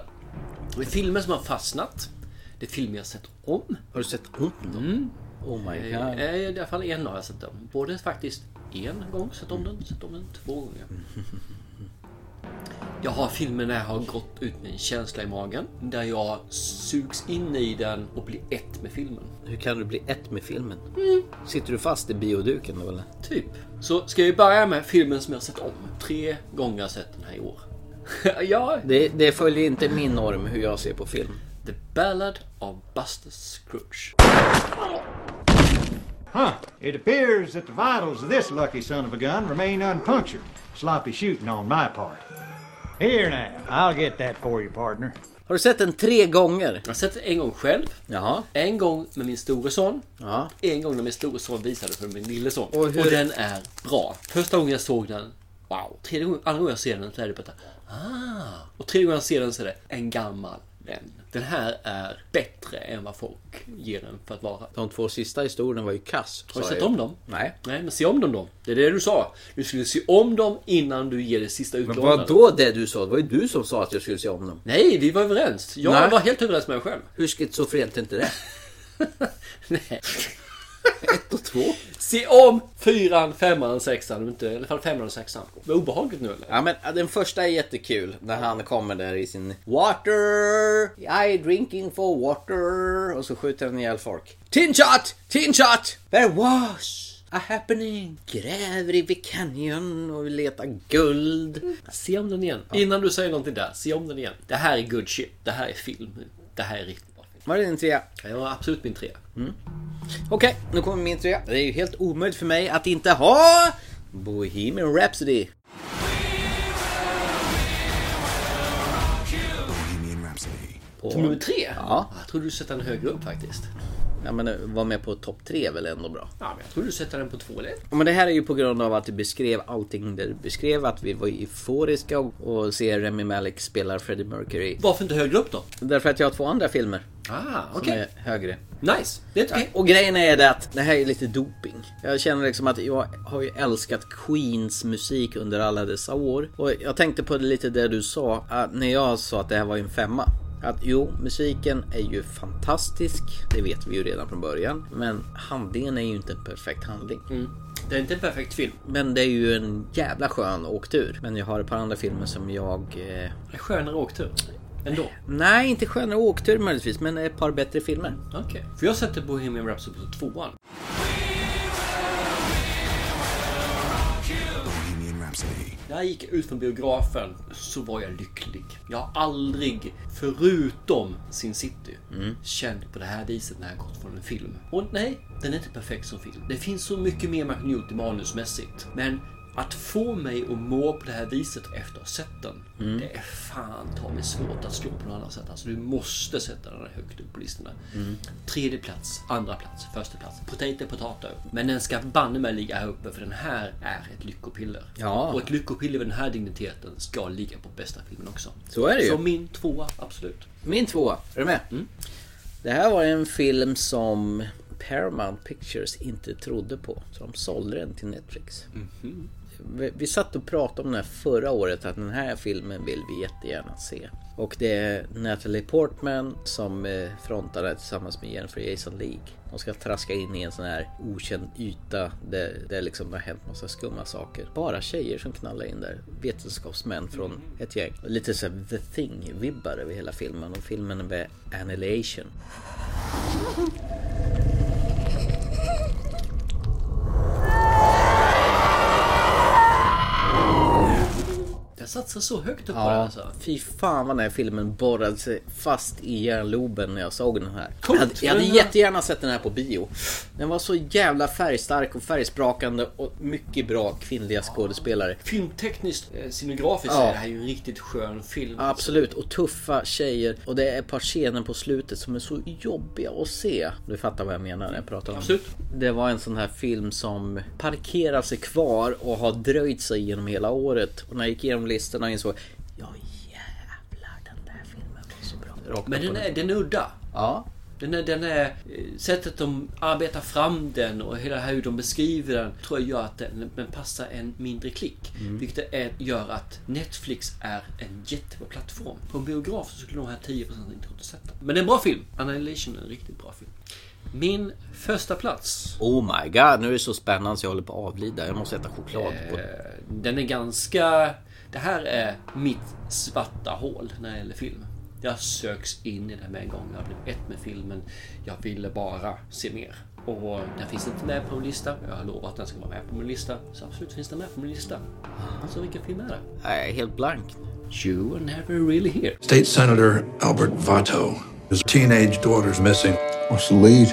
Det är filmer som har fastnat. Det är filmer jag har sett om.
Har du sett upp dem? Oh my
Eh,
god.
I alla fall en har jag sett om. Både faktiskt en gång sett om den, sett om den två gånger. Jag har filmer när jag har gått ut med en känsla i magen. Där jag sugs in i den och blir ett med filmen.
Hur kan du bli ett med filmen? Sitter du fast i bioduken då eller?
Typ. Så ska vi börja med filmen som jag har sett om. Tre gånger har jag sett den här i år. ja,
Det, det följer inte min norm hur jag ser på film.
The Ballad of Buster Scrooge.
Huh. It appears that the vitals of this lucky son of a gun remain unpunctured. Sloppy shooting on my part. Here now, I'll get that for you, partner.
Har du sett den tre gånger?
Jag har sett den en gång själv. En gång med min store son. En gång när min store son visade för min lille son. Och,
hur-
den är bra. Första gången jag såg den, wow. Tredje gången, andra gången jag ser den så är det bara, ah. Och tredje gången jag ser den så är det en gammal vän. Den här är bättre än vad folk ger den för att vara.
De två sista historierna var ju kass.
Har du
sa
sett
jag ju.
om dem?
Nej.
Nej, men se om dem då. Det är det du sa. Du skulle se om dem innan du ger det sista
Men
utlånade.
vadå det du sa? Det var ju du som sa att jag skulle se om dem.
Nej, vi var överens. Jag
Nej.
var helt överens med mig själv.
Hur schizofrent är inte det?
Nej.
Ett och två.
Se om fyran, femman, sexan. om Inte, I alla fall femman och sexan. Vad obehagligt nu eller?
Ja men ja, den första är jättekul när han kommer där i sin Water! I drinking for water! Och så skjuter han ihjäl folk. Tin shot! Tin shot! There was a happening! Gräver i Big Canyon och letar guld.
Se om den igen. Innan du säger någonting där, se om den igen. Det här är good shit. Det här är film. Det här är riktigt bra film.
Var det din trea?
Ja, det var absolut min trea.
Okej, nu kommer min trea. Det är ju helt omöjligt för mig att inte ha Bohemian Rhapsody.
Bohemian Rhapsody.
På...
Som nummer tre?
Ja.
Jag trodde du sätter den högre upp faktiskt.
ja, men eh, var med på topp tre är väl ändå bra.
Ja, men jag trodde du sätter den på två eller ett.
Ja, Men det här är ju på grund av att du beskrev allting där du beskrev att vi var euforiska och, och ser Remy Malek spelar Freddie Mercury.
Varför inte högre upp då?
Därför att jag har två andra filmer
Ah,
som
okej.
är högre.
Nice. Det är okej.
Och grejen är det att det här är lite doping. Jag känner liksom att jag har ju älskat Queens musik under alla dessa år. Och jag tänkte på det lite det du sa, att när jag sa att det här var ju en femma. Att jo, musiken är ju fantastisk, det vet vi ju redan från början. Men handlingen är ju inte en perfekt handling.
Det är inte en perfekt film.
Men det är ju en jävla skön åktur. Men jag har ett par andra filmer som jag... Eh...
Det är skönare åktur. Ändå.
Nej, inte skönare åktur möjligtvis, men ett par bättre filmer.
Okej. För jag sätter Bohemian Rhapsody på tvåan.
Bohemian Rhapsody.
När jag gick ut från biografen så var jag lycklig. Jag har aldrig, förutom Sin City, känt på det här viset när jag gått från en film. Och nej, den är inte perfekt som film. Det finns så mycket mer man kan gjort manusmässigt. Men att få mig att må på det här viset efter att ha sett den, det är fan ta mig svårt att slå på något annat sätt. Alltså du måste sätta den här högt upp på listorna. Tredje plats, andra plats, första plats. Potato, potato. Men den ska banne mig ligga här uppe för den här är ett lyckopiller.
Ja.
Och ett lyckopiller med den här digniteten ska ligga på bästa filmen också.
Så är det ju.
Så min tvåa, absolut.
Min tvåa, är du med? Det här var en film som Paramount Pictures inte trodde på. Så de sålde den till Netflix. Vi, vi satt och pratade om den här förra året, att den här filmen vill vi jättegärna se. Och det är Natalie Portman som eh, frontade tillsammans med Jennifer Jason Leigh. De ska traska in i en sån här okänd yta där det liksom har hänt massa skumma saker. Bara tjejer som knallar in där. Vetenskapsmän från ett gäng. Lite så här The Thing-vibbar över hela filmen. Och filmen är med Annihilation.
Jag satsar så högt upp på den
Ja,
alltså.
fy fan vad den här filmen borrade sig fast i hjärnloben när jag såg den här. Jag
Coolt.
hade, jag hade
Den här-
jättegärna sett den här på bio. Den var så jävla färgstark och färgsprakande och mycket bra kvinnliga skådespelare.
Filmtekniskt, eh, scenografiskt
Ja.
är det här ju en riktigt skön film.
Absolut, och tuffa tjejer. Och det är ett par scener på slutet som är så jobbiga att se. Du fattar vad jag menar när jag pratar om
Absolut.
Det var en sån här film som parkerar sig kvar och har dröjt sig genom hela året. Och när jag gick igenom listorna insåg jag, ja jävlar den där filmen var så bra. Rakt
Men
upp
den
och
är, den är udda.
Ja.
Den är, den är, eh, sättet de arbetar fram den och hela hur de beskriver den tror jag gör att den, den passar en mindre klick. Vilket är, gör att Netflix är en jättebra plattform. På en biograf så skulle de här 10% inte gått att sätta. Men det är en bra film. Annihilation är en riktigt bra film. Min första plats
Oh my god, nu är det så spännande så jag håller på att avlida. Jag måste äta choklad. På.
Den är ganska... Det här är mitt svarta hål när det gäller film. Jag söks in i det med en gång. Jag blev ett med filmen. Jag ville bara se mer. Och den finns inte med på min lista. Jag har lovat att den ska vara med på min lista. Så absolut finns den med på min lista. Så vilken film är det?
Jag är helt blank.
You were never really here.
State Senator Albert Vato
His teenage daughter's missing. What's the lead?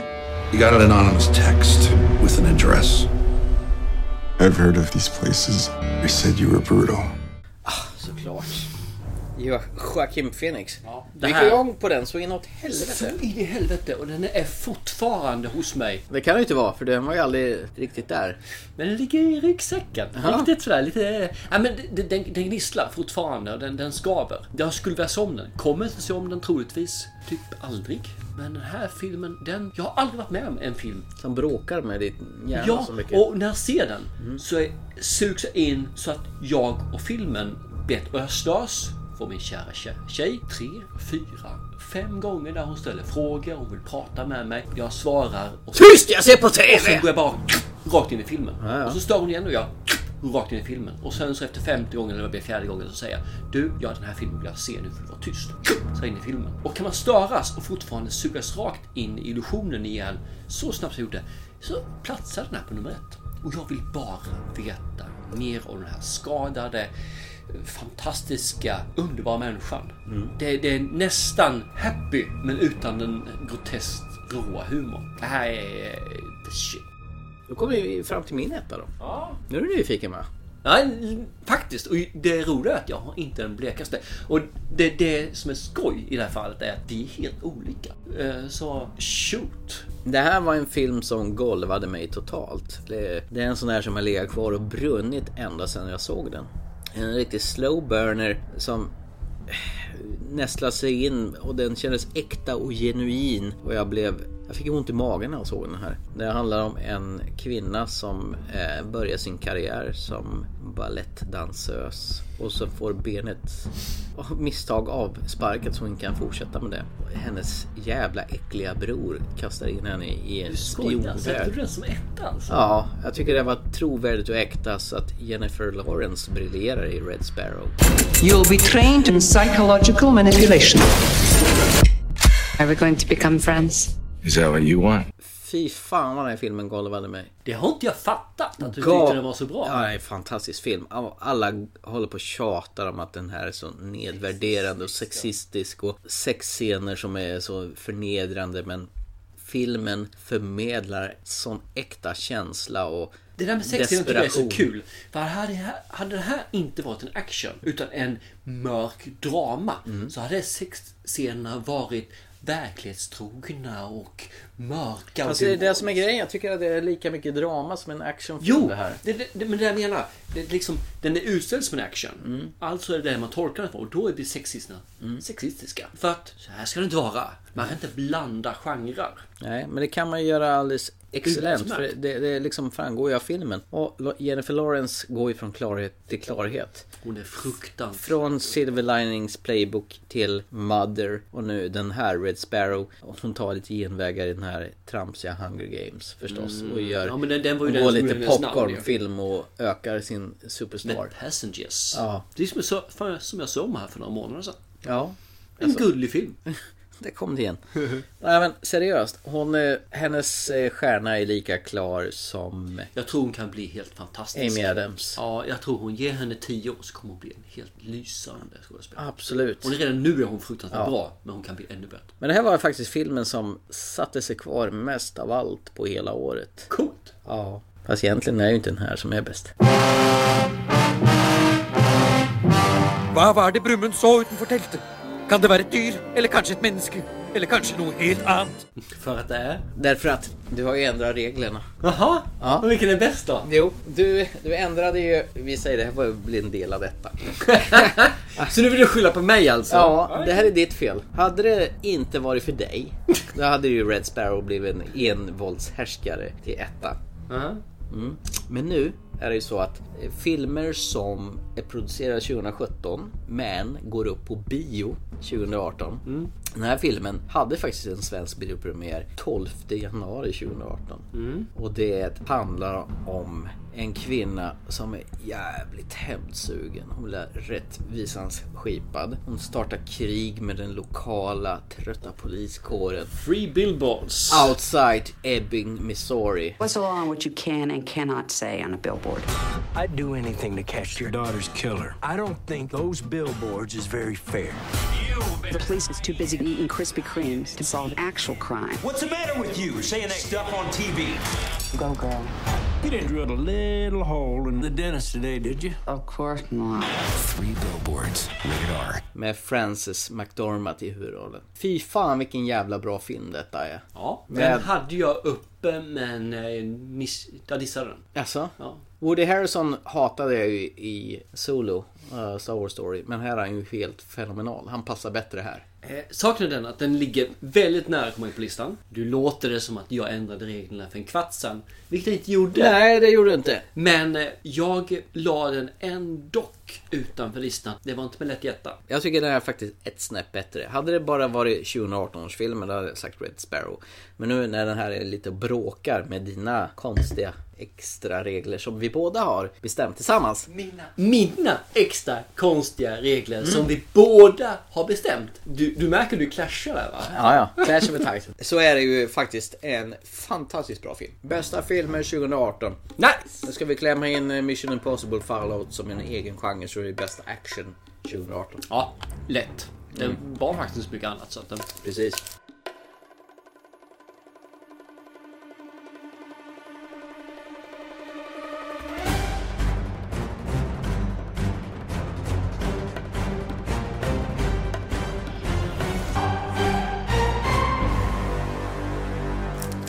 He got an anonymous text with an address. I've heard of these places. They said you were brutal.
Såklart. Jo, Joaquin Phoenix. Ja,
det
det gick
här-
igång på den så inåt helvete.
Så in i helvete och den är fortfarande hos mig.
Det kan det ju inte vara för den var ju aldrig riktigt där.
Men den ligger i ryggsäcken.
Ja.
Riktigt sådär lite... Ja, men den, den, den gnisslar fortfarande. och Den, den skaver. Jag skulle vilja se om den. Kommer inte se om den troligtvis. Typ aldrig. Men den här filmen, den... Jag har aldrig varit med om en film
Som bråkar med din hjärna
ja,
så mycket. Mm.
och när jag ser den så är, sugs jag in så att jag och filmen bett och jag störs från min kära tjej, tjej tre, fyra, fem gånger där hon ställer frågor och vill prata med mig. Jag svarar. Och
Tyst, jag ser på TV!
Och sen går jag bara rakt in i filmen.
Ja, ja.
Och så stör hon igen och jag rakt in i filmen. Och sen så efter femte gången eller vad det blir, fjärde gången så säger jag Du, ja den här filmen vill jag se nu för du var tyst. Så in i filmen. Och kan man störas och fortfarande sugas rakt in i illusionen igen så snabbt som jag gjorde så platsar den här på nummer ett. Och jag vill bara veta mer om den här skadade fantastiska, underbara människan.
Mm.
Det, det är nästan happy men utan den groteskt råa humorn. Det här är the shit.
Då kommer vi fram till min etta då. Nu är du nyfiken va?
Nej, faktiskt. Och det roliga är att jag har inte den blekaste. Och det, det som är skoj i det här fallet är att vi är helt olika. Eh, Så shoot.
Det här var en film som golvade mig totalt. Det, det är en sån där som har legat kvar och brunnit ända sedan jag såg den. En riktig slow burner som eh, nästlade sig in och den kändes äkta och genuin. Och jag blev... Jag fick ont i magen när jag såg den här. Det handlar om en kvinna som eh, börjar sin karriär som ballettdansös och så får benet av misstag avsparkat så hon inte kan fortsätta med det. Hennes jävla äckliga bror kastar in henne i en
Skoja, sätter du
spionvärld.
den som etta alltså?
Ja, jag tycker det var trovärdigt och äkta så att Jennifer Lawrence briljerar i Red Sparrow.
You'll be trained in psychological manipulation. Are we going to become friends?
Is that what you want?
Fy fan vad den här filmen golvade mig.
Det har inte jag fattat att du
Ga-
tyckte den var så bra.
Ja, det är en fantastisk film. Alla håller på och tjatar om att den här är så nedvärderande och sexistisk och sexscener som är så förnedrande men filmen förmedlar sån äkta känsla och
Det där med sex tycker jag är så kul. För hade, hade det här inte varit en action utan en mörk drama
Mm.
så hade sexscenerna varit verklighetstrogna och mörka.
Alltså, det är det som är grejen. Jag tycker att det är lika mycket drama som en actionfilm
Jo,
det här.
det, det, det, men det jag menar. Det, är liksom, den är utställd som en action. Alltså är det det man tolkar den för och då blir sexisterna sexistiska. För att så här ska det inte vara. Man kan inte blanda genrer.
Nej, men det kan man ju göra alldeles excellent. För
Utmärkt.
det, det liksom framgår ju av filmen. Och Lo- Jennifer Lawrence går ju från klarhet till klarhet.
Hon är fruktansvärd.
Från Silver Linings Playbook till Mother och nu den här Red Sparrow. Och hon tar lite genvägar i den här tramsiga Hunger Games förstås.
Mm.
Och gör...
Ja, men den- den var ju
och
den
går
som
lite
gjorde hennes namn,
popcornfilm och ökar sin superstar.
Med Passengers.
Ja.
Det är som jag, så- fan, som jag såg om här för några månader sedan.
Ja.
En gullig film.
Där kom det igen. Nej men seriöst, hon, eh, hennes eh, stjärna är lika klar som...
Jag tror hon kan bli helt fantastisk.
Amy Adams.
Ja, jag tror hon ger henne tio år så kommer hon bli en helt lysande skådespelare.
Absolut.
Hon är redan nu är hon fruktansvärt
Ja.
bra, men hon kan bli ännu bättre.
Men det här var faktiskt filmen som satte sig kvar mest av allt på hela året.
Coolt!
Ja. Fast egentligen är ju inte den här som är bäst.
Hva var det Brumund så utenfor teltet? Kan det være et dyr, eller kanskje et menneske? Eller kanskje noe helt annet?
För att det är?
Därför att du har ju ändrat reglerna.
Jaha?
Ja.
Men vilken är bäst då?
Jo, du, du ändrade ju... Vi säger det här får bli en del av detta.
Så nu vill du skylla på mig alltså?
Ja, det här är ditt fel. Hade det inte varit för dig, då hade ju Red Sparrow blivit en envåldshärskare till etta.
Ja.
Mm. Men nu är det ju så att eh, filmer som är producerade 2017 men går upp på bio 2018.
Mm.
Den här filmen hade faktiskt en svensk
Mm.
biopremiär 12 januari 2018. Och det handlar om en kvinna som är jävligt hämndsugen. Hon blir rättvisans skipad. Hon startar krig med den lokala trötta poliskåren.
Free billboards.
Outside Ebbing, Missouri.
What's the law on what you can and cannot say on a billboard?
I'd do anything to catch your daughter's killer. I don't think those billboards is very fair.
The police is too busy eating Krispy Kremes to solve actual crime.
What's the matter with you? Saying that stuff on TV.
Go, girl.
You didn't drill a little hole in the dentist today, did you?
Of course not.
Three billboards. Rated R.
Med Frances McDormand i huvudrollen. Fy fan vilken jävla bra film detta är.
Ja, den hade jag uppe men eh, miss... jag dissade den.
Alltså?
Ja.
Woody Harrison hatade jag ju i Solo, eh, Star Wars Story. Men här är han ju helt fenomenal. Han passar bättre här.
Eh, Saken är den att den ligger väldigt nära att komma in på listan. Du låter det som att jag ändrade reglerna för en kvart sedan. Vilket jag inte gjorde.
Nej, det gjorde du inte.
Men eh, jag la den ändå utanför listan. Det var inte med lätt hjärta.
Jag tycker den är faktiskt ett snäpp bättre. Hade det bara varit 2018 års filmen, då hade jag sagt Red Sparrow. Men nu när den här är lite och bråkar med dina konstiga extra regler som vi båda har bestämt tillsammans.
Mina, mina extra konstiga regler som vi båda har bestämt. Du, du märker du clashar där va?
Ja, ja. Clash of the Titans. Så är det ju faktiskt en fantastiskt bra film. Bästa filmen 2018.
Nice!
Nu ska vi klämma in Mission Impossible Fallout som en egen genre så det är bästa action 2018.
Ja, lätt. Det var faktiskt inte så mycket annat så att eh. den...
Precis.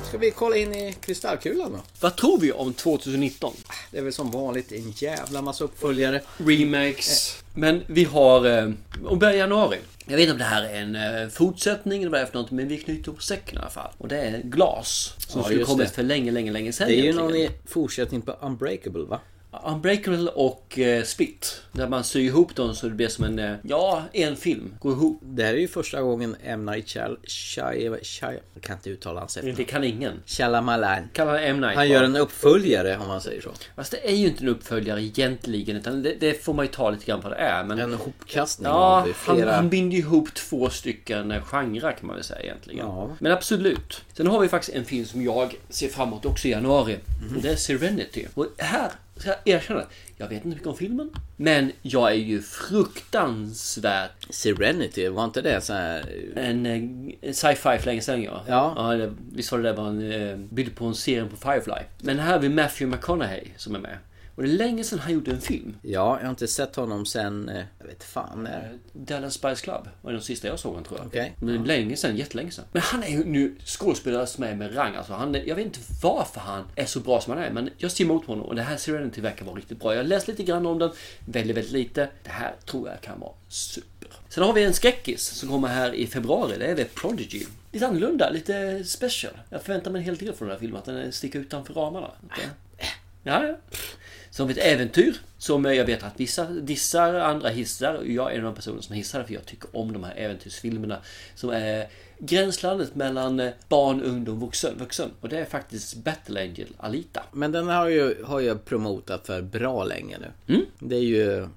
Ska vi kolla in i kristallkulan då?
Vad tror vi om 2019?
Det är väl som vanligt en jävla massa uppföljare.
Remakes. Eh, Men vi har... eh, Om börjar januari. Jag vet inte om det här är en eh, fortsättning eller vad det är för något, men vi knyter ihop säcken i alla fall. Och det är glas. Som
Ja,
skulle
just
kommit
det.
för länge, länge, länge sedan
Det är ju
egentligen.
någon i fortsättning på Unbreakable va?
Unbreakable och eh, Split. Där man syr ihop dem så det blir som en... eh, ja, en film. Går ihop.
Det här är ju första gången M. Night Shyam- Shyam- Shyam- Jag kan inte uttala hans efternamn.
Det kan ingen.
Shalamalan.
Kallar han M. Night bara.
Han gör en uppföljare om man säger så.
Fast det är ju inte en uppföljare egentligen utan det, det får man ju ta lite grann vad det är. Men...
En hopkastning
Ja,
av
han,
flera...
han binder ihop två stycken eh, genrer kan man väl säga egentligen.
Ja.
Men absolut. Sen har vi faktiskt en film som jag ser framåt också i januari.
Mhm.
Och det är Serenity. Och här ska jag erkänna, jag vet inte mycket om filmen. Men jag är ju fruktansvärt
Serenity, var inte det så här...
en eh, sci-fi för länge sedan ja.
Ja.
det, vi sa det där var en eh, bild på en serie på Firefly. Men här har vi Matthew McConaughey som är med. Och det är länge sedan han gjorde en film.
Ja, jag har inte sett honom sen... eh, Jag vet fan när.
Dallas Spice Club var den sista jag såg honom tror jag.
Okej.
Men länge sedan, jättelänge sedan. Men han är ju nu skådespelare som är med rang. Alltså han, är- jag vet inte varför han är så bra som han är. Men jag ser emot honom och det här Serenity verkar vara riktigt bra. Jag har läst lite grann om den. Väldigt, väldigt lite. Det här tror jag kan vara super. Sen har vi en skräckis som kommer här i februari. Det är The Prodigy. Lite annorlunda, lite special. Jag förväntar mig en hel del från den här filmen. Att den sticker utanför ramarna. Ja, ja. Som ett äventyr. Som jag vet att vissa dissar, andra hissar. Jag är en av de personer som hissar för jag tycker om de här äventyrsfilmerna. Som är gränslandet mellan eh, barn, ungdom, vuxen. vuxen. Och det är faktiskt Battle Angel Alita.
Men den har ju, har jag promotat för bra länge nu.
Mm.
Det är ju eh,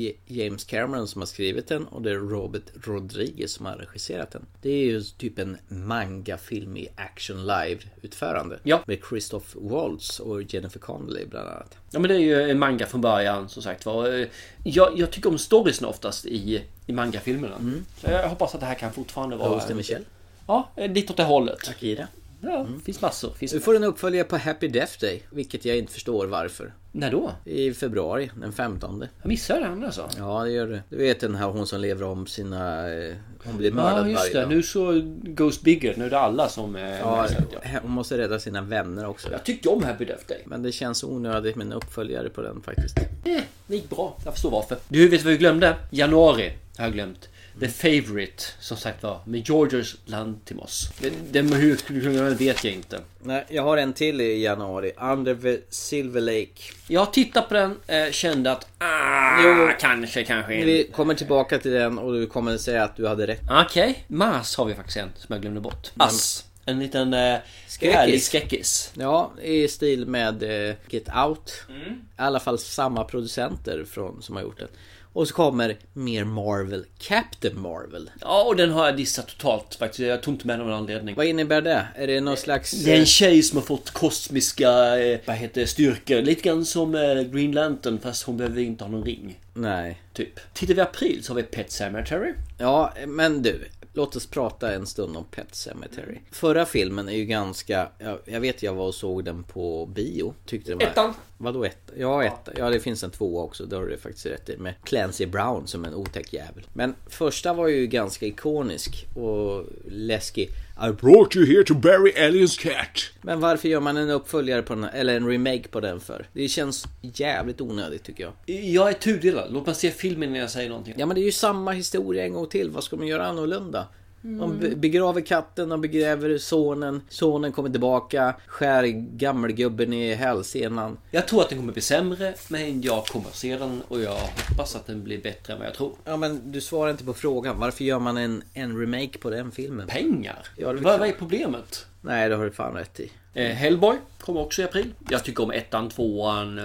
J- James Cameron som har skrivit den och det är Robert Rodriguez som har regisserat den. Det är ju typ en mangafilm i action live utförande.
Ja.
Med Christoph Waltz och Jennifer Connelly bland annat.
Ja men det är ju en manga från början som sagt var. Eh, Jag, jag tycker om storiesen oftast i, i mangafilmerna.
Mm.
Så jag hoppas att det här kan fortfarande vara...
Ghost in Michelle.
Ja, eh, lite åt det hållet.
Akira.
Ja, finns massor. Finns...
Du Mm. får en uppföljare på Happy Death Day, vilket jag inte förstår varför.
När då?
I februari, den 15.
Jag missade den alltså.
Ja, det gör det. Du vet den här hon som lever om sina... eh, Hon blir mördad
Ja just
varje
det,
dag.
nu så Ghost Bigger, nu är det alla som... eh,
Ja,
märks ut, ja.
hon måste rädda sina vänner också.
Jag tyckte om Happy Death Day.
Men det känns onödigt med en uppföljare på den faktiskt.
Eh, det gick bra, jag förstår varför. Du, vet vad vi glömde? Januari har jag glömt. The Favourite, som sagt var, med Georgios Lantimos. Den- Den med hur jag skulle kunna göra det vet jag inte.
Nej, jag har en till i januari. Under the Silver Lake.
Jag tittade på den, eh, kände att... Ah,
Jo.
kanske, kanske
Vi
inte.
kommer tillbaka till den och du kommer säga att du hade rätt.
Okej. Mars har vi faktiskt en som jag glömde bort. Ass. en liten eh,
Skräckis.
härlig skräckis.
Ja, i stil med eh, Get Out.
Mm.
I alla fall samma producenter från, som har gjort den. Och så kommer mer Marvel, Captain Marvel.
Ja, och den har jag dissat totalt faktiskt. Jag tog inte med den av någon anledning.
Vad innebär det? Är det någon slags...
Eh,
eh,
Det är en tjej som har fått kosmiska eh, vad heter, det, styrkor. Lite grann som eh, Green Lantern fast hon behöver inte ha någon ring.
Nej.
Typ. Tittar vi i april så har vi Pet Cemetery.
Ja, men du. Låt oss prata en stund om Pet Cemetery. Förra filmen är ju ganska... Jag, jag vet jag var och såg den på bio. Tyckte den var...
Ettan.
Vadå ett? Ja, ett. ja, det finns en tvåa också. Det har du faktiskt rätt i. Med Clancy Brown som en otäck jävel. Men första var ju ganska ikonisk och läskig. I brought you here to bury Aliens cat. Men varför gör man en uppföljare på den, eller en remake på den för? Det känns jävligt onödigt tycker jag.
Jag är tudelad. Låt mig se filmen innan jag säger någonting.
Ja men det är ju samma historia en gång till. Vad ska man göra annorlunda?
Mm.
De be- begraver katten, de begraver sonen. Sonen kommer tillbaka, skär gammelgubben i hälsenan.
Jag tror att den kommer bli sämre, men jag kommer att se den och jag hoppas att den blir bättre än vad jag tror.
Ja men du svarar inte på frågan. Varför gör man en, en remake på den filmen?
Pengar?
Ja, det
Vad- vad
klart.
är problemet?
Nej, det har du fan rätt i.
Eh, Hellboy kommer också i april. Jag tycker om ettan, tvåan. eh,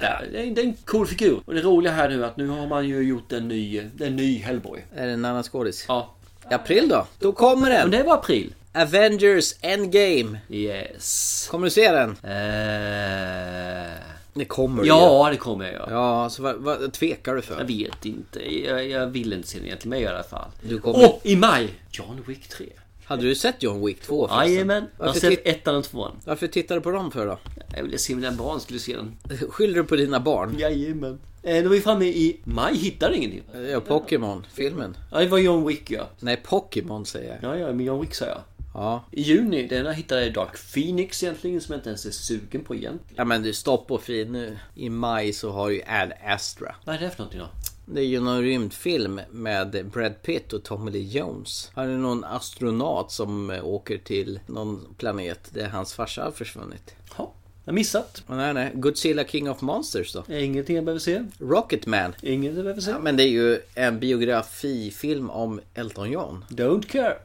ja, Det är det är en cool figur. Och det roliga här nu är att nu har man ju gjort en ny, en ny Hellboy.
Är det en annan skådis?
Ja.
I april då? Då kommer den!
Men det var april.
Avengers Endgame!
Yes.
Kommer du se den? Det kommer du
Äh. Eh, Ja,
ju.
det kommer jag göra.
Ja, så vad, vad tvekar du för?
Jag vet inte. Jag, jag vill inte se den egentligen, men jag gör det i alla fall.
Du
Åh,
kommer...
i maj! John Wick 3.
Hade du sett John Wick 2 förresten?
Jajamän. Jag har
Varför,
sett
tit-
ettan och tvåan.
varför tittar du på dem för då?
Jag ville se mina barn skulle se den.
Skyller du på dina barn?
Jajamän. Eh, då är vi framme i maj. Hittar ingenting.
Ja, Pokémon-filmen.
Ja, det var John Wick ja.
Nej, Pokémon säger jag.
Ja, ja, men John Wick sa jag.
Ja.
I juni, den här hittade jag Dark Phoenix egentligen som jag inte ens är sugen på egentligen.
Ja men du, stopp och fin nu. I maj så har ju Ad Astra.
Vad är det för någonting då?
Det är ju någon rymdfilm med Brad Pitt och Tommy Lee Jones. Han är någon astronaut som eh, åker till någon planet där hans farsa har försvunnit.
Ja, jag missat.
Nej, nej. Godzilla King of Monsters då?
Ingenting jag behöver se.
Rocketman.
Ingenting jag behöver se.
Ja, men det är ju en biografifilm om Elton John.
Don't care.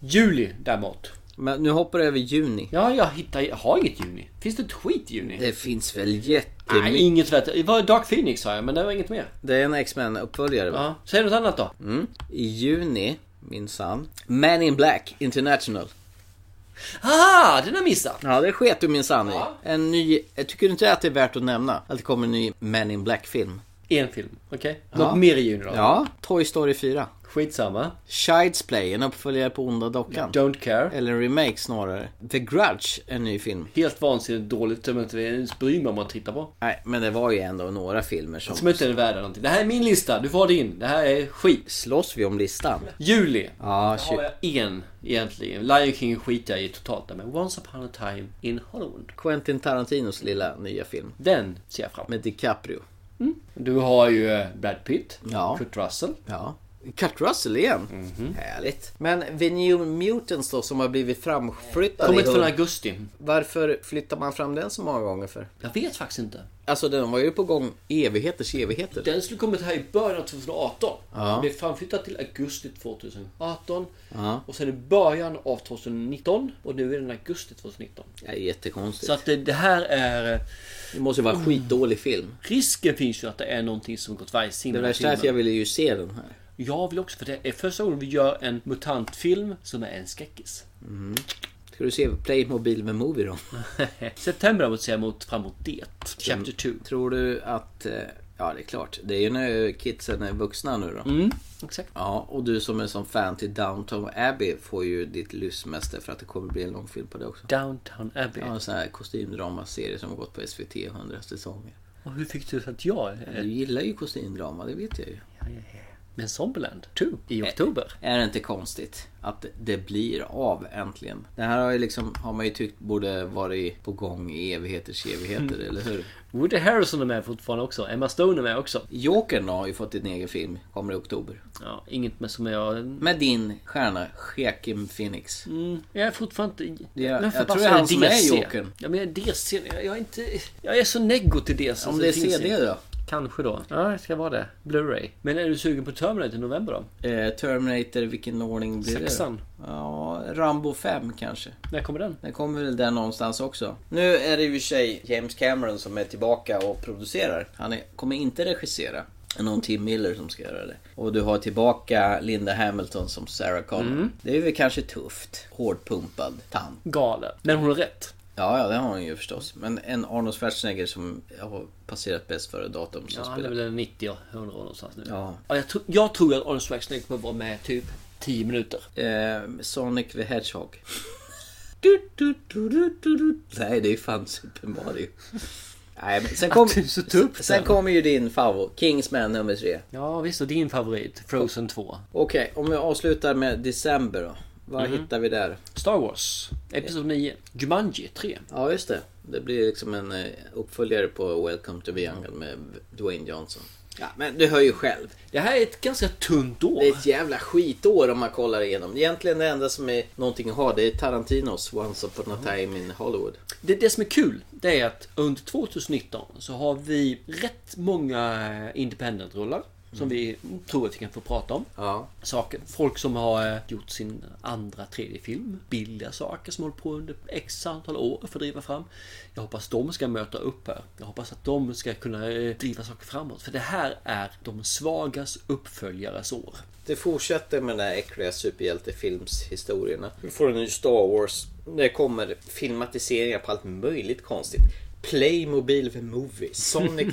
Juli däremot.
Men nu hoppar du över juni.
Ja, jag hittar... Jag har inget juni. Finns det ett skit i juni?
Det finns väl jättemycket.
Nej, inget värt. Det var Dark Phoenix sa jag, men det var inget mer.
Det är en X-Men uppföljare va?
Ja. Säg något annat då.
Mm. I juni, minsann. Man in Black International.
Haha, den har missat.
Ja, det sket du minsann i. En ny... Jag tycker inte att det är värt att nämna att det kommer en ny Man in Black-film.
En film, okej?
Ja.
Något mer i juni då?
Ja, Toy Story 4.
Skitsamma.
Child's Play, en uppföljare på Onda Dockan.
Don't care.
Eller en remake snarare. The Grudge, en ny film.
Helt vansinnigt dåligt som jag inte ens bryr mig om att titta på.
Nej, men det var ju ändå några filmer som...
Som inte är värda någonting. Det här är min lista, du får ha din. Det här är skit.
Slåss vi om listan?
Juli.
Ja,
Har
shit.
jag en egentligen. Lion King skiter jag i totalt där, men Once upon a time in Hollywood.
Quentin Tarantinos lilla nya film.
Den ser jag fram emot.
Med DiCaprio.
Du har ju eh, Brad Pitt,
Ja.
Kurt Russell.
Ja. Mhm. Kurt Russell igen? Härligt. Men The New Mutants då som har blivit framflyttad
Kommer
i
inte från
hund-
augusti.
Varför flyttar man fram den så många gånger för?
Jag vet faktiskt inte.
Alltså den var ju på gång evigheters evigheter.
Den skulle kommit här i början av 2018.
Ja.
Den blev framflyttad till augusti 2018.
Ja.
Och sen i början av 2019. Och nu är den augusti 2019.
Det är jättekonstigt.
Så att det, det här är...
Det måste ju vara en skitdålig film.
Risken finns ju att det är någonting som gått varje
Det värsta är att jag ville ju se den här.
Jag vill också, för det är första gången vi gör en mutantfilm som är en skräckis.
Ska du se Playmobil med Movie då?
September däremot ser jag mot, fram emot det. Chapter 2.
Tror du att... eh, Ja, det är klart. Det är ju när kidsen är vuxna nu då.
Mm, exakt.
Ja, och du som är som fan till Downton Abbey får ju ditt lystmäste för att det kommer bli en lång film på det också.
Downtown Abbey.
Ja, en sån här kostymdramaserie som har gått på SVT i hundra säsonger.
Och hur fick du att jag
Du
är...
gillar ju kostymdrama, det vet jag ju.
Men Zombieland 2 i oktober.
Är det inte konstigt att det blir av äntligen? Det här har, ju liksom, har man ju tyckt borde varit på gång i evigheters evigheter, eller hur?
Mm. Woody Harrison är med fortfarande också. Emma Stone är med också.
Jokern har ju fått en egen film, kommer i oktober.
Ja, inget med som jag...
Med din stjärna, Joaquin Phoenix.
Mm, jag är fortfarande inte...
Det är-
Men
jag
förbaskat
tror det är han som är
DC.
Jokern.
Ja, men jag är DC. Jag, jag är inte... Jag är så neggo till DC.
Om
så
det är
Alltså, finns
CD
inte.
då?
Kanske då. Ja, det ska vara det. Blu-ray. Men är du sugen på Terminator i november då?
Eh, Terminator, vilken ordning blir det?
Sexan.
Ja, Rambo 5 kanske.
När kommer den?
Den kommer väl där någonstans också. Nu är det ju i och för sig James Cameron som är tillbaka och producerar. Han är, kommer inte regissera. Det är Någon Tim Miller som ska göra det. Och du har tillbaka Linda Hamilton som Sarah Connor.
Mm.
Det är väl kanske tufft. Hårdpumpad tant.
Galen. Men hon har rätt.
Ja, ja, det har hon ju förstås. Men en Arnold Schwarzenegger som har passerat bäst före datum som
Ja, han är
spelar.
väl en 90 och 100 år någonstans nu.
Ja.
jag, tror, jag tror att Arnold Schwarzenegger kommer vara med typ 10 minuter.
Eh, Sonic the Hedgehog. Nej, det är ju fan Super Mario. Nej, men sen kom,
Att du är så tuff,
sen
den.
kommer ju din favorit, Kingsman nummer tre.
Ja visst, och din favorit Frozen 2.
Okej, om vi avslutar med December då. Vad
Mhm.
hittar vi där?
Star Wars, Episod 9. Jumanji 3.
Ja, just det. Det blir liksom en eh, uppföljare på Welcome to Bianca med Dwayne Johnson. Ja, men du hör ju själv.
Det här är ett ganska tunt år.
Det är ett jävla skitår om man kollar igenom. Egentligen det enda som är någonting att ha, det är Tarantinos Once upon a time in Hollywood.
Det, det som är kul, det är att under 2019 så har vi rätt många independent-rullar.
Mm.
Som vi tror att vi kan få prata om.
Ja.
Saker. Folk som har eh, gjort sin andra, tredje film. Billiga saker som hållit på under x antal år för att driva fram. Jag hoppas de ska möta upp här. Jag hoppas att de ska kunna eh, driva saker framåt. För det här är de svagas uppföljares år.
Det fortsätter med den här äckliga superhjältefilmshistorierna. Vi får en ny Star Wars. Det kommer filmatiseringar på allt möjligt konstigt. Playmobil the Movie, Sonic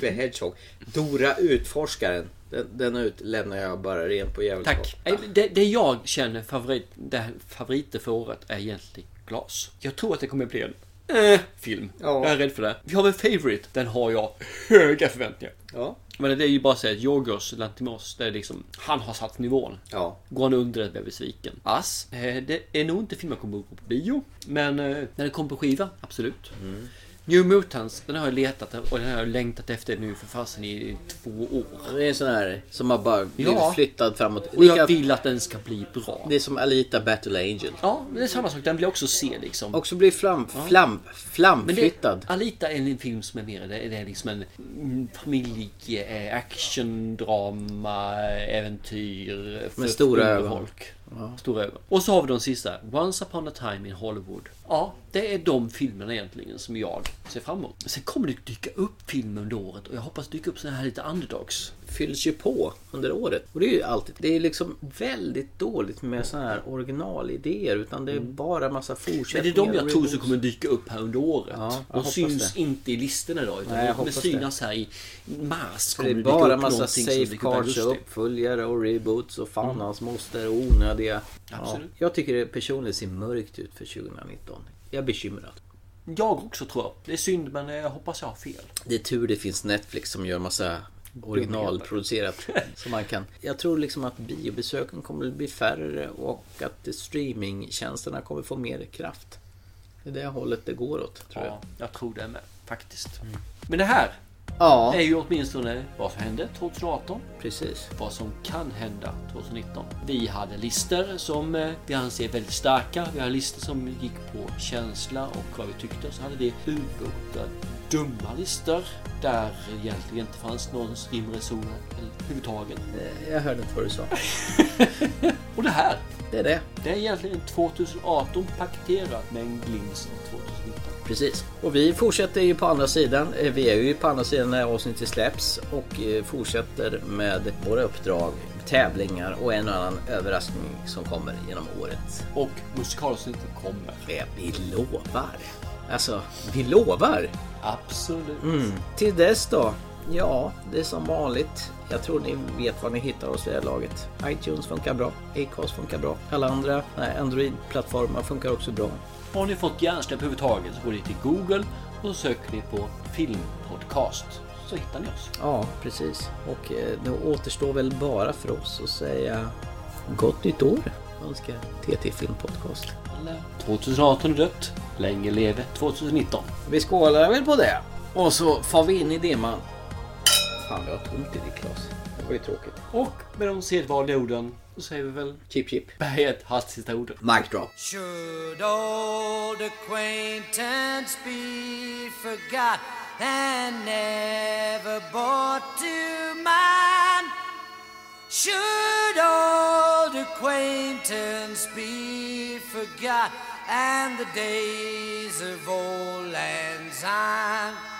the Hedgehog, Dora Utforskaren. Den, den utlämnar jag bara rent på jävligt
Tack. Nej, men Eh, Det, det jag känner favorit, det här favoriter för året är egentligen glas. Jag tror att det kommer bli en eh, film. Jag är rädd för det. Vi har en favorite. Den har jag höga förväntningar.
Ja.
Men det är ju bara att säga att Jorgos Lantimos, det är liksom, han har satt nivån.
Ja.
Går han under det blir jag besviken. Ass, eh, det är nog inte filmen jag kommer att gå på bio. Men eh, när den kommer på skiva, absolut.
Mm.
New Mutants, den har jag letat och den har jag längtat efter nu för fasen i två år.
Det är en sån här som har bara blivit
Ja.
flyttad framåt.
Och jag
Lika-
vill att den ska bli bra.
Det är som Alita Battle Angel.
Ja, men det är samma sak. Den vill jag också se liksom.
Också blir flam,
Ja.
flam,
Men
flamflyttad.
det, Alita är en film som är mer, det det är liksom en mm, familje, eh, action, drama, äventyr. för-
Med stora
för
ögon.
folk.
Ja.
Stora ögon. Och så har vi de sista. Once upon a time in Hollywood. Ja, det är de filmerna egentligen som jag ser fram emot. Sen kommer det dyka upp filmer under året och jag hoppas dyka upp såna här lite underdogs.
fylls ju på under året. Och det är ju alltid, det är liksom väldigt dåligt med sådana här originalidéer utan det är bara massa
Mm. Men det är
fortsättningar.
de jag tror som
reboots.
kommer dyka upp här under året.
Ja, jag
de
hoppas
syns
det.
inte i listorna idag utan
Nej, jag
de kommer
hoppas
synas här i mars.
Så det
kommer
är
dyka
bara
upp
massa
någonting som
safe
dyker upp i
cards och
augusti.
uppföljare och reboots och fan hans moster och onödiga.
Absolut.
Jag tycker det personligen ser mörkt ut för 2019. Jag är bekymrad.
Jag också tror jag. Det är synd men eh, jag hoppas jag har fel.
Det är tur det finns Netflix som gör massa originalproducerat. som man kan. Jag tror liksom att biobesöken kommer att bli färre och att streamingtjänsterna kommer få mer kraft. Det är det hållet det går åt, tror jag.
Ja, jag tror det med faktiskt. Men det här
Mm. Ja.
är ju åtminstone vad som hände 2018.
Precis.
Vad som kan hända 2019. Vi hade listor som eh, vi anser väldigt starka. Vi hade listor som gick på känsla och vad vi tyckte. Så hade vi ubåtar, dumma listor där egentligen inte fanns någon rim och reson överhuvudtaget.
Jag hörde inte vad du sa.
Och det här.
Det är det.
Det är egentligen 2018 paketerat med en glimt av 2019.
Precis. Och vi fortsätter ju på andra sidan. Eh, Vi är ju på andra sidan när avsnittet släpps och eh, fortsätter med våra uppdrag, tävlingar och en och annan överraskning som kommer genom året.
Och musikalavsnittet kommer.
Det Eh, vi lovar. Alltså, vi lovar!
Absolut.
Mm. Till dess då? Ja, det är som vanligt. Jag tror ni vet var ni hittar oss i det här laget. iTunes funkar bra, Acast funkar bra, alla andra nej, Android-plattformar funkar också bra.
Har ni fått hjärnsläpp överhuvudtaget så går ni till Google och så söker ni på filmpodcast. Så hittar ni oss.
Ja, precis. Och eh, det återstår väl bara för oss att säga gott nytt år önskar TT Film Podcast.
Eller 2018 är dött. Länge leve 2019.
Vi skålar väl på det. Och så far vi in i dimman. Fan, vi har tomt i det Klas. Det var ju tråkigt.
Och med de sedvanliga orden så säger vi väl
Chip chip.
berget hastigt sista orden.
Mic drop.
Should old acquaintance be forgot and never brought to mind? Should old acquaintance be forgot, and the days of old lands syne